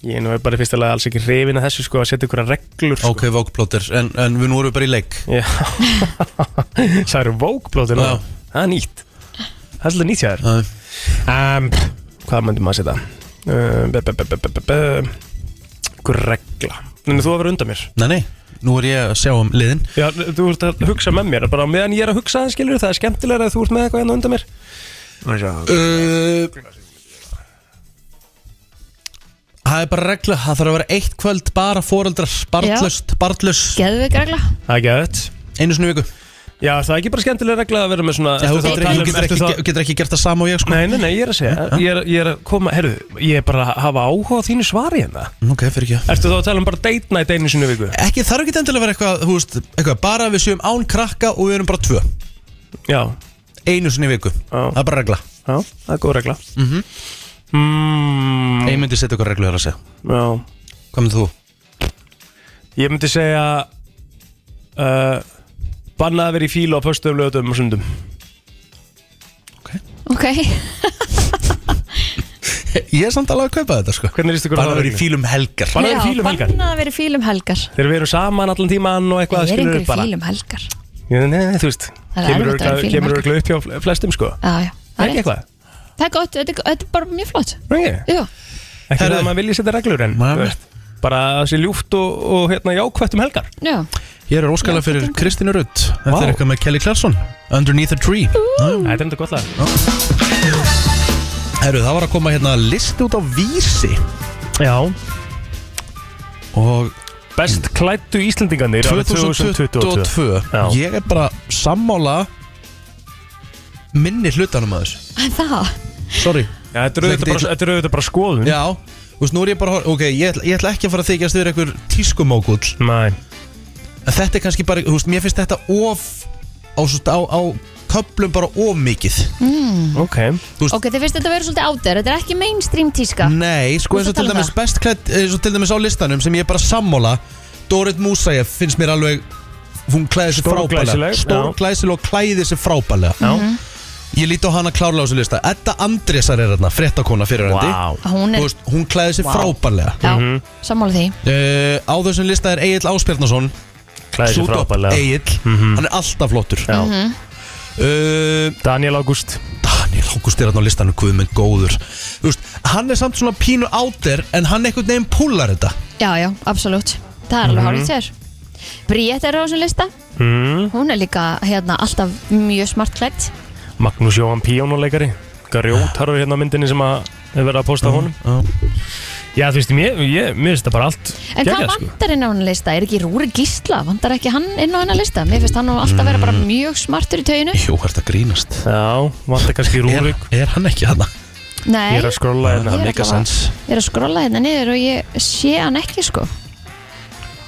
[SPEAKER 2] Ég nú er bara fyrst að alls ekki hrifin að þessu sko að setja einhverja reglur sko.
[SPEAKER 1] Ok, vók plóter, en, en við nú erum við bara í leik
[SPEAKER 2] Já Það eru vókblóti nú
[SPEAKER 1] Já.
[SPEAKER 2] Það er nýtt Það er svolítið nýtt hjá þér
[SPEAKER 1] Æ.
[SPEAKER 2] um, Hvað myndum maður að setja? Hver regla Þannig þú að vera undan mér
[SPEAKER 1] Nei, nei, nú er ég að sjá um liðin
[SPEAKER 2] Já, þú ert að hugsa með mér Bara á meðan ég er að hugsa það skilur Það er skemmtilega að þú ert með eitthvað hérna undan mér
[SPEAKER 1] Uh, það er bara regla, það þarf að vera eitt kvöld bara foreldrar, barnlöst, barnlöst
[SPEAKER 3] Geðveik regla
[SPEAKER 2] Það er gæðið
[SPEAKER 1] Einu sinni viku
[SPEAKER 2] Já, það er ekki bara skemmtileg regla að vera með svona
[SPEAKER 1] Já, þú getur ekki- þú getur ekki- þú getur ekki gert það sama og ég sko
[SPEAKER 2] Nei, nei, nei, ég er að segja
[SPEAKER 1] Já.
[SPEAKER 2] Ég er, ég er að koma, herru, ég er bara að hafa áhuga á þínu svari hérna
[SPEAKER 1] Ok, fyrir ekki
[SPEAKER 2] Ertu þá að tala um bara date night einu sinni í viku?
[SPEAKER 1] Ekki, þarf ekki endilega að vera eitthvað, þú veist, eitthvað Bara við séum án krakka og við erum bara tvö
[SPEAKER 2] Já
[SPEAKER 1] Einu sinni í viku, það er bara regla
[SPEAKER 2] Já, það er góð regla
[SPEAKER 1] mm -hmm.
[SPEAKER 2] mm.
[SPEAKER 1] Ég myndi setja eitthvað reglu þar að segja
[SPEAKER 2] Já
[SPEAKER 1] Hvað með þú?
[SPEAKER 2] Ég myndi segja uh, Bannað að vera í fílu á föstum lögutum og sundum
[SPEAKER 3] Ok
[SPEAKER 1] Ég er samt alveg að kaupa þetta sko
[SPEAKER 2] Hvernig líst ykkur á þá
[SPEAKER 1] Bara að vera í
[SPEAKER 2] reglu?
[SPEAKER 1] fílum helgar
[SPEAKER 2] Bara að vera í fílum helgar
[SPEAKER 3] Bannað að vera í fílum helgar
[SPEAKER 2] Þegar við erum saman allan tíman og eitthvað
[SPEAKER 3] Það er
[SPEAKER 2] skilurðu,
[SPEAKER 3] einhver í
[SPEAKER 2] bara-
[SPEAKER 3] fílum helgar
[SPEAKER 2] Nei, nei, nei, þú veist
[SPEAKER 3] Það er
[SPEAKER 2] Kemur
[SPEAKER 3] erfitt að vera
[SPEAKER 2] örugglega-
[SPEAKER 3] í fílum
[SPEAKER 2] Kemur
[SPEAKER 3] helgar.
[SPEAKER 2] örgla upp hjá flestum sko
[SPEAKER 3] Já, já,
[SPEAKER 2] Ekki
[SPEAKER 3] það er Ah, rétt
[SPEAKER 2] eitthvað
[SPEAKER 3] Það er gott, þetta er- þetta er bara mjög flott
[SPEAKER 2] Nei.
[SPEAKER 3] Jú,
[SPEAKER 2] Ekki það að maður vilja setja reglur en þú veist, Bara að það sé ljúft og, og hérna, jákvætt um helgar
[SPEAKER 3] já
[SPEAKER 1] Ég er óskalega fyrir Kristínu Rutt Þetta er eitthvað með Kelly Clarkson Underneath a Tree
[SPEAKER 2] Þetta er enda gott lag
[SPEAKER 1] Herru, það var að koma hérna listi út á vísi
[SPEAKER 2] Já
[SPEAKER 1] Og
[SPEAKER 2] Best klættu Íslendingarnir árið
[SPEAKER 1] 2022
[SPEAKER 2] Já.
[SPEAKER 1] Ég er bara sammála minni hlutanum að þessu
[SPEAKER 3] En það
[SPEAKER 1] Sorry
[SPEAKER 2] Já, þetta er auðvitað bara- þetta er auðvitað bara skoðun
[SPEAKER 1] Já, þú veist, nú er ég bara Ok, ég ætla, ég ætla ekki að fara að þykjast þér einhver tískumókull
[SPEAKER 2] Nei
[SPEAKER 1] En þetta er kannski bara, þú veist, mér finnst þetta of Á, svo- á, á köplum bara of mikið
[SPEAKER 3] mm.
[SPEAKER 2] Ok
[SPEAKER 1] Þú veist,
[SPEAKER 3] Ok, þið finnst þetta að vera svolítið átur Þetta er ekki mainstream tíska
[SPEAKER 1] Nei, sko eins og
[SPEAKER 3] um
[SPEAKER 1] til dæmis best klætt eins og til dæmis á listanum sem ég er bara sammála Dorit Musaev finnst mér alveg hún klæði sér frábælega
[SPEAKER 2] Stórglæsileg, já.
[SPEAKER 1] Stór glæsileg og klæði sér frábælega
[SPEAKER 2] Já. Mhm.
[SPEAKER 1] Ég líti á hana klárlega á þessu lista Edda Andrésar er hérna, fréttakona fyrirhandi
[SPEAKER 2] Vá. Mhm.
[SPEAKER 3] Hún er-
[SPEAKER 1] Þú veist, hún klæði sér
[SPEAKER 3] Vá.
[SPEAKER 1] frábælega
[SPEAKER 3] Já, sammála því
[SPEAKER 1] uh, Á þessum lista er Egil Áspjarnason
[SPEAKER 2] Klæðir sig frábælega.
[SPEAKER 1] Egil, hann er alltaf flottur
[SPEAKER 2] Já.
[SPEAKER 3] Mhm.
[SPEAKER 1] uh,
[SPEAKER 2] Daniel August
[SPEAKER 1] Daniel August er hann á listanum Guð minn góður Þú veist, Hann er samt svona pínu áter En hann einhvern veginn púlar þetta
[SPEAKER 3] Já, já, absolutt Það er alveg
[SPEAKER 1] Mhm.
[SPEAKER 3] hárið þér Bríett er á þessum lista
[SPEAKER 2] mm.
[SPEAKER 3] Hún er líka hérna alltaf mjög smart klætt
[SPEAKER 2] Magnús Jóhann píónuleikari Grjótarur hérna á myndinni sem að hefur verið að posta á honum Já, þú veist, mér, ég, mér finnst þetta bara allt
[SPEAKER 3] En hvað
[SPEAKER 2] geggjað,
[SPEAKER 3] vantar inn á hennar lista? Er ekki Rúri Gísla? Vantar ekki hann inn á hennar lista? Mér finnst hann nú alltaf vera bara
[SPEAKER 2] Mm.
[SPEAKER 3] mjög smartur í tauginu
[SPEAKER 1] Jú, hvert að grínast
[SPEAKER 2] Já, vantar kannski Rúrik
[SPEAKER 1] Er, er hann ekki hana?
[SPEAKER 3] Nei,
[SPEAKER 2] Ég er að skrolla hérna
[SPEAKER 3] Ég er ekki að- ég er að skrolla hérna niður og ég sé hann ekki sko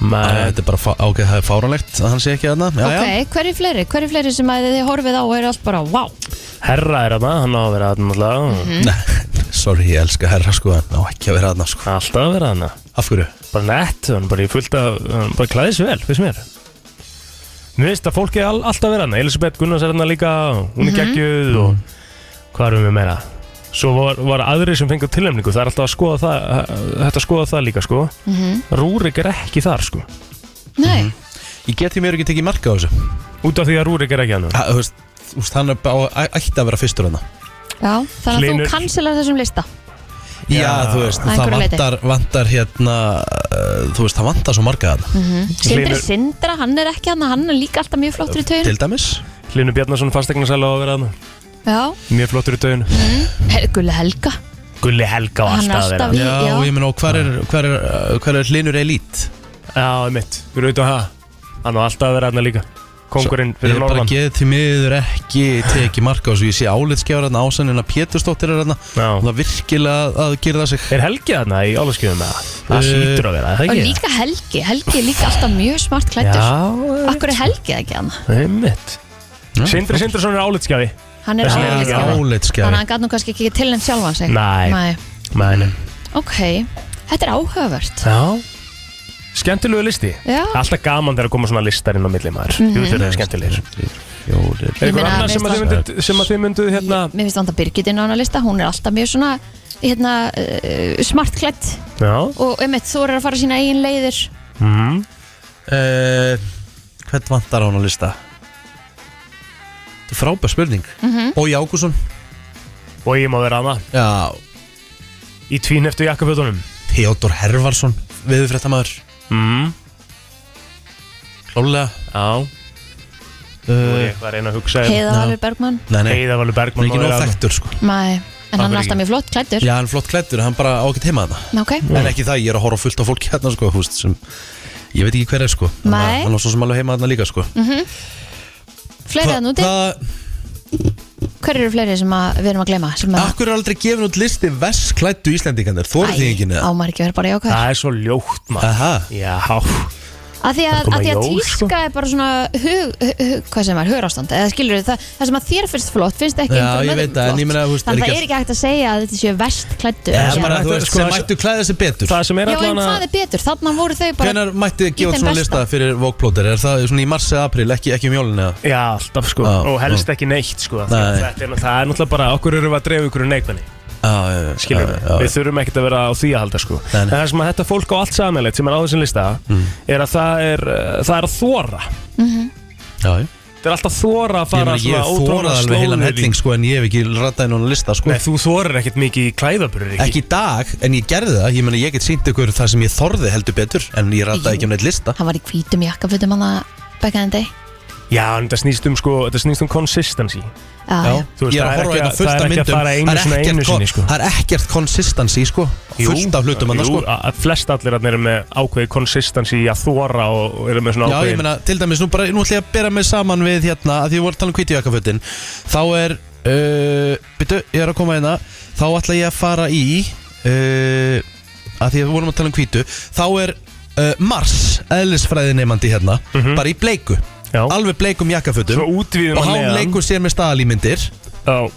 [SPEAKER 1] Þetta er bara, fá- ok, það er fáránlegt að hann sé ekki hana já,
[SPEAKER 3] Ok, hverju fleiri? Hverju fleiri sem að þið horfið á og eru allt bara, wow
[SPEAKER 2] Herra er hana, hann á að vera um hana alltaf
[SPEAKER 3] Mhm.
[SPEAKER 1] já. Sorry, ég elska herra sko en Ná, ekki að vera hana sko
[SPEAKER 2] Alltaf að vera hana
[SPEAKER 1] Af hverju?
[SPEAKER 2] Bara nett, hann bara í fullt af Hann bara klæðis vel, finnst mér Mér finnst að fólki er all, alltaf að vera hana Elisabeth Gunnars er hana líka Hún er
[SPEAKER 1] Mhm.
[SPEAKER 2] geggjuð og Hvað erum við meira? Svo var, var aðri sem fengur tilnefningu Það er alltaf að skoða það Þetta að skoða það líka, sko
[SPEAKER 3] Mhm.
[SPEAKER 2] Rúrik er ekki þar, sko
[SPEAKER 3] Nei
[SPEAKER 2] Mhm.
[SPEAKER 1] Ég geti mér ekki tekið marka á þessu
[SPEAKER 2] Út af því að Rúrik er ekki hana
[SPEAKER 1] Þú veist, þú veist, hann er bara á- æ- ætti að vera fyrstur hana
[SPEAKER 3] Já, þannig að
[SPEAKER 1] Hlynur-
[SPEAKER 3] þú kansilar þessum lista
[SPEAKER 1] Já, þú veist,
[SPEAKER 3] Að
[SPEAKER 1] það
[SPEAKER 3] einhverju leyti.
[SPEAKER 1] vantar, vantar hérna uh, Þú veist, það vantar svo marga hana
[SPEAKER 3] Sindri
[SPEAKER 2] Hlynur-
[SPEAKER 3] Sindra, hann er ekki hann Hann er líka alltaf mjög flottur í tauginu
[SPEAKER 1] dæmis
[SPEAKER 2] Hlynur Bjarnason fastegnarsæla á að vera hana
[SPEAKER 3] Já,
[SPEAKER 2] Mjög flottur í döginu
[SPEAKER 3] Hel- Gulli Helga
[SPEAKER 2] Gulli Helga á
[SPEAKER 3] Hann er
[SPEAKER 2] alltaf að vera
[SPEAKER 3] alltaf í- Já, já. ég
[SPEAKER 1] meina, og hvar er, hvar er, uh, hvar er Linur Elít?
[SPEAKER 2] Já, mitt, við erum auðvitað að hafa Hann á alltaf að vera hana líka Kongurinn
[SPEAKER 1] Ég
[SPEAKER 2] fyrir
[SPEAKER 1] er bara
[SPEAKER 2] norðan
[SPEAKER 1] getið því miður ekki tekið marka á þessu Ég sé álitskjára hana ásanina Pétursdóttir er hana Og það virkilega að- að gera það sig
[SPEAKER 2] Er Helgi hana í álaskjöfum með það? Það
[SPEAKER 1] Eh,
[SPEAKER 2] hlýtur að vera, er
[SPEAKER 3] Og
[SPEAKER 2] það ekki?
[SPEAKER 3] líka Helgi, Helgi er líka alltaf mjög smart klættur
[SPEAKER 2] Já,
[SPEAKER 3] Akkur er Helgi það ekki hann
[SPEAKER 2] Einmitt Sindri Sindrason er álitskjafi
[SPEAKER 3] Hann er
[SPEAKER 2] Þessi
[SPEAKER 3] álitsgjafi.
[SPEAKER 1] álitskjafi.
[SPEAKER 3] Þannig að hann gæti nú kannski ekki til henn sjálfan sig
[SPEAKER 2] Nei. Mæni
[SPEAKER 3] Ok, þetta er áhugavert
[SPEAKER 2] Já Skemmtilegu listi
[SPEAKER 3] Já.
[SPEAKER 2] Alltaf gaman þegar að koma svona listar inn á milli maður
[SPEAKER 3] Mhm.
[SPEAKER 2] Jú, þeir eru skemmtilegir
[SPEAKER 1] Jólir
[SPEAKER 2] Er eitthvað annað sem að þið myndið sem að þið mynduð hérna
[SPEAKER 3] Mér finnst vanda Birgit inn á hennar lista Hún er alltaf mjög svona hérna, uh, smart klætt
[SPEAKER 2] Já
[SPEAKER 3] Og um eitt, þú eru að fara sína eigin leiðir
[SPEAKER 2] mm.
[SPEAKER 1] Eh, Hvern vantar hann á lista? Þetta er frábær spurning
[SPEAKER 3] Mhm.
[SPEAKER 1] Bói Ágússon
[SPEAKER 2] Og ég má vera hana
[SPEAKER 1] Já
[SPEAKER 2] Í tvín eftir jakkafötunum
[SPEAKER 1] Theodor Hervarsson Viðurfréttamaður
[SPEAKER 2] mm.
[SPEAKER 1] Klálega
[SPEAKER 2] Já
[SPEAKER 1] Uh,
[SPEAKER 2] Nú er ég eitthvað að reyna að hugsa hérna.
[SPEAKER 3] Heiða Valur Bergmann
[SPEAKER 1] Nei, nei
[SPEAKER 2] Heiða Valur Bergmann
[SPEAKER 1] Hún er ekki
[SPEAKER 2] má
[SPEAKER 1] nóg
[SPEAKER 2] vera þarna.
[SPEAKER 1] þekktur, sko.
[SPEAKER 3] Mæ, En hann er alltaf mjög flott klættur
[SPEAKER 1] Já, hann er flott klættur, hann bara á ekkert heima þarna
[SPEAKER 3] Ok.
[SPEAKER 1] En ekki það, ég er að horfa á fullt á fólki hérna sko, húst, sem, Ég veit ekki hver er sko Þannig að
[SPEAKER 3] Nei.
[SPEAKER 1] Hann var svo sem alveg heima þarna líka sko
[SPEAKER 3] mm -hmm. Fleiri að núti Hver eru fleiri sem að, við erum að glema sem að
[SPEAKER 1] Akkur er aldrei gefin út listi Vest klættu Íslendingarnir, þóra því ekki neða
[SPEAKER 3] ámar ekki að vera bara jákvæður
[SPEAKER 1] er svo ljótt maður Aha. Já
[SPEAKER 3] Að því að,
[SPEAKER 1] Það koma
[SPEAKER 3] að, því að
[SPEAKER 1] jól, sko.
[SPEAKER 3] tíska er bara svona hug, hug, hug, hvað sem var, hugarástand eða skilur það, það sem að þér finnst flott finnst ekki
[SPEAKER 1] Já,
[SPEAKER 3] einhverjum
[SPEAKER 1] ég veit
[SPEAKER 3] öðrum
[SPEAKER 1] það, en ég
[SPEAKER 3] flott.
[SPEAKER 1] meina, þú veist, er
[SPEAKER 3] Þannig það
[SPEAKER 1] ekki
[SPEAKER 3] er ekki hægt að segja að þetta séu vest klættu
[SPEAKER 1] Það er bara, þú veist,
[SPEAKER 2] sko,
[SPEAKER 1] sem
[SPEAKER 2] það-
[SPEAKER 1] mættu klæða sig betur
[SPEAKER 2] Það sem er
[SPEAKER 3] Já, en hvað er betur? Þannig voru þau bara
[SPEAKER 1] Hvenær mætti þið
[SPEAKER 3] í
[SPEAKER 1] gefa út
[SPEAKER 3] þeim
[SPEAKER 1] svona
[SPEAKER 3] besta.
[SPEAKER 1] lista fyrir Vogue-plóter? Er það svona í mars eða april, ekki, ekki um jólun eða?
[SPEAKER 2] Já, alltaf sko, og helst ekki neitt sko, því að
[SPEAKER 1] Nei.
[SPEAKER 2] þetta er, nú- það er náttúrulega bara, okkur erum við að dreifa ykkur neikvæðni
[SPEAKER 1] ekki
[SPEAKER 2] Skilur við, við þurfum ekkert að vera á því að halda sko En það sem að þetta fólk á allt samanlegt sem er á þessum lista
[SPEAKER 1] Mm.
[SPEAKER 2] Er að það er, uh, það er að þóra
[SPEAKER 1] Já, já
[SPEAKER 2] Það er alltaf þóra að
[SPEAKER 1] Ég
[SPEAKER 2] fara
[SPEAKER 1] meina, ég þóraði alveg heilan helling sko En ég hef ekki rattaði núna lista sko
[SPEAKER 2] Nei, þú þórar ekkert mikið í klæðaburður
[SPEAKER 1] Ekki í dag, en ég gerði það Ég meina, ég get sínt ykkur það sem ég þorði heldur betur En ég rattaði ekki um neitt lista
[SPEAKER 3] Hann var í hvítum jakkafutum hann að bæka þenn dag
[SPEAKER 2] Já, en þetta snýst um sko, þetta snýst um consistency
[SPEAKER 3] Já, já.
[SPEAKER 2] Þú veist,
[SPEAKER 1] Ég er
[SPEAKER 2] það
[SPEAKER 1] að
[SPEAKER 2] er
[SPEAKER 1] horfa
[SPEAKER 2] ekki
[SPEAKER 1] hérna
[SPEAKER 2] að-
[SPEAKER 1] fullt
[SPEAKER 2] það
[SPEAKER 1] af
[SPEAKER 2] er ekki að
[SPEAKER 1] myndum
[SPEAKER 2] fara einu
[SPEAKER 1] Það er
[SPEAKER 2] sinni,
[SPEAKER 1] ekkert
[SPEAKER 2] einu
[SPEAKER 1] kon-
[SPEAKER 2] sinni, sko.
[SPEAKER 1] Það er ekkert konsistansi sko Fullt af hlutum annars
[SPEAKER 2] jú,
[SPEAKER 1] sko
[SPEAKER 2] að- að flest allir að eru með ákveði konsistensi í að þóra og og eru með svona
[SPEAKER 1] Já,
[SPEAKER 2] ákveðin
[SPEAKER 1] ég meina, til dæmis, nú bara, nú ætla ég að bera mig saman við hérna að því við vorum að tala um kvítjakafutin þá er, uh, byrju, ég er að koma hérna þá ætla ég að fara í uh, að því að við vorum að tala um kvítu þá er uh, Mars eðlisfræði neymandi hérna, bara í bleiku
[SPEAKER 2] Mhm. Já.
[SPEAKER 1] alveg bleikum jakkafutum
[SPEAKER 2] Svo útvíðum
[SPEAKER 1] og
[SPEAKER 2] að
[SPEAKER 1] hann
[SPEAKER 2] neðan.
[SPEAKER 1] leikur sér með staðalímyndir
[SPEAKER 2] Já.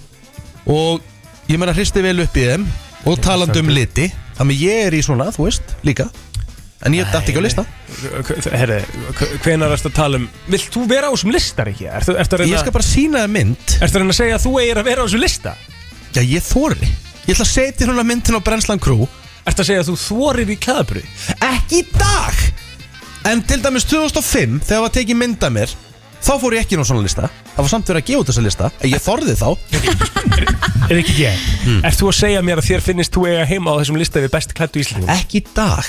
[SPEAKER 1] og ég meina, hristi vel upp í þeim og talandi um liti þannig ég er í svona, þú veist, líka en ég dætt ekki á lista
[SPEAKER 2] Herri, hvenar erstu að tala um Vilt þú vera á þessum listar ekki? Ertu, ertu að reyna,
[SPEAKER 1] Ég skal bara sína það mynd
[SPEAKER 2] Ertu að reyna að segja að þú eigir að vera á þessum lista?
[SPEAKER 1] Já, ég þóri Ég ætla að setja hérna myndin á Brennslan Crew
[SPEAKER 2] Ertu að segja að þú þórir í klæðabröði?
[SPEAKER 1] Ekki í dag En til dæmis 2005 Þegar var tekið mynd af mér Þá fór ég ekki inn á svona lista Það var samt verið að gefa út þessa lista En ég þorði þá Hmm.
[SPEAKER 2] Er ekki ég? Ert þú að segja mér að þér finnst þú eiga heima á þessum lista við best klættu íslendingum?
[SPEAKER 1] Ekki í dag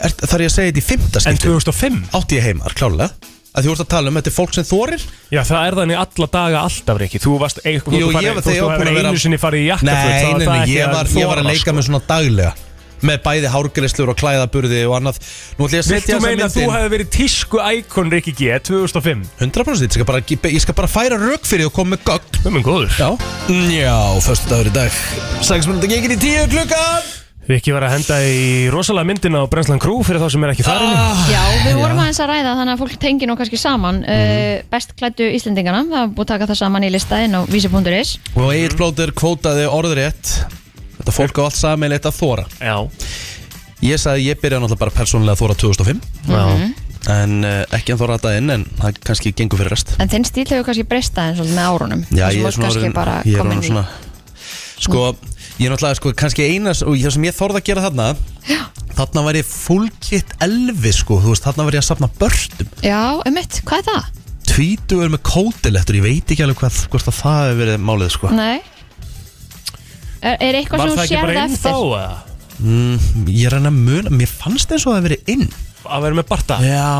[SPEAKER 1] er, Þar ég að segja þetta í fymta
[SPEAKER 2] En 2005?
[SPEAKER 1] Átti ég heimar, klálega Að því voru að tala um Þetta er fólk sem þorir
[SPEAKER 2] Já, það er þannig alla daga alltaf, Riki Þú varst eitthvað þú
[SPEAKER 1] Jú, ég
[SPEAKER 2] farið-
[SPEAKER 1] var
[SPEAKER 2] þú
[SPEAKER 1] þegar ég var
[SPEAKER 2] hefur
[SPEAKER 1] búin að vera
[SPEAKER 2] einu sinni farið í jakkaföt þá
[SPEAKER 1] Nei,
[SPEAKER 2] er
[SPEAKER 1] nei,
[SPEAKER 2] það
[SPEAKER 1] nei,
[SPEAKER 2] ekki
[SPEAKER 1] ég
[SPEAKER 2] að
[SPEAKER 1] var, ég var að
[SPEAKER 2] þora,
[SPEAKER 1] leika
[SPEAKER 2] sko.
[SPEAKER 1] með svona daglega Með bæði hárgreislur og klæðaburði og annað Nú ætla ég að
[SPEAKER 2] Vilt þú
[SPEAKER 1] setja þessa
[SPEAKER 2] meina að þú
[SPEAKER 1] myndin-
[SPEAKER 2] hefði verið tísku ækon Riki G 2005?
[SPEAKER 1] 100% ég skal, bara, ég skal bara færa rauk fyrir því og koma með gögn
[SPEAKER 2] Við erum góður
[SPEAKER 1] Já, Já förstu dagur í dag 6 minúti gengin í 10 klukkan
[SPEAKER 2] Riki var að henda í rosalega myndina á Brenslan Crew fyrir þá sem er ekki farin ah,
[SPEAKER 3] Já, við vorum aðeins að ræða þannig að fólk tengi nú kannski saman
[SPEAKER 1] Mhm.
[SPEAKER 3] uh, best klættu Íslendingana, það er búið að taka það saman í lista inn á vísi.is
[SPEAKER 1] Og Egil Blóter kvótaði orðrétt Þetta fólk á allt samanleitt að þóra
[SPEAKER 2] Já
[SPEAKER 1] Ég sagði ég byrjaði náttúrulega bara persónulega að þóra 2005
[SPEAKER 3] Já.
[SPEAKER 1] En uh, ekki en þóra þetta inn en það kannski gengur fyrir rest
[SPEAKER 3] En þinn stíl hefur kannski breysta eins og með árunum
[SPEAKER 1] Já,
[SPEAKER 3] Þar
[SPEAKER 1] ég
[SPEAKER 3] sem þú
[SPEAKER 1] er
[SPEAKER 3] ert
[SPEAKER 1] svona
[SPEAKER 3] kannski
[SPEAKER 1] orðin,
[SPEAKER 3] bara
[SPEAKER 1] ég er orðin
[SPEAKER 3] komin í-
[SPEAKER 1] svona Sko, ég er náttúrulega sko, kannski einas og það sem ég þorði að gera þarna Já. Þarna var ég fullkitt elvi sko, þú veist, þarna var ég að safna börnum
[SPEAKER 3] Já, einmitt, hvað er það?
[SPEAKER 1] Tvítugur með kótilettur, ég veit ekki alveg hvað, hvort að það hefur verið málið sko
[SPEAKER 3] Nei Er, er eitthvað sem þú sérð eftir?
[SPEAKER 1] Mm, ég er hann að muna, mér fannst eins og það hefur verið inn
[SPEAKER 2] Að vera með barta?
[SPEAKER 1] Já,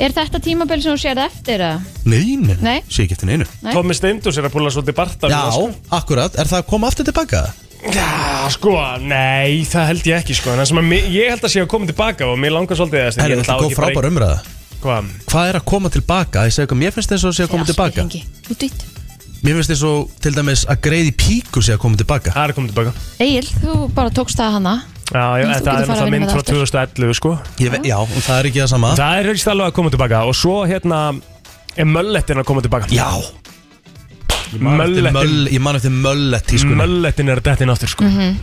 [SPEAKER 3] Er þetta tímabil sem þú sérð eftir? eða?
[SPEAKER 1] nei, nei,
[SPEAKER 3] Nei.
[SPEAKER 1] sé ekki eftir neinu
[SPEAKER 3] Nei.
[SPEAKER 2] Tommy Steindus er að búla svolítið sko. barta
[SPEAKER 1] Já, akkurat, er það að koma aftur tilbaka?
[SPEAKER 2] Já, sko, nei, það held ég ekki sko En það sem að mi- ég held að sé að koma tilbaka og mér langar svolítið að
[SPEAKER 1] Er þetta góð frábær umræða?
[SPEAKER 2] Hvað?
[SPEAKER 1] Hvað er að koma tilbaka? Ég segi eitthvað, mér finnst eins og það sé að koma tilbaka
[SPEAKER 3] Út ít
[SPEAKER 1] Mér finnst eins og til dæmis að greiði píku sé að koma tilbaka
[SPEAKER 2] Það er að koma tilbaka
[SPEAKER 3] Egil, þú bara tókst það hana
[SPEAKER 2] Já, já,
[SPEAKER 3] Þú
[SPEAKER 2] það
[SPEAKER 3] getur
[SPEAKER 2] er
[SPEAKER 3] farið að
[SPEAKER 2] náttúrulega
[SPEAKER 3] vinna
[SPEAKER 2] mynd
[SPEAKER 3] með
[SPEAKER 2] frá
[SPEAKER 3] aftur.
[SPEAKER 2] 2011 sko
[SPEAKER 1] ég, ve- Já, og það er ekki það sama
[SPEAKER 2] Það er ekki alveg að koma tilbaka og svo hérna er möllettin að koma tilbaka
[SPEAKER 1] Já
[SPEAKER 2] Möllettin
[SPEAKER 1] Möll- Ég man eftir möllett tísku
[SPEAKER 2] Möllettin er að detta inn aftur sko
[SPEAKER 3] Mhm.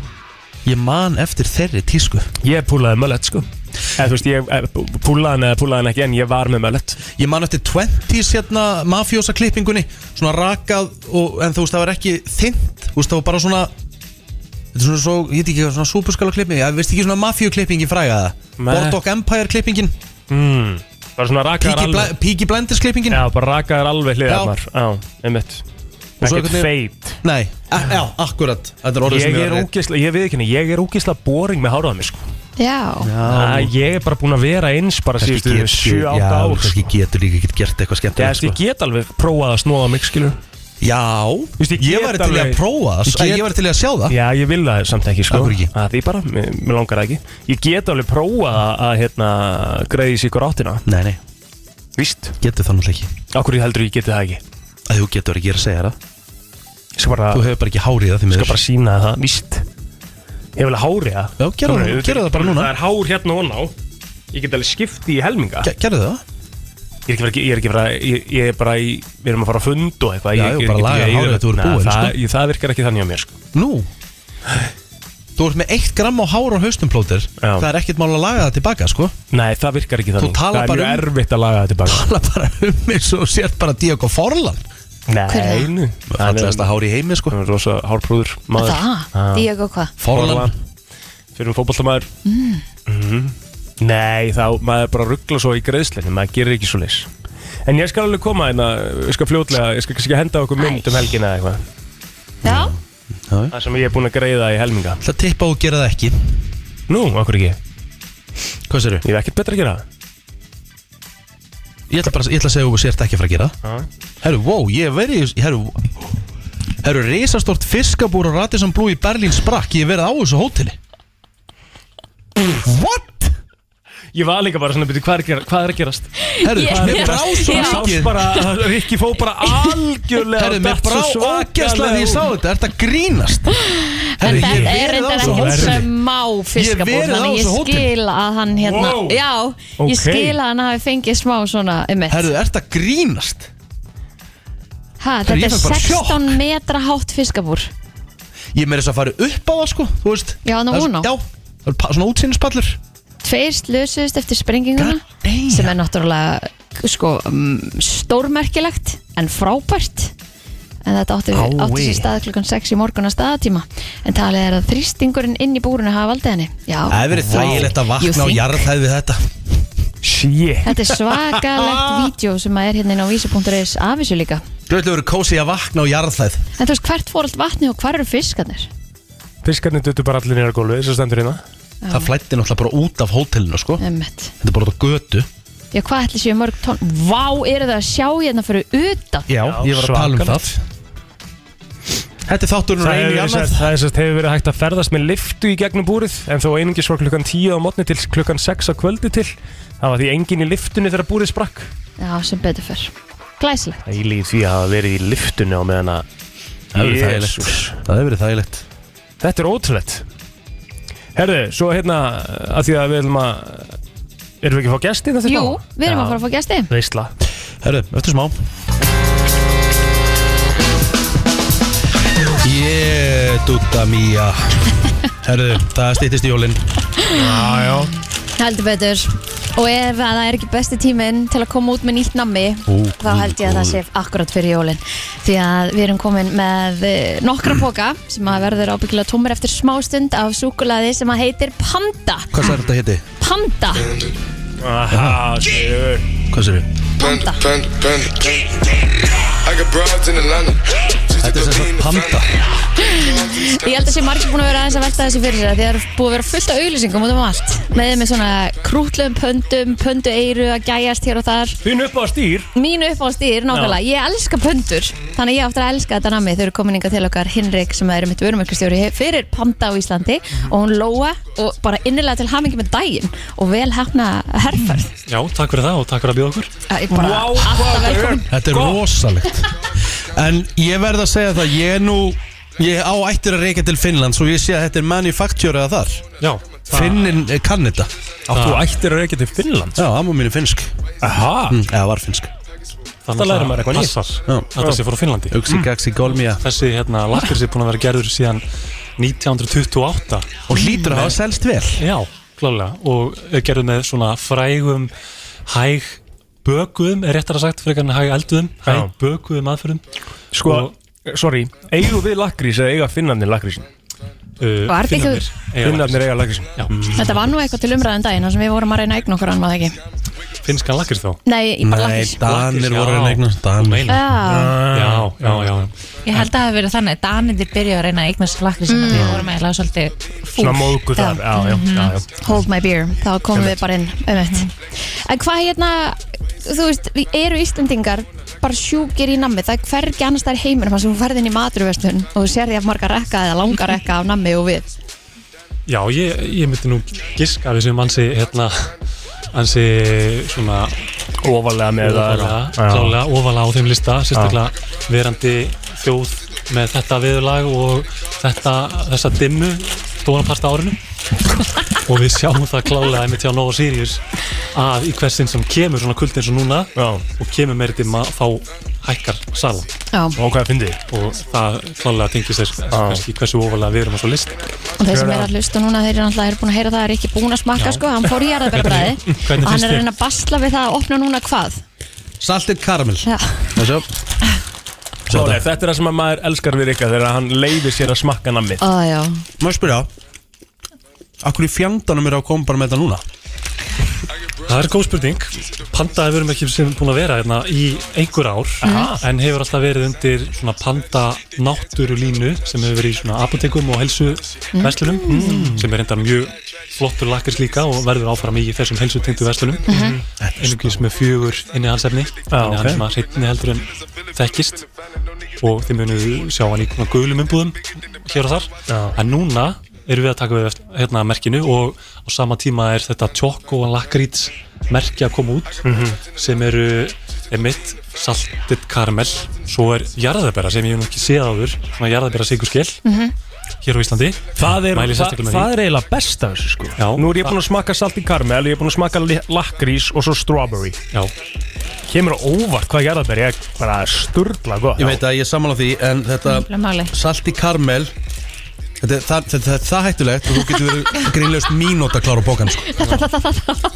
[SPEAKER 1] Ég man eftir þeirri tísku
[SPEAKER 2] Ég púlaði möllett sko Eða þú veist, ég eh, pú- púlaði hann eða púlaði hann ekki en ég var með möllett
[SPEAKER 1] Ég man eftir 20s hérna mafjósa klippingunni Svona rakað og, En þú veist það var ekki þynt Þú veist það var bara svona Þetta er svona svo, ég veit ekki hvað, svona súperskala klipping Ég veist ekki svona mafjó klippingin fræga það
[SPEAKER 2] Nei.
[SPEAKER 1] Boardwalk Empire klippingin
[SPEAKER 2] mm. Bara svona rakaðar
[SPEAKER 1] Píki, bla,
[SPEAKER 2] alveg
[SPEAKER 1] Píki Blenders klippingin
[SPEAKER 2] Já, bara rakaðar alveg
[SPEAKER 1] Já.
[SPEAKER 2] hliðarnar Já, einmitt Ekkert feit
[SPEAKER 1] Nei, a- já, akkurat Þetta er orðið sem
[SPEAKER 2] Ég er
[SPEAKER 1] var-
[SPEAKER 2] ógisla, ég veit ekki henni, ég er ógisla boring með háraða mér sko
[SPEAKER 3] Já,
[SPEAKER 2] Æ, Ég er bara búin að vera eins bara
[SPEAKER 1] Kannski
[SPEAKER 2] síðustu
[SPEAKER 1] getur-
[SPEAKER 2] 7-8
[SPEAKER 1] já,
[SPEAKER 2] ár sko.
[SPEAKER 1] kannski getur líka ekkert gert eitthvað
[SPEAKER 2] Já,
[SPEAKER 1] skemmtilegt sko.
[SPEAKER 2] ég get alveg prófað að snóða mig skilur
[SPEAKER 1] Já,
[SPEAKER 2] Vist, ég,
[SPEAKER 1] ég
[SPEAKER 2] get
[SPEAKER 1] var til í að
[SPEAKER 2] alveg-
[SPEAKER 1] prófa það, ég, ég var til í að sjá það
[SPEAKER 2] Já, ég vil það samt ekki sko
[SPEAKER 1] Af hverju ekki?
[SPEAKER 2] Að Því bara, mér, mér langar það ekki Ég get alveg prófað að, að hérna, greiði sér ykkur áttina
[SPEAKER 1] Nei, nei
[SPEAKER 2] Víst
[SPEAKER 1] Getur það náttúrulega ekki
[SPEAKER 2] Af hverju heldur ég geti það ekki?
[SPEAKER 1] Að þú getur ekki að segja það
[SPEAKER 2] Ég skal bara
[SPEAKER 1] Þú hefur bara ekki hárið það því
[SPEAKER 2] Ég
[SPEAKER 1] miður
[SPEAKER 2] skal bara sína það, víst Ég vil að hári það
[SPEAKER 1] Já, gerðu það- gerðu það bara núna.
[SPEAKER 2] Það er hár hérna og ná Ég get alveg skipti í helminga
[SPEAKER 1] Ge- Gerðu það?
[SPEAKER 2] Ég er ekki verið, ég er ekki verið, ég, ég er bara í, við erum að fara að fund og eitthvað
[SPEAKER 1] Já,
[SPEAKER 2] ég, ég
[SPEAKER 1] jú,
[SPEAKER 2] er
[SPEAKER 1] bara
[SPEAKER 2] ekki-
[SPEAKER 1] laga
[SPEAKER 2] ég- ég-
[SPEAKER 1] hárið að þú eru
[SPEAKER 2] Nei,
[SPEAKER 1] búin,
[SPEAKER 2] það,
[SPEAKER 1] sko.
[SPEAKER 2] ég, það virkar ekki þannig á mér, sko
[SPEAKER 1] Nú Þú ert með eitt gram á hár og haustum plótir Það er ekkert mál að laga það tilbaka, sko
[SPEAKER 2] Nei, það virkar ekki þannig
[SPEAKER 1] talar
[SPEAKER 2] Það er
[SPEAKER 1] bara
[SPEAKER 2] mjög
[SPEAKER 1] um-
[SPEAKER 2] erfitt að laga það tilbaka
[SPEAKER 1] Tala bara um mig svo sért bara Diego Forlan
[SPEAKER 3] Hver er það?
[SPEAKER 2] Nei, nú
[SPEAKER 1] Fallegasta hár í heimi, sko
[SPEAKER 2] Hann er rosa hárprúður maður
[SPEAKER 3] Það, Diego hvað? Mm.
[SPEAKER 1] Forlan
[SPEAKER 2] Fyrir um fótboltamaður Mhm. Nei, þá maður bara ruggla svo í greiðslinni Maður gerir ekki svo leys En ég skal alveg koma hérna Ég skal fljótlega, ég skal kannski henda okkur mynd um helgina eða eitthvað
[SPEAKER 3] Já,
[SPEAKER 2] Það sem ég er búin að greiða í helminga
[SPEAKER 1] Það tippa og gera það ekki
[SPEAKER 2] Nú, okkur ekki
[SPEAKER 1] Hvað sér
[SPEAKER 2] Ég er ekkert betra að gera það
[SPEAKER 1] Ég ætla bara ég ætla að segja að þú sért ekki að fara að gera það Herru, wow, ég hef verið í- Herru, herru risastort fiskabúr og Radisson Blue í Berlín sprakk Ég hef verið á þessu hóteli What?
[SPEAKER 2] Ég var líka bara svona, byrju, hvað, er að gera- hvað er að gerast?
[SPEAKER 1] Herru,
[SPEAKER 3] Ég-
[SPEAKER 1] mér brá svo
[SPEAKER 3] Já.
[SPEAKER 2] Sást
[SPEAKER 1] mikið
[SPEAKER 2] bara, Rikki fó bara algjörlega
[SPEAKER 1] Herru, mér
[SPEAKER 2] datt
[SPEAKER 1] brá
[SPEAKER 2] svo
[SPEAKER 1] ógæslega
[SPEAKER 2] svakalega
[SPEAKER 1] því ég sá
[SPEAKER 2] út.
[SPEAKER 1] þetta Ertu að grínast?
[SPEAKER 3] en
[SPEAKER 1] Herru,
[SPEAKER 3] það
[SPEAKER 1] ég hef verið á
[SPEAKER 3] er reyndar
[SPEAKER 1] þessu
[SPEAKER 3] ekki
[SPEAKER 1] hóteli
[SPEAKER 3] smá
[SPEAKER 1] Ég
[SPEAKER 3] fiskabúr
[SPEAKER 1] verið á
[SPEAKER 3] Þannig ég
[SPEAKER 1] þessu hóteli.
[SPEAKER 3] skil að hann hérna
[SPEAKER 2] Wow.
[SPEAKER 3] Já,
[SPEAKER 2] Ok.
[SPEAKER 3] ég skil að hann hafi fengið smá svona um mitt
[SPEAKER 1] Herru, ertu að grínast?
[SPEAKER 3] Ha,
[SPEAKER 1] Herru, ég
[SPEAKER 3] Þetta er
[SPEAKER 1] fekk bara sjokk.
[SPEAKER 3] 16 metra hátt fiskabúr
[SPEAKER 1] Ég meira þess að fara upp á það sko, þú veist
[SPEAKER 3] Já, hann á
[SPEAKER 1] Það er-
[SPEAKER 3] Uno.
[SPEAKER 1] Já, það er pa- svona útsýnispallur
[SPEAKER 3] Tveir slösuðust eftir sprenginguna
[SPEAKER 1] God damn.
[SPEAKER 3] sem er náttúrulega sko, mm, stórmerkilegt en frábært en þetta átti,
[SPEAKER 1] Ái.
[SPEAKER 3] átti sér stað klukkan 6 í morgun að staðatíma en talið er að þrýstingurinn inn í búrunu hafa valdið henni Já,
[SPEAKER 1] Það hefur verið
[SPEAKER 3] vá.
[SPEAKER 1] þægilegt að vakna
[SPEAKER 3] You
[SPEAKER 1] á
[SPEAKER 3] think?
[SPEAKER 1] jarðhæð við þetta
[SPEAKER 2] Shit
[SPEAKER 3] Þetta er svakalegt vídeo sem að er hérna inn á vísi.is af þessu líka
[SPEAKER 1] Gröðlega verið kósi að vakna á jarðhæð
[SPEAKER 3] En þú veist hvert fór allt vatni og hvar eru fiskarnir?
[SPEAKER 2] Fiskarnir duttu bara allir nýra gólfið sem stendur hérna
[SPEAKER 1] Það flætti náttúrulega bara út af hótelinu sko
[SPEAKER 3] Emmett
[SPEAKER 1] Þetta er bara út á götu
[SPEAKER 3] Já, hvað ætli séu mörg tón? Vá, eru það að sjá hérna fyrir utan?
[SPEAKER 1] Já, ég var að tala um það Þetta er þátturinn úr
[SPEAKER 2] Það
[SPEAKER 1] einu í
[SPEAKER 2] hefur
[SPEAKER 1] annað
[SPEAKER 2] sest, það sest, hefur verið hægt að ferðast með liftu í gegnum búrið en þó einingis frá klukkan 10 á mótni til klukkan 6 á kvöldi til það var því engin í liftunni þegar búrið sprakk
[SPEAKER 3] Já, sem betur fyrr Glæsilegt
[SPEAKER 2] Það er líf því að hafa verið í liftunni á meðan að
[SPEAKER 1] Það hefur verið
[SPEAKER 2] Jesús.
[SPEAKER 1] þægilegt Það hefur verið þægilegt
[SPEAKER 2] Þetta er ótrúlegt Herðu, svo hérna að því að við erum að erum við ekki að fá gesti þetta
[SPEAKER 3] Jú, við erum að fara að fá gæsti
[SPEAKER 2] Veistla
[SPEAKER 1] Herru, eftir smá Ég dúta mía Herru, það stýttist í jólin
[SPEAKER 2] Já, já
[SPEAKER 3] Heldur betur Og ef að það er ekki besti tíminn til að koma út með nýtt nammi
[SPEAKER 1] Ú,
[SPEAKER 3] þá held ég að það sé akkurat fyrir jólin því að við erum komin með eh, nokkra póka sem að verður ábyggilega tómur eftir smástund af súkulaði sem að heitir Panda
[SPEAKER 1] Hvað sér þetta héti?
[SPEAKER 3] Panda
[SPEAKER 2] Aha, sjöur
[SPEAKER 1] Hvað sér þetta?
[SPEAKER 10] Panda, panda, panda I got broads in Atlanta
[SPEAKER 1] Þetta er sem sagt panda
[SPEAKER 3] Ég held að sé margir búin að vera aðeins að velta þessu fyrir sér því að það er búið að vera fullt af auglýsingum út um allt með með svona krútlum pöndum pöndu eiru að gæjast hér og þar
[SPEAKER 2] Þín upp á stýr
[SPEAKER 3] Mín uppáhaldstýr, nákvæmlega, ég elska pöndur Þannig að ég áttur að elska þetta nami Þau eru komin inga til okkar Hinrik sem er mitt vörumökkustjóri Fyrir Panda á Íslandi Og hún Lóa og bara innilega til hamingi með daginn Og vel hefna herrferð
[SPEAKER 13] Já, takk fyrir það og takk fyrir að bjóða okkur
[SPEAKER 3] Það er bara
[SPEAKER 2] Vá,
[SPEAKER 3] alltaf
[SPEAKER 2] hvað er-
[SPEAKER 3] velkomin
[SPEAKER 1] Þetta er rosalegt En ég verð að segja það Ég er nú Ég á ættir að reyka til Finnland Svo ég sé að þetta er manufakturað þar
[SPEAKER 13] Já,
[SPEAKER 1] Finnin eh, kann þetta
[SPEAKER 2] Átt Ah. þú ættir að reykja til Finnland
[SPEAKER 1] Já, amma mín er finnsk
[SPEAKER 2] Aha
[SPEAKER 1] mm, Eða var finnsk
[SPEAKER 13] þannig
[SPEAKER 2] lærir maður eitthvað nýtt.
[SPEAKER 13] passar
[SPEAKER 1] Já.
[SPEAKER 13] að það sé frá Finnlandi Mm.
[SPEAKER 1] Uxi gaxi golmia
[SPEAKER 13] Þessi hérna lakkurs er búin að vera gerður síðan 1928
[SPEAKER 1] Og hlýtur að hafa selst vel
[SPEAKER 13] Já, klálega og er gerður með svona frægum hæg bökuðum er réttar að sagt frekar en hæg elduðum hæg
[SPEAKER 2] Já.
[SPEAKER 13] bökuðum aðferðum
[SPEAKER 2] Sko, sorry, eigum við lakrís eða eiga finnarnir lakrísin?
[SPEAKER 13] uh,
[SPEAKER 3] Var þetta ekki-
[SPEAKER 13] Finnarnir eiga
[SPEAKER 2] Finnarnir eiga lakrísin
[SPEAKER 13] Já,
[SPEAKER 3] Þetta var nú eitthvað til umræðan daginn þar sem við vorum að reyna að eigna okkur hann var það ekki
[SPEAKER 13] finnskan lakkurs þá
[SPEAKER 3] Nei, ég bara
[SPEAKER 1] Nei,
[SPEAKER 3] lakis
[SPEAKER 1] Danir
[SPEAKER 13] Lakkís,
[SPEAKER 1] voru
[SPEAKER 13] já.
[SPEAKER 1] að regna Danir
[SPEAKER 3] Já,
[SPEAKER 13] Já, já, já, já.
[SPEAKER 14] Ég held að það hefur verið þannig að Danindi byrjuði að reyna að eignast lakri sem mm. við vorum eiginlega svolítið fúl
[SPEAKER 2] Svona móðgu þar, já, já,
[SPEAKER 3] Mhm.
[SPEAKER 2] já, já.
[SPEAKER 3] hold my beer Þá komum við bara inn um En hvað hérna, þú veist, við eru Íslendingar bara sjúkir í nammi það er hvergi annars þær heiminum þannig að þú ferð inn í maturvestun og þú sér því að marga rekka eða langa rekka af nammi og við
[SPEAKER 13] Já, ég, ég myndi nú giska við sem ansi hérna ansi svona
[SPEAKER 2] ofalega með það,
[SPEAKER 13] ofalega,
[SPEAKER 2] já.
[SPEAKER 13] klálega ofalega á þeim lista sérstaklega verandi þjóð með þetta viðurlag og þetta, þessa dimmu dónaparta árinu og við sjáum það klálega einmitt hjá Nova Sirius að í hversin sem kemur svona kuldin svo núna já. og kemur meiri dimma þá hækkar salan
[SPEAKER 3] Já.
[SPEAKER 13] og hvað finnir og það klálega tengist þess kannski hversu ofalega við erum á svo list
[SPEAKER 3] og þeir sem er að hlusta núna þeir eru náttúrulega er búin að heyra það er ekki búin að
[SPEAKER 13] Já.
[SPEAKER 3] smakka sko, hann fór í jarðabærbræði
[SPEAKER 1] Hvernig-
[SPEAKER 3] og
[SPEAKER 1] hvernig finnst
[SPEAKER 3] hann er að
[SPEAKER 1] þér?
[SPEAKER 3] reyna að basla við það að opna núna hvað
[SPEAKER 1] Saltið karamell
[SPEAKER 3] Já.
[SPEAKER 1] Þessu
[SPEAKER 2] Klálega, þetta er það sem að maður elskar við Rikka þegar hann leiðir sér að smakka nammið
[SPEAKER 3] Ó, já.
[SPEAKER 1] Má ég spyrja Akkur í fjandanum er að koma bara með þetta núna
[SPEAKER 13] Það er góð spurning Panda hefur ekki sem búin að vera hérna í einhver ár
[SPEAKER 2] Aha.
[SPEAKER 13] en hefur alltaf verið undir svona panda náttúrulínu sem hefur verið í svona apotekum og helsu verslunum
[SPEAKER 2] Mm.
[SPEAKER 13] sem er enda mjög flottur lakkis líka og verður áfram í þessum helsu tengdu verslunum
[SPEAKER 2] Mhm.
[SPEAKER 13] einhverjum með fjögur inni hans efni þannig að hann
[SPEAKER 2] ok.
[SPEAKER 13] er svona hreitni heldur en þekkist og þið munið sjá hann í svona gulum umbúðum hér og þar
[SPEAKER 2] Já.
[SPEAKER 13] en núna erum við að taka við eftir- hérna merkinu og á sama tíma er þetta Choco Lakrits merki að koma út
[SPEAKER 2] Mhm.
[SPEAKER 13] sem eru emitt saltið karamell svo er jarðabæra sem ég hef nú ekki séð áður svona jarðabæra sigurskell
[SPEAKER 2] Mhm.
[SPEAKER 13] hér á Íslandi
[SPEAKER 2] Það er,
[SPEAKER 13] Mæli
[SPEAKER 2] það,
[SPEAKER 13] sérstaklega með
[SPEAKER 2] það
[SPEAKER 13] því.
[SPEAKER 2] er eiginlega best af þessu sko
[SPEAKER 13] Já.
[SPEAKER 2] Nú er ég búinn að smakka salt í karmel, ég er búinn að smakka li- lakrís og svo strawberry
[SPEAKER 13] Já
[SPEAKER 2] Kemur á óvart hvað jarðabær ég bara sturla gott
[SPEAKER 1] Ég veit að ég er sammála því En þetta salti karmel Þetta er það, það, það, er það hættulegt Og þú getur verið grínlegust mínúta klára á bókan sko.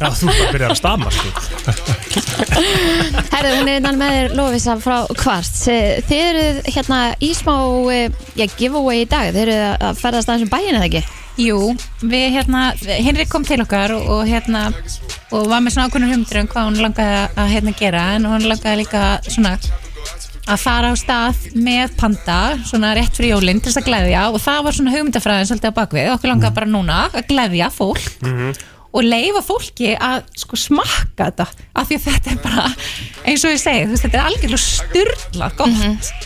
[SPEAKER 2] Já, þú bara byrjar að stama sko.
[SPEAKER 3] Herðu, hún er innan með þér Lofisa frá Kvart Þið eruð hérna í smá eh, já, giveaway í dag, þið eruð að ferðast aðeins um bæin eða ekki?
[SPEAKER 14] Jú, við hérna, Henrik kom til okkar og, og hérna, og var með svona ákveðnum humdur um hvað hún langaði að- að hérna gera en hún langaði líka svona að fara á stað með panda svona rétt fyrir jólinn til þess að gleðja og það var svona hugmyndafræðin svolítið á bakvið okkur
[SPEAKER 2] Mm.
[SPEAKER 14] langaði bara núna að gleðja fólk og leifa fólki að sko smakka þetta af því að þetta er bara eins og ég segi, þú veist, þetta er algjörlega styrla gott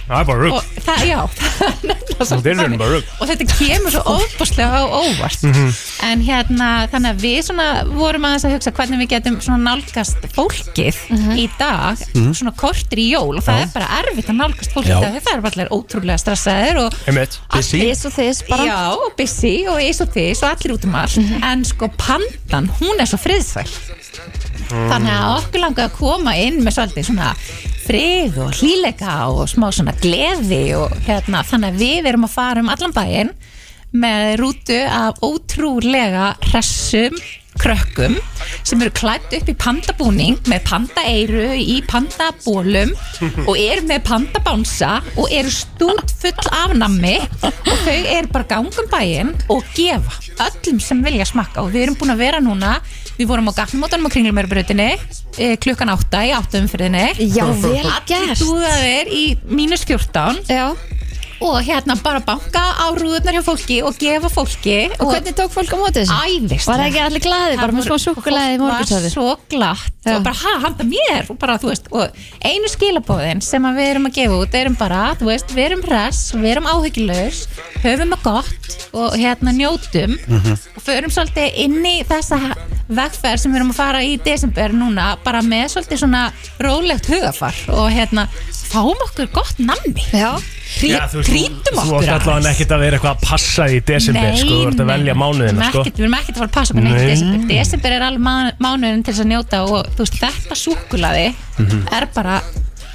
[SPEAKER 2] Það er bara
[SPEAKER 14] og
[SPEAKER 2] rugg
[SPEAKER 14] það, já, það er nefnilega
[SPEAKER 2] Það
[SPEAKER 14] svolítið
[SPEAKER 2] er raun
[SPEAKER 14] þannig.
[SPEAKER 2] bara Mhm. rugg
[SPEAKER 14] og þetta kemur svo óbúslega á óvart en hérna, þannig að við svona vorum aðeins að hugsa hvernig við getum svona nálgast fólkið í dag
[SPEAKER 2] Mhm.
[SPEAKER 14] svona kortir í jól og
[SPEAKER 2] Já.
[SPEAKER 14] það er bara erfitt að nálgast fólkið
[SPEAKER 2] Já.
[SPEAKER 14] í dag því það er bara allir ótrúlega stressaðir og
[SPEAKER 2] Einmitt
[SPEAKER 14] Ís og þess bara Já, og busy og ís og þess og allir út um allt En sko pandan, hún er svo friðsvæl Þannig að okkur langaði að koma inn með svolítið svona frið og hlýleika og smá svona gleði og hérna, þannig að við erum að fara um allan bæinn með rútu af ótrúlega hressum krökkum sem eru klætt upp í pandabúning með pandaeiru í pandabólum og eru með pandabánsa og eru stútt full af nammi og þau eru bara gangum bæinn og gefa öllum sem vilja smakka og við erum búin að vera núna við vorum á gafnumótanum á kringlumörbröðinni eh, klukkan 8 í 8 umfyrinni
[SPEAKER 3] Já, vel
[SPEAKER 14] allir
[SPEAKER 3] gert.
[SPEAKER 14] dúðaðir í mínus 14
[SPEAKER 3] Já.
[SPEAKER 14] og hérna bara banka á rúðunar hjá fólki og gefa fólki
[SPEAKER 3] Og hvernig tók fólk á móti þessu?
[SPEAKER 14] Æðist
[SPEAKER 3] Var það ekki allir glaðir, bara með smá súkkulaði í morgunsárið?
[SPEAKER 14] var svo glatt og bara ha, handa mér og bara þú veist og einu skilabóðin sem að við erum að gefa út erum bara, þú veist, við erum hress við erum áhyggjulegs, höfum að gott og hérna njótum og förum svolítið inn í þessa vegferð sem við erum að fara í desember núna, bara með svolítið svona rólegt hugafar og hérna fáum okkur gott nammi
[SPEAKER 2] Já, þú veist, þú-
[SPEAKER 14] Trítum
[SPEAKER 2] Þú
[SPEAKER 14] okkur
[SPEAKER 2] átt allavega ekkert að vera eitthvað að passa í desember
[SPEAKER 14] Nei,
[SPEAKER 2] sko, Þú ert að
[SPEAKER 14] nei,
[SPEAKER 2] velja
[SPEAKER 14] nei,
[SPEAKER 2] mánuðina
[SPEAKER 14] við erum
[SPEAKER 2] sko.
[SPEAKER 14] ekkert- Við erum ekkert að fara að passa upp á neitt í
[SPEAKER 2] Nei.
[SPEAKER 14] desember Desember er alveg mánu- mánuðurinn til þess að njóta og þú veist, þetta súkulaði
[SPEAKER 1] Mhm.
[SPEAKER 14] er bara,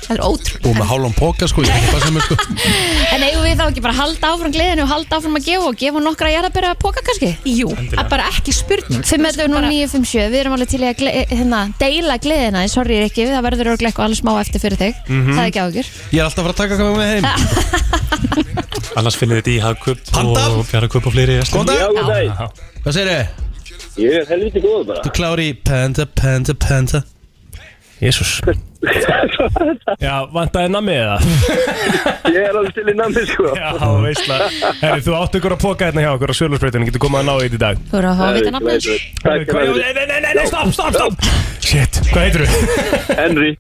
[SPEAKER 14] það er ótrú
[SPEAKER 1] Búið með hálfum póka sko, ég veit ekki hvað sem er sko
[SPEAKER 3] En eigum við þá ekki bara að halda áfram gleðinu og halda áfram að gefa og gefa nokkra að að byrja að póka kannski?
[SPEAKER 14] Jú, það er bara ekki spurning
[SPEAKER 3] 5.9.57, við erum alveg til í að gle- hérna, deila gleðina, en sorry ekki, það verður örglega eitthvað alveg smá eftir fyrir þig,
[SPEAKER 13] Mhm.
[SPEAKER 3] það er ekki ágjur
[SPEAKER 1] Ég er alltaf að fara að taka hvað með heim
[SPEAKER 13] annars finnir þetta í Hagkup og Bjarrakup og fleiri
[SPEAKER 1] Góðan dag. Já, góðan dag. Hvað segir þið?
[SPEAKER 15] Ég er helviti góð bara
[SPEAKER 1] Þú klári í penta, penta, penta
[SPEAKER 2] Jésús Já, vantaði nammi eða?
[SPEAKER 9] Ég er alveg til í nammi sko
[SPEAKER 2] Já, veistla Herri, þú átt ykkur að póka hérna hjá okkur á Sjölusbreytinu Getur komað að ná eitt í dag
[SPEAKER 3] Þú eru að fá að vita nafnið þessu
[SPEAKER 2] Herri, hvað- Nei, nei, nei, nei, nei, stopp, stopp, stopp Shit, hvað heitir þú?
[SPEAKER 9] Henry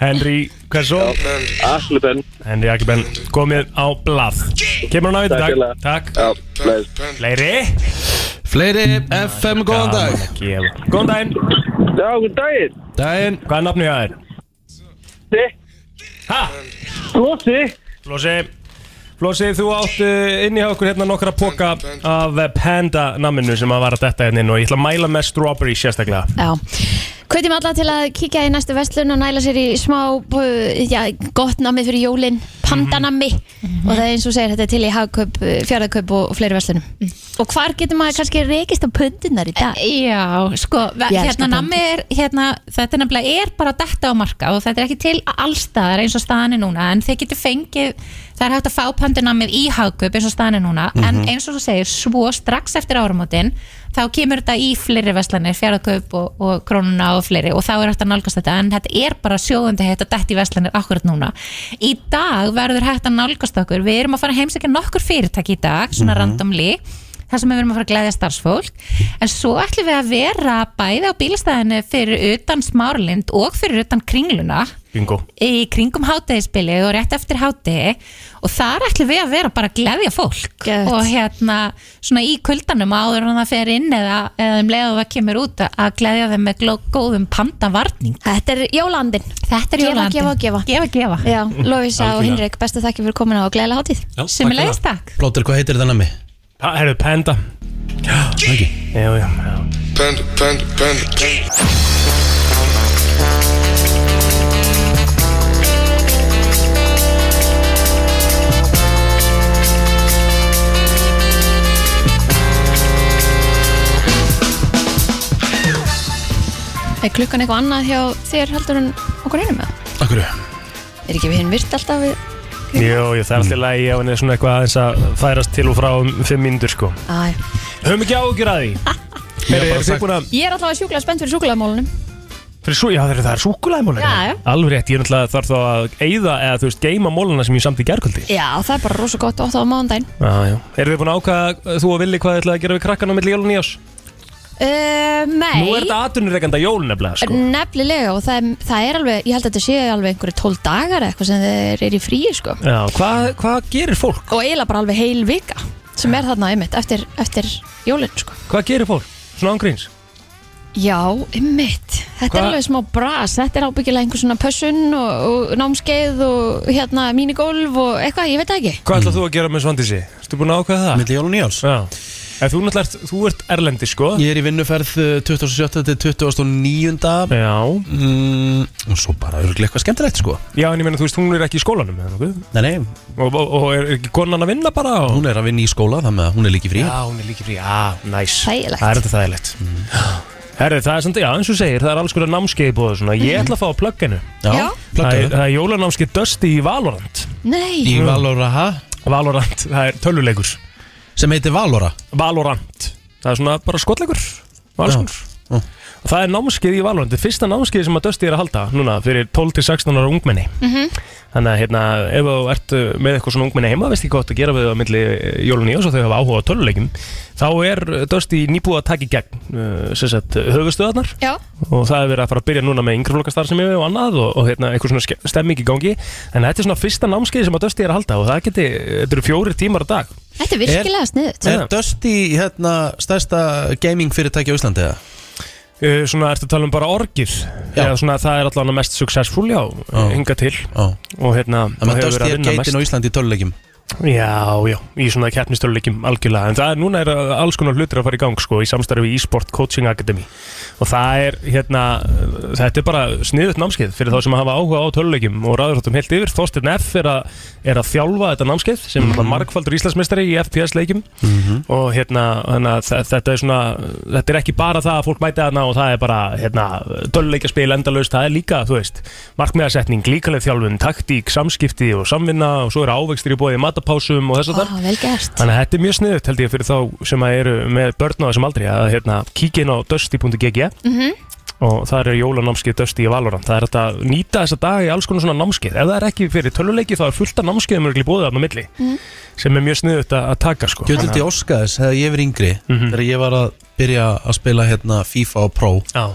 [SPEAKER 2] Henry, hvað er svo?
[SPEAKER 9] Akliben
[SPEAKER 2] Henry Akliben, komið á blað Kemur hann á eitt í dag? Takk hérna.
[SPEAKER 9] Já,
[SPEAKER 2] Fleiri?
[SPEAKER 1] Fleiri, FM, góðan dag
[SPEAKER 2] Góðan daginn
[SPEAKER 9] Já, góðan daginn
[SPEAKER 1] Daginn
[SPEAKER 2] Hvað er nafnið það er?
[SPEAKER 9] Þið
[SPEAKER 2] Ha?
[SPEAKER 9] Flossi
[SPEAKER 2] Flossi Flossi, þú átt uh, inn í hjá okkur hérna nokkra póka af eh, panda-namminu sem að var að detta hérna inn og ég ætla að mæla með strawberry sérstaklega
[SPEAKER 3] Já Hvetjum alla til að kíkja í næstu vestlun og næla sér í smá uh, já, gott nammi fyrir jólin, pandanammi
[SPEAKER 14] Mhm.
[SPEAKER 3] og það er eins og þú segir þetta er til í hagkaup, uh, fjárðakaup og, og fleiri vestlunum
[SPEAKER 14] Mhm.
[SPEAKER 3] Og hvar getur maður kannski rekist á pöndunar í dag?
[SPEAKER 14] Já, sko, ve-
[SPEAKER 3] Ég elska
[SPEAKER 14] hérna
[SPEAKER 3] pöndur.
[SPEAKER 14] nammi er, hérna, þetta er nefnilega er bara detta á marka og þetta er ekki til allstaðar eins og staðan er núna en þið getur fengið, það er hægt að fá pandunammið í hagkaup eins og staðan er núna
[SPEAKER 15] Mhm.
[SPEAKER 14] en eins og þú segir, svo strax eftir áramótin þá kemur þetta í fleiri veslanir, fjárðakaup og, og krónuna og fleiri og þá er hægt að nálgast þetta en þetta er bara sjóðandi hægt að detta í veslanir akkurat núna. Í dag verður hægt að nálgast okkur, við erum að fara að heimsækja nokkur fyrirtæki í dag,
[SPEAKER 15] Mhm.
[SPEAKER 14] svona randomly þar sem við verum að fara að glæðja starfsfólk en svo ætlum við að vera bæði á bílastæðinu fyrir utan Smárlind og fyrir utan Kringluna
[SPEAKER 2] Bingo
[SPEAKER 14] í kringum hátegispili og rétt eftir hátegi og þar ætlum við að vera bara að gleðja fólk Gett. og hérna svona í kuldanum áður en það fer inn eða, eða um leiðu það kemur út að- að gleðja þeim með gló- góðum pandavarning
[SPEAKER 3] Þetta er jólandin
[SPEAKER 14] Þetta er jólandin
[SPEAKER 3] Gefa, gefa,
[SPEAKER 14] gefa, gefa.
[SPEAKER 3] Já, Lovisa og
[SPEAKER 1] Algjörlega.
[SPEAKER 3] Hinrik, bestu þakki fyrir komin á og gleðilega hátíð
[SPEAKER 1] Sömuleiðis,
[SPEAKER 14] takk
[SPEAKER 1] Plóter, hvað heitir þetta nammi?
[SPEAKER 2] Ha, herru, panda Já,
[SPEAKER 1] ekki
[SPEAKER 2] Jú, jú, já
[SPEAKER 10] Panda, panda, panda
[SPEAKER 3] Er klukkan eitthvað annað hjá þér heldur en okkur einum með?
[SPEAKER 1] Akkur
[SPEAKER 3] Er ekki við hinn virt alltaf við?
[SPEAKER 2] Jú, jú, það er alltaf lægi ef hann er svona eitthvað aðeins að færast til og frá um fimm mínútur sko
[SPEAKER 3] Æ.
[SPEAKER 2] Höfum ekki ágjur að því Herri, eru þið búin að
[SPEAKER 3] Ég er alltaf að sjúkla spennt fyrir sjúklaðmólunum
[SPEAKER 2] Fyrir svo, já þeir, það er súkulæmólir
[SPEAKER 3] Já, já.
[SPEAKER 2] Alveg rétt, ég er náttúrulega þarf þá að eyða eða þú veist, geima móluna sem ég samt í gerkvöldi
[SPEAKER 3] Já, það er bara rosa gott ótt á mándaginn
[SPEAKER 2] Já, já Eru þið búin að ákvaða þú og Villi hvað þið ætlaði að gera við krakkana milli jól og nýjás?
[SPEAKER 3] uh, Nei
[SPEAKER 2] Nú er þetta atvinnurekanda jól nefnilega sko
[SPEAKER 3] Nefnilega og það, það er alveg, ég held að þetta sé alveg einhverju tól dagar eða eitthvað sem þeir eru í fríi sko
[SPEAKER 2] Já, hvað hva gerir fólk?
[SPEAKER 3] og eiginlega bara alveg heil vika sem er þarna einmitt eftir, eftir jólinn sko
[SPEAKER 2] Hvað gerir fólk? Svona ángríns?
[SPEAKER 3] Já, einmitt, þetta er
[SPEAKER 2] Hvað-
[SPEAKER 3] alveg smá bras þetta er ábyggilega einhver svona pössun og, og námskeið og hérna mínigólf og eitthvað, ég veit það ekki
[SPEAKER 2] Hvað ætlað þú að gera með Svandísi? Erstu búin að ákvaða það?
[SPEAKER 1] Mm. Milli jól og nýjáls
[SPEAKER 2] Já Ef þú náttúrulega, ert- þú ert erlendi sko
[SPEAKER 1] Ég er í vinnuferð eh, 27. til 29.
[SPEAKER 2] Já
[SPEAKER 1] mm, Og svo bara örgulega eitthvað skemmtilegt sko
[SPEAKER 2] Já, en ég meina, þú veist, hún er ekki í skólanum eða nokkuð
[SPEAKER 1] Nei, nei
[SPEAKER 2] Og, og, og er ekki konan að vinna bara? Og...
[SPEAKER 1] Hún er að vinna í skóla, þannig að hún er líki frí
[SPEAKER 2] Já, hún er líki frí, já, næs
[SPEAKER 3] Þægilegt.
[SPEAKER 2] Það er þetta þægilegt
[SPEAKER 1] Mm.
[SPEAKER 2] Herri, það er samt, já, eins og þú segir, það er alls konar námskeið búið svona Ég ætla að fá að plugga
[SPEAKER 1] Já, Mm. Já. plugga
[SPEAKER 2] Það er-
[SPEAKER 1] það.
[SPEAKER 2] það er jólanámskeið Dusty í Valorant
[SPEAKER 3] Nei
[SPEAKER 1] Í Valora, ha?
[SPEAKER 2] Valorant, það er töluleikur
[SPEAKER 1] Sem heitir Valora?
[SPEAKER 2] Valorant Það er svona bara skotleikur Valskur Og það er námskeið í Valorant, þetta er fyrsta námskeið sem að Dusty er að halda Núna, fyrir 12-16 ára ungmenni
[SPEAKER 3] Mhm.
[SPEAKER 2] Þannig að hérna, ef þú ert uh, með eitthvað svona ungmenni heima, veist ekki hvað þú átt að gera við það á milli eh, jólunni og svo þau hafa áhuga á töluleikum, þá er uh, Dusty nýbúið að taka í gegn uh, sem sagt, höfustöðarnar
[SPEAKER 3] Já.
[SPEAKER 2] og það er verið að fara að byrja núna með yngreflokkastarfsemi og annað og, og hérna, eitthvað svona ske- stemming í gangi en þetta er svona fyrsta námskeið sem að Dusty er að halda og það geti, þetta eru fjórir tímar á dag
[SPEAKER 3] Þetta er virkilega sko. sniðut
[SPEAKER 1] Er Dusty hérna stærsta gaming fyrirtæki á Íslandi eða?
[SPEAKER 2] Uh, svona ertu að tala um bara orgið eða svona það er allavega mest successful já,
[SPEAKER 1] Já.
[SPEAKER 2] hinga til
[SPEAKER 1] Já.
[SPEAKER 2] og hérna
[SPEAKER 1] Þannig
[SPEAKER 2] og hefur
[SPEAKER 1] að
[SPEAKER 2] verið
[SPEAKER 1] Dusty er
[SPEAKER 2] vinna mest.
[SPEAKER 1] geitin á Íslandi í tölulegjum
[SPEAKER 2] Já, já, í svona keppnistöluleikim algjörlega, en það er núna er alls konar hlutir að fara í gang sko, í samstarfi í e-sport coaching academy og það er hérna, þetta er bara sniðut námskeið fyrir þá sem hafa áhuga á töluleikim og ræðurþáttum heilt yfir, Þorsteinn F er að, er að þjálfa þetta námskeið sem er mm. margfaldur íslensmestari í FPS leikim
[SPEAKER 13] Mhm.
[SPEAKER 2] og hérna, hérna þetta er svona, þetta er ekki bara það að fólk mæti þarna og það er bara hérna, dölleikjaspil endalaust, það er líka, þú veist markmiðasetning, líkaleg þjálfun, taktík samskipti og samvinna og svo eru ávegstir í bóði matapásum og þess að þar
[SPEAKER 9] Ah.
[SPEAKER 3] Ó, vel gert
[SPEAKER 2] Þannig að þetta er mjög sniðut held ég fyrir þá sem að eru með börn á þessum aldri að hérna, kíkja inn á dusty.gg
[SPEAKER 3] Mhm.
[SPEAKER 2] og það er jólanámskeið Dusty í Valorant það er hægt að nýta þessa daga í alls konar svona námskeið ef það er ekki fyrir töluleiki þá er fullt af námskeiðum mörgli búið þarna á milli
[SPEAKER 1] Mm.
[SPEAKER 2] sem er mjög sniðut að að Mhm. taka sko
[SPEAKER 1] Gjöld til Óskaðis, hefði ég verið yngri þegar ég var að byrja að spila hérna, FIFA og Pro
[SPEAKER 2] Já.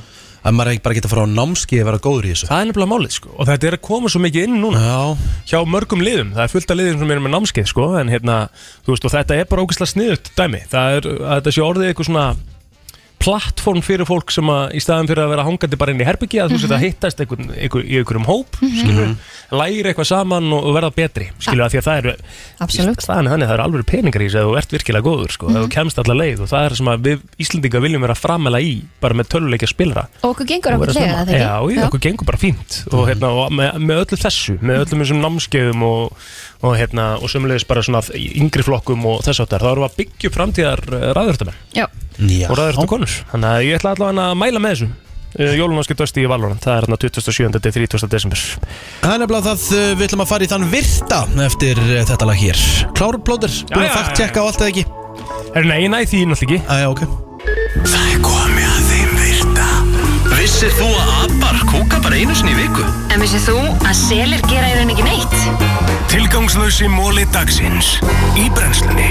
[SPEAKER 1] að maður ekki bara geta að fara á námski að vera góður í þessu
[SPEAKER 2] Það er nefnilega málið sko og þetta er að koma svo mikið inn núna
[SPEAKER 1] Já.
[SPEAKER 2] hjá mörgum liðum, það er fullt af liðum sem eru með námskeið sko, en hérna, þú veist, og þetta er bara ógeðslega sniðut dæmi, það er að þetta sé orðið eitthvað svona plattform fyrir fólk sem að í staðan fyrir að vera hangandi bara inn í herbyggi að þú veist að hittast einhver, einhver, í einhverjum hóp mm læri eitthvað saman og, og verða betri skilur að því að það eru
[SPEAKER 3] Absolutt.
[SPEAKER 2] staðan er þannig að það eru alveg peningar í þessu að þú ert virkilega góður sko, mm þú kemst alla leið og það er það sem að við Íslendinga viljum vera framela í bara með töluleikja spilra
[SPEAKER 3] Og okkur gengur
[SPEAKER 2] Og
[SPEAKER 3] okkur
[SPEAKER 2] vera
[SPEAKER 3] þegar
[SPEAKER 2] snemma.
[SPEAKER 3] það ekki?
[SPEAKER 2] Já, já, okkur gengur bara fínt og, hérna, og með, með öllu þessu, með öllum þessum námskeiðum og, og, hérna, og sömulegis bara svona yngri flokkum og þess áttar þá erum við að byggja upp framtíðar ræðurðumenn
[SPEAKER 3] Já.
[SPEAKER 1] Já.
[SPEAKER 2] og ræðurðukonur þannig að ég ætla allavega að mæla með þessu uh, Jólunarski dösti í Valorant, það er hérna 27. til 30. desember
[SPEAKER 1] Það er nefnilega það uh, við ætlum að fara í þann virta eftir uh, þetta lag hér Klárplóður, búin að fakt checka á allt eða ekki?
[SPEAKER 2] Er nei, nei, því náttúrulega ekki
[SPEAKER 1] Æja, ok
[SPEAKER 4] Það er komið að þeim virta Vissir þú að abar kúka bara einu sinni í viku?
[SPEAKER 15] En vissið þú að selir gera í rauninni ekki neitt?
[SPEAKER 4] Tilgangslösi móli dagsins Í brennslunni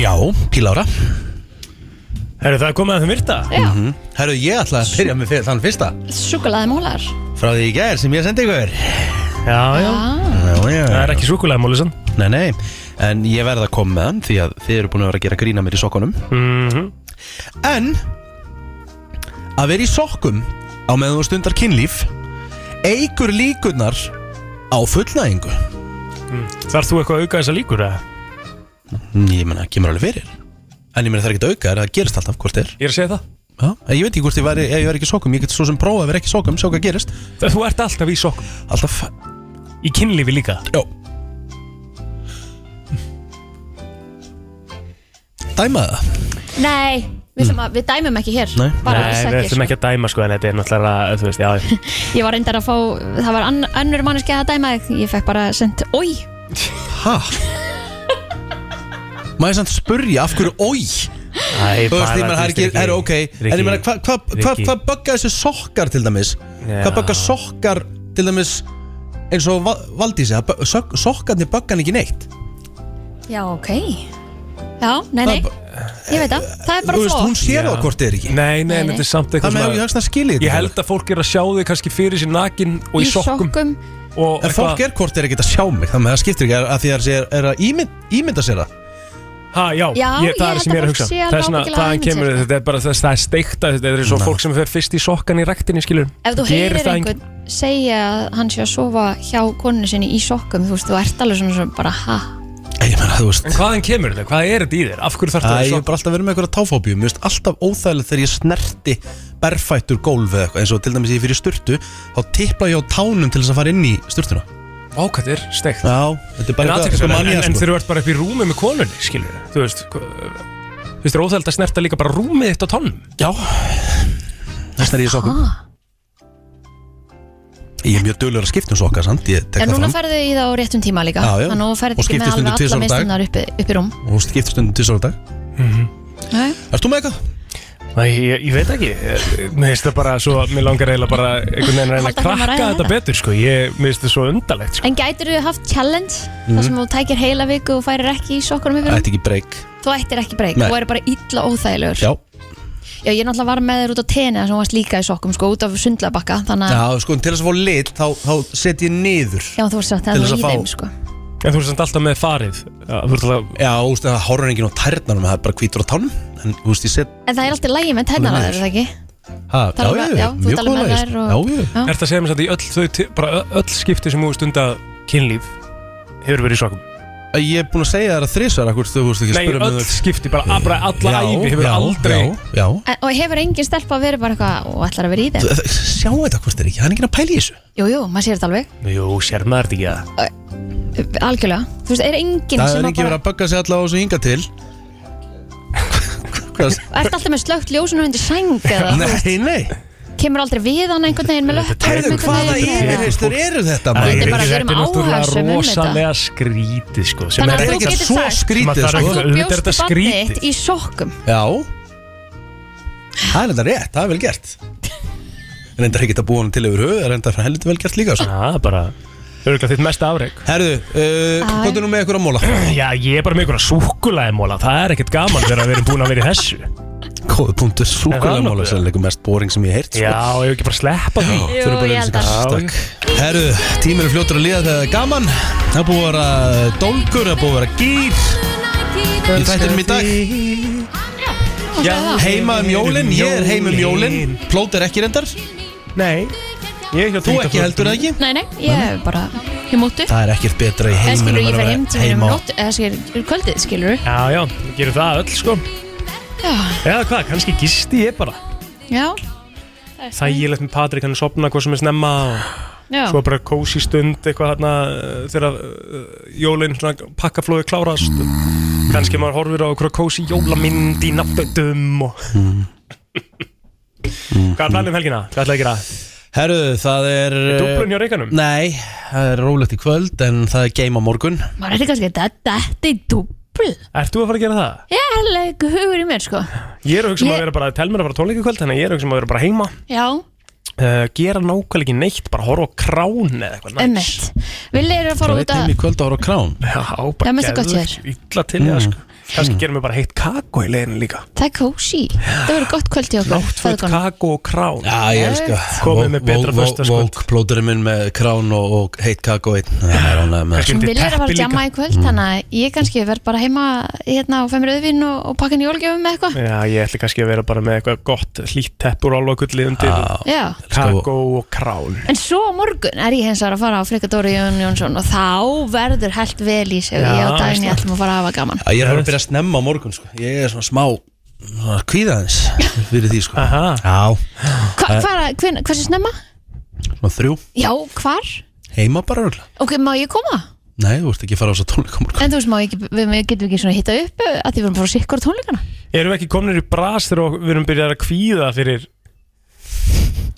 [SPEAKER 1] Já, pílára
[SPEAKER 2] Herru, það er komið að þeim virta
[SPEAKER 3] Já.
[SPEAKER 1] -hmm. Herru, ég ætla að byrja með fyr- þann fyrsta
[SPEAKER 3] Súkulaði mólar
[SPEAKER 1] Frá því í gær sem ég sendi ykkur
[SPEAKER 2] Já, já
[SPEAKER 1] Já, já Það
[SPEAKER 2] er ekki súkulega mólisann
[SPEAKER 1] Nei, nei En ég verð að koma með hann Því að þið eru búin að vera að gera grína mér í sokkunum
[SPEAKER 2] mm -hmm.
[SPEAKER 1] En Að vera í sokkum Á meðan þú stundar kynlíf Eigur líkurnar Á fullnæðingu
[SPEAKER 2] Þarf þú eitthvað að auka þessa líkur? Eða?
[SPEAKER 1] Ég menna, kemur alveg fyrir En ég menna það er ekkert að auka þær, Það gerist alltaf hvort er
[SPEAKER 2] Ég er að segja það
[SPEAKER 1] Já, en ég veit ekki hvort ég væri, ef ég væri ekki í sokkum Ég get svo sem prófað að vera ekki í sokkum, sjá hvað gerist
[SPEAKER 2] Það þú ert alltaf í sokkum
[SPEAKER 1] Alltaf
[SPEAKER 2] Í kynlífi líka
[SPEAKER 1] Jó Dæmaða
[SPEAKER 3] Nei, við, mm. að, við dæmum ekki hér Bara alls
[SPEAKER 2] Nei, við ætlum ekki að dæma sko en þetta er náttúrulega, þú veist, já
[SPEAKER 3] Ég var reyndar að fá, það var ann, önnur manneski að dæma þig Ég fekk bara sendt, oi
[SPEAKER 1] Hæ? Má ég samt spurja af hverju oi?
[SPEAKER 2] Æ,
[SPEAKER 1] Þú
[SPEAKER 2] bara,
[SPEAKER 1] veist, ég meina, það er ekki,
[SPEAKER 2] Rikki,
[SPEAKER 1] það er ok En ég
[SPEAKER 2] Rikki,
[SPEAKER 1] meina, hvað hva, hva,
[SPEAKER 2] Rikki.
[SPEAKER 1] hva bögga þessu sokkar til dæmis?
[SPEAKER 2] Já.
[SPEAKER 1] Hvað bögga sokkar til dæmis eins og Va- Valdísi? Það bö- sok- Sokkarnir böggan ekki neitt
[SPEAKER 3] Já, ok Já, nei, nei, ég veit það Það er bara
[SPEAKER 1] Þú veist,
[SPEAKER 3] flott
[SPEAKER 1] hún sér það hvort er ekki
[SPEAKER 2] Nei, nei,
[SPEAKER 3] nei.
[SPEAKER 2] en þetta er samt
[SPEAKER 1] Það
[SPEAKER 2] eitthvað
[SPEAKER 1] með hefur ekki að skilja
[SPEAKER 2] Ég held að fólk er að sjá þig kannski fyrir sér nakin og í sokkum og
[SPEAKER 1] En fólk er hvort er ekki að sjá mig Þannig að það skiptir ekki að því að það er, er að ímynd, ímynda sér það
[SPEAKER 2] Ha, já,
[SPEAKER 3] Já, ég
[SPEAKER 2] það
[SPEAKER 3] held
[SPEAKER 2] er sem
[SPEAKER 3] að
[SPEAKER 2] ég er að
[SPEAKER 3] fólk
[SPEAKER 2] hugsa
[SPEAKER 3] sé alveg
[SPEAKER 2] Það er svona,
[SPEAKER 3] ábyggilega
[SPEAKER 2] þaðan
[SPEAKER 3] ímynd sér
[SPEAKER 2] kemur þetta er bara þess, það er steikta þetta er svo fólk sem fer fyrst í sokkan í rektinni, skilur
[SPEAKER 3] Ef þú heyrir einhvern segja að hann sé að sofa hjá koninu sinni í sokkum Þú veist, þú ert alveg svona svona bara, ha
[SPEAKER 1] Ég meina, þú veist
[SPEAKER 2] En hvaðan kemur þetta? Hvað er þetta í þér? Af hverju þarf
[SPEAKER 1] Æ,
[SPEAKER 2] þetta
[SPEAKER 1] ég hef bara alltaf verið með einhverja táfóbíum Mér finnst alltaf óþægilegt þegar ég snerti berfættur gólf eða eitthvað eins og til dæmis ég fyrir styrtu þá tippla ég á tánum til þess að fara inn í styrtuna
[SPEAKER 2] Vá, hvað þetta er steikt
[SPEAKER 1] Já, þetta
[SPEAKER 2] En
[SPEAKER 1] er bara sko
[SPEAKER 2] athyglisverð, en-
[SPEAKER 1] mannýja,
[SPEAKER 2] en- En þegar þú ert bara upp í rúmi með konunni, skilur Þú veist, hvað- þú veist, er óþæld að snerta líka bara rúmið þitt á tónum
[SPEAKER 1] Já Þessna er ég í sokkum Ég er mjög dölur að skipta um sokka, sant? Ég tek
[SPEAKER 3] En
[SPEAKER 1] það
[SPEAKER 3] núna
[SPEAKER 1] fram
[SPEAKER 3] færðu í það á réttum tíma líka
[SPEAKER 1] Já, já.
[SPEAKER 3] Þannig að þú
[SPEAKER 1] Og
[SPEAKER 3] færðu ekki
[SPEAKER 1] skiptist
[SPEAKER 3] með
[SPEAKER 1] undir
[SPEAKER 3] alveg
[SPEAKER 1] tvisvar á dag.
[SPEAKER 3] alla mistunar upp, upp í rúm
[SPEAKER 1] og skipta stundum til svolítið dag
[SPEAKER 2] Mhm.
[SPEAKER 3] Nei.
[SPEAKER 1] Erst þú með eitthvað?
[SPEAKER 2] Nei, ég, ég veit ekki Ég- Mér finnst það bara svo, mér langar eiginlega bara einhvern veginn að reyna að
[SPEAKER 3] Halda áfram að
[SPEAKER 2] krakka
[SPEAKER 3] ræða
[SPEAKER 2] þetta
[SPEAKER 3] þetta.
[SPEAKER 2] betur sko. Ég mér finnst það svo undarlegt sko.
[SPEAKER 3] En gætir þú haft challenge
[SPEAKER 2] Mhm.
[SPEAKER 3] þar sem þú tækir heila viku og færir ekki í sokkunum yfir
[SPEAKER 1] Ætti ekki breyk
[SPEAKER 3] Þú ættir ekki breyk
[SPEAKER 1] Nei.
[SPEAKER 3] og eru bara illa óþægilegur
[SPEAKER 1] Já,
[SPEAKER 3] Já, ég náttúrulega var með þér út á teni þar sem þú varst líka í sokkum sko, út af sundlabakka þannig að,
[SPEAKER 1] já sko, en til þess að fá lit þá, þá set ég niður
[SPEAKER 3] já, þú varst satt
[SPEAKER 1] Til
[SPEAKER 3] það
[SPEAKER 1] þess
[SPEAKER 3] var í
[SPEAKER 1] að fá-
[SPEAKER 3] þeim sko
[SPEAKER 2] En þú ert samt alltaf með farið Já, þú ert alltaf
[SPEAKER 1] Já, þú veist, það horfður enginn á tærnanum, það er bara hvítur á tánum En, þú veist, ég set
[SPEAKER 3] En það er alltaf lægi með tennar að
[SPEAKER 1] Alveg
[SPEAKER 3] það er það ekki?
[SPEAKER 1] ha,
[SPEAKER 3] Tala um það, já, þú
[SPEAKER 1] mjög
[SPEAKER 3] talar
[SPEAKER 1] góð
[SPEAKER 3] með
[SPEAKER 1] list.
[SPEAKER 3] þær og-
[SPEAKER 1] Já, já,
[SPEAKER 3] Já.
[SPEAKER 2] Ert að segja mér samt í öll, þau, ti- bara ö- öll skipti sem þú stunda kynlíf Hefur verið í sokkum
[SPEAKER 1] Ég er búin að segja þér að þrísar akkur þú veist ekki að
[SPEAKER 2] Nei,
[SPEAKER 1] spyrja um
[SPEAKER 2] öll skipti, bara, bara alla
[SPEAKER 1] Já,
[SPEAKER 2] ævi Hefur
[SPEAKER 1] já,
[SPEAKER 2] aldrei
[SPEAKER 1] já, já.
[SPEAKER 3] En, og hefur engin stelpa verið bara eitthvað og ætlar að vera í þeim?
[SPEAKER 1] Þ- þ- Sjá þetta hvort er ekki, hann er ekki að pæla í þessu
[SPEAKER 3] Jú, jú, maður sér þetta alveg,
[SPEAKER 2] Jú, sér maður þetta ekki að
[SPEAKER 3] algjörlega Þú veist, er engin
[SPEAKER 1] Það
[SPEAKER 3] sem
[SPEAKER 1] er
[SPEAKER 3] að
[SPEAKER 1] ekki verið
[SPEAKER 3] bara
[SPEAKER 1] að bögga sig alla á þessu hinga til Hvað-
[SPEAKER 3] Ert alltaf með slögt ljósinu undir sæng eða þú veist,
[SPEAKER 1] Nei, nei
[SPEAKER 3] kemur aldrei við hann einhvern veginn með löpp
[SPEAKER 1] Herðu, hvaða yfirheystur eru þetta? maður?
[SPEAKER 3] Þetta er bara- við erum áhugasöm um þetta.
[SPEAKER 2] rosalega skrítið sko, sem er sko.
[SPEAKER 3] Þannig að þú
[SPEAKER 2] ekki-
[SPEAKER 3] getur
[SPEAKER 2] Sem að
[SPEAKER 3] sagt
[SPEAKER 2] það er
[SPEAKER 3] að
[SPEAKER 2] ekki- auðvitað
[SPEAKER 3] þú
[SPEAKER 2] er
[SPEAKER 3] bjóst
[SPEAKER 2] þetta
[SPEAKER 3] barnið
[SPEAKER 2] skrítið.
[SPEAKER 3] þitt í sokkum
[SPEAKER 1] Já Það er þetta rétt, það er vel gert Reyndar ekki að búa hann til yfir höfu Það er reyndar heldur vel gert líka sko.
[SPEAKER 2] Það er bara Örgulega þitt mesta afreg
[SPEAKER 1] Herðu, uh, hvað er nú með ykkur að móla?
[SPEAKER 2] Já, ég er bara með ykkur að súkulæði móla Það er ekkert gaman þegar við erum búin að vera í þessu
[SPEAKER 1] Góðu punktur, súkulæðmála
[SPEAKER 2] nokkuð?
[SPEAKER 1] Það er líka mest boring sem ég sko. heirt
[SPEAKER 2] Já, ég hef ekki bara að sleppa því
[SPEAKER 1] Jú, Þurfum bara ég held að-
[SPEAKER 2] að
[SPEAKER 1] Herru, tíminn er fljótur að líða þegar það er gaman Það er búið að vera dólgur, það er búið að vera gýr Í þættinum í dag Já, heima um jólin, ég er heima um jólin Plót er ekki reyndar
[SPEAKER 2] Nei
[SPEAKER 1] Þú ekki heldur það ekki?
[SPEAKER 3] Nei, nei, ég er bara Ég móttu
[SPEAKER 1] Það er ekkert betra í
[SPEAKER 3] En
[SPEAKER 1] heiminum
[SPEAKER 3] skilur,
[SPEAKER 1] en að
[SPEAKER 3] ég fer heim
[SPEAKER 1] vera
[SPEAKER 3] til mér um
[SPEAKER 1] heima á
[SPEAKER 3] nótt Eða skilur, kvöldið, skilur
[SPEAKER 2] Já, já, við gerum það öll sko
[SPEAKER 3] Já,
[SPEAKER 2] Eða hvað, kannski gisti ég bara
[SPEAKER 3] já
[SPEAKER 2] Þægilegt með Patrik, hann er sopna hvað sem er snemma og
[SPEAKER 3] Já.
[SPEAKER 2] svo bara kósi stund eitthvað hérna uh, þegar uh, jólinn svona pakkaflóði klárast og kannski maður horfir á okkur kósi jólamynd í nafnöndum og
[SPEAKER 1] Hmm.
[SPEAKER 2] Hvað er planið um helgina? Hvað ætlaði að gera?
[SPEAKER 1] Herru, það er eh,
[SPEAKER 2] Er dúflun hjá Reykjanum?
[SPEAKER 1] Nei, það er rólegt í kvöld en það er game á morgun
[SPEAKER 3] Maður er kannski að þetta Þetta er dúbl
[SPEAKER 2] Ert þú að fara að gera það?
[SPEAKER 3] Ég er alveg hugur í mér, sko
[SPEAKER 2] Ég er að hugsa um
[SPEAKER 3] Ég-
[SPEAKER 2] að vera bara, tel mér að fara tónleika kvöld þannig að ég er að hugsa um að vera bara heima
[SPEAKER 3] Já,
[SPEAKER 2] uh, gera nákvæmlega ekki neitt, bara horfa á krán eða eitthvað næs.
[SPEAKER 3] emmett Vil er að fara út að
[SPEAKER 1] í kvöld að horfa á krán
[SPEAKER 2] Já,
[SPEAKER 3] Það
[SPEAKER 2] bara
[SPEAKER 3] er mest gott hjá
[SPEAKER 2] geðveikt illa til ég, sko Kannski mm. gerum við bara heitt kakó í leiðinu líka
[SPEAKER 3] Það er kósi Það verður gott kvöld í okkur
[SPEAKER 2] Náttföt,
[SPEAKER 3] feðgunum.
[SPEAKER 2] kakó og krán
[SPEAKER 1] Já, ég elska
[SPEAKER 2] Komið með betra föstaskvöld.
[SPEAKER 1] Vók plóturinn minn með krán og, og heitt kakó einn Það er ánægð með
[SPEAKER 3] Vil er að fara að jamma í kvöld
[SPEAKER 1] Mm.
[SPEAKER 3] Þannig að ég kannski verð bara heima Hérna og fæ mér auðvinn og, og pakka henni jólgjöfum með eitthvað
[SPEAKER 2] Já, ég ætli kannski að vera bara með eitthvað gott hlýtt teppur alveg gulli undir
[SPEAKER 3] Já.
[SPEAKER 2] Kakó og krán
[SPEAKER 3] En svo á morgun er ég hins vegar að fara á Frikka Dóri Jón Jónsson og þá verður held vel í sig og ég og
[SPEAKER 1] Já,
[SPEAKER 3] Daginn ég
[SPEAKER 1] veist
[SPEAKER 3] ætlum að fara að hafa gaman
[SPEAKER 1] Já, Ég er að fara að byrja að snemma á morgun sko. Ég er svona smá svona kvíðaðins fyrir því sko. Já,
[SPEAKER 3] Hva,
[SPEAKER 1] Það er
[SPEAKER 3] hvar, hvern, Hversu snemma?
[SPEAKER 1] svona þrjú
[SPEAKER 3] Já, hvar?
[SPEAKER 1] Heima bara röglega
[SPEAKER 3] Ok, má ég koma?
[SPEAKER 1] Nei, þú ert ekki að fara á þess að tónleika á morgun
[SPEAKER 3] En þú veist, má ég, ekki- við við getum ekki svona hitta upp eh, að því við erum að fara á sikkur tónleikana
[SPEAKER 2] Erum við ekki komnir í bras þegar ok- við erum byrjað að kvíða fyrir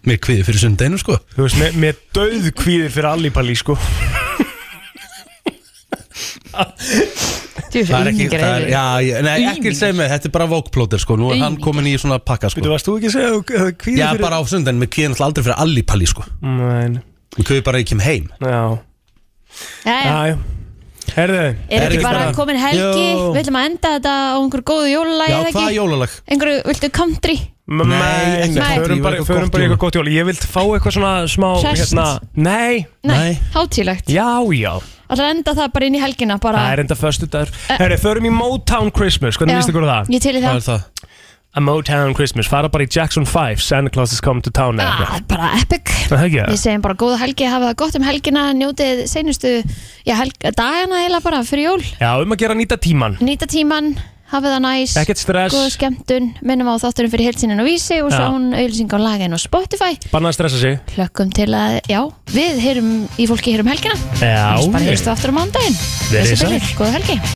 [SPEAKER 1] Mér kvíði fyrir sundeginu sko
[SPEAKER 2] Þú veist, með, með döð kvíðir fyrir allípalí sko
[SPEAKER 3] Þú
[SPEAKER 1] Það er ekki, það er, já, ég, nei, ekki segja mig, þetta er bara vókplótur sko, nú er hann komin í svona pakka sko.
[SPEAKER 2] Þú varst þú ekki að segja að þú- að þú kvíðir
[SPEAKER 1] Já,
[SPEAKER 2] fyrir
[SPEAKER 1] bara á sundan, mér kvíði náttúrulega aldrei fyrir allipalli sko.
[SPEAKER 2] Nein.
[SPEAKER 1] Mér kvíði bara að ég kem heim.
[SPEAKER 2] Já,
[SPEAKER 3] Jæja.
[SPEAKER 2] já Herðu
[SPEAKER 3] Er ekki bara komin helgi,
[SPEAKER 1] Jó.
[SPEAKER 3] við ætlum að enda þetta á einhverju góðu jólalagi
[SPEAKER 1] Já,
[SPEAKER 3] eða
[SPEAKER 1] hvaða
[SPEAKER 3] ekki?
[SPEAKER 1] jólalag?
[SPEAKER 3] Einhverju, viltu country?
[SPEAKER 2] Nei, nei,
[SPEAKER 1] ekki country,
[SPEAKER 2] förum
[SPEAKER 1] var
[SPEAKER 2] bara, förum
[SPEAKER 1] eitthvað gott
[SPEAKER 2] bara í
[SPEAKER 1] jól.
[SPEAKER 2] eitthvað gott jól Ég vilt fá eitthvað svona smá
[SPEAKER 3] Hresst.
[SPEAKER 2] hérna, Nei,
[SPEAKER 3] Nei, hátílegt
[SPEAKER 2] Já, já,
[SPEAKER 3] Alltaf að enda það bara inn í helgina bara
[SPEAKER 2] það er enda förstu dagur Herri, förum í Motown Christmas,
[SPEAKER 3] Ah. Eh. Já,
[SPEAKER 2] hvernig líst ykkur á það?
[SPEAKER 3] ég til í það. Hvað er
[SPEAKER 1] það?
[SPEAKER 2] A Motown Christmas, fara bara í Jackson 5 Santa Claus is coming to town eða
[SPEAKER 3] eitthvað. bara epic
[SPEAKER 2] Það er ekki
[SPEAKER 3] Við
[SPEAKER 2] það?
[SPEAKER 3] segjum bara góða helgi, hafa það gott um helgina, njótið seinustu já, helg, dagana eila bara fyrir jól.
[SPEAKER 2] Já, um að gera að nýta tíman
[SPEAKER 3] Nýta tíman, hafa það næs,
[SPEAKER 2] Ekkert stress.
[SPEAKER 3] góða skemmtun, minnum á þáttunum fyrir heilsinin og vísi og
[SPEAKER 2] Já.
[SPEAKER 3] svo hún auðlýsing á lagin og Spotify.
[SPEAKER 2] Banna að stressa sig
[SPEAKER 3] Hlökkum til að, já, við heyrum í fólki hér um helgina.
[SPEAKER 2] Já,
[SPEAKER 3] Bara
[SPEAKER 2] við-
[SPEAKER 3] heyrstu aftur á mándaginn.
[SPEAKER 2] Verið sæl.
[SPEAKER 3] Góða helgi.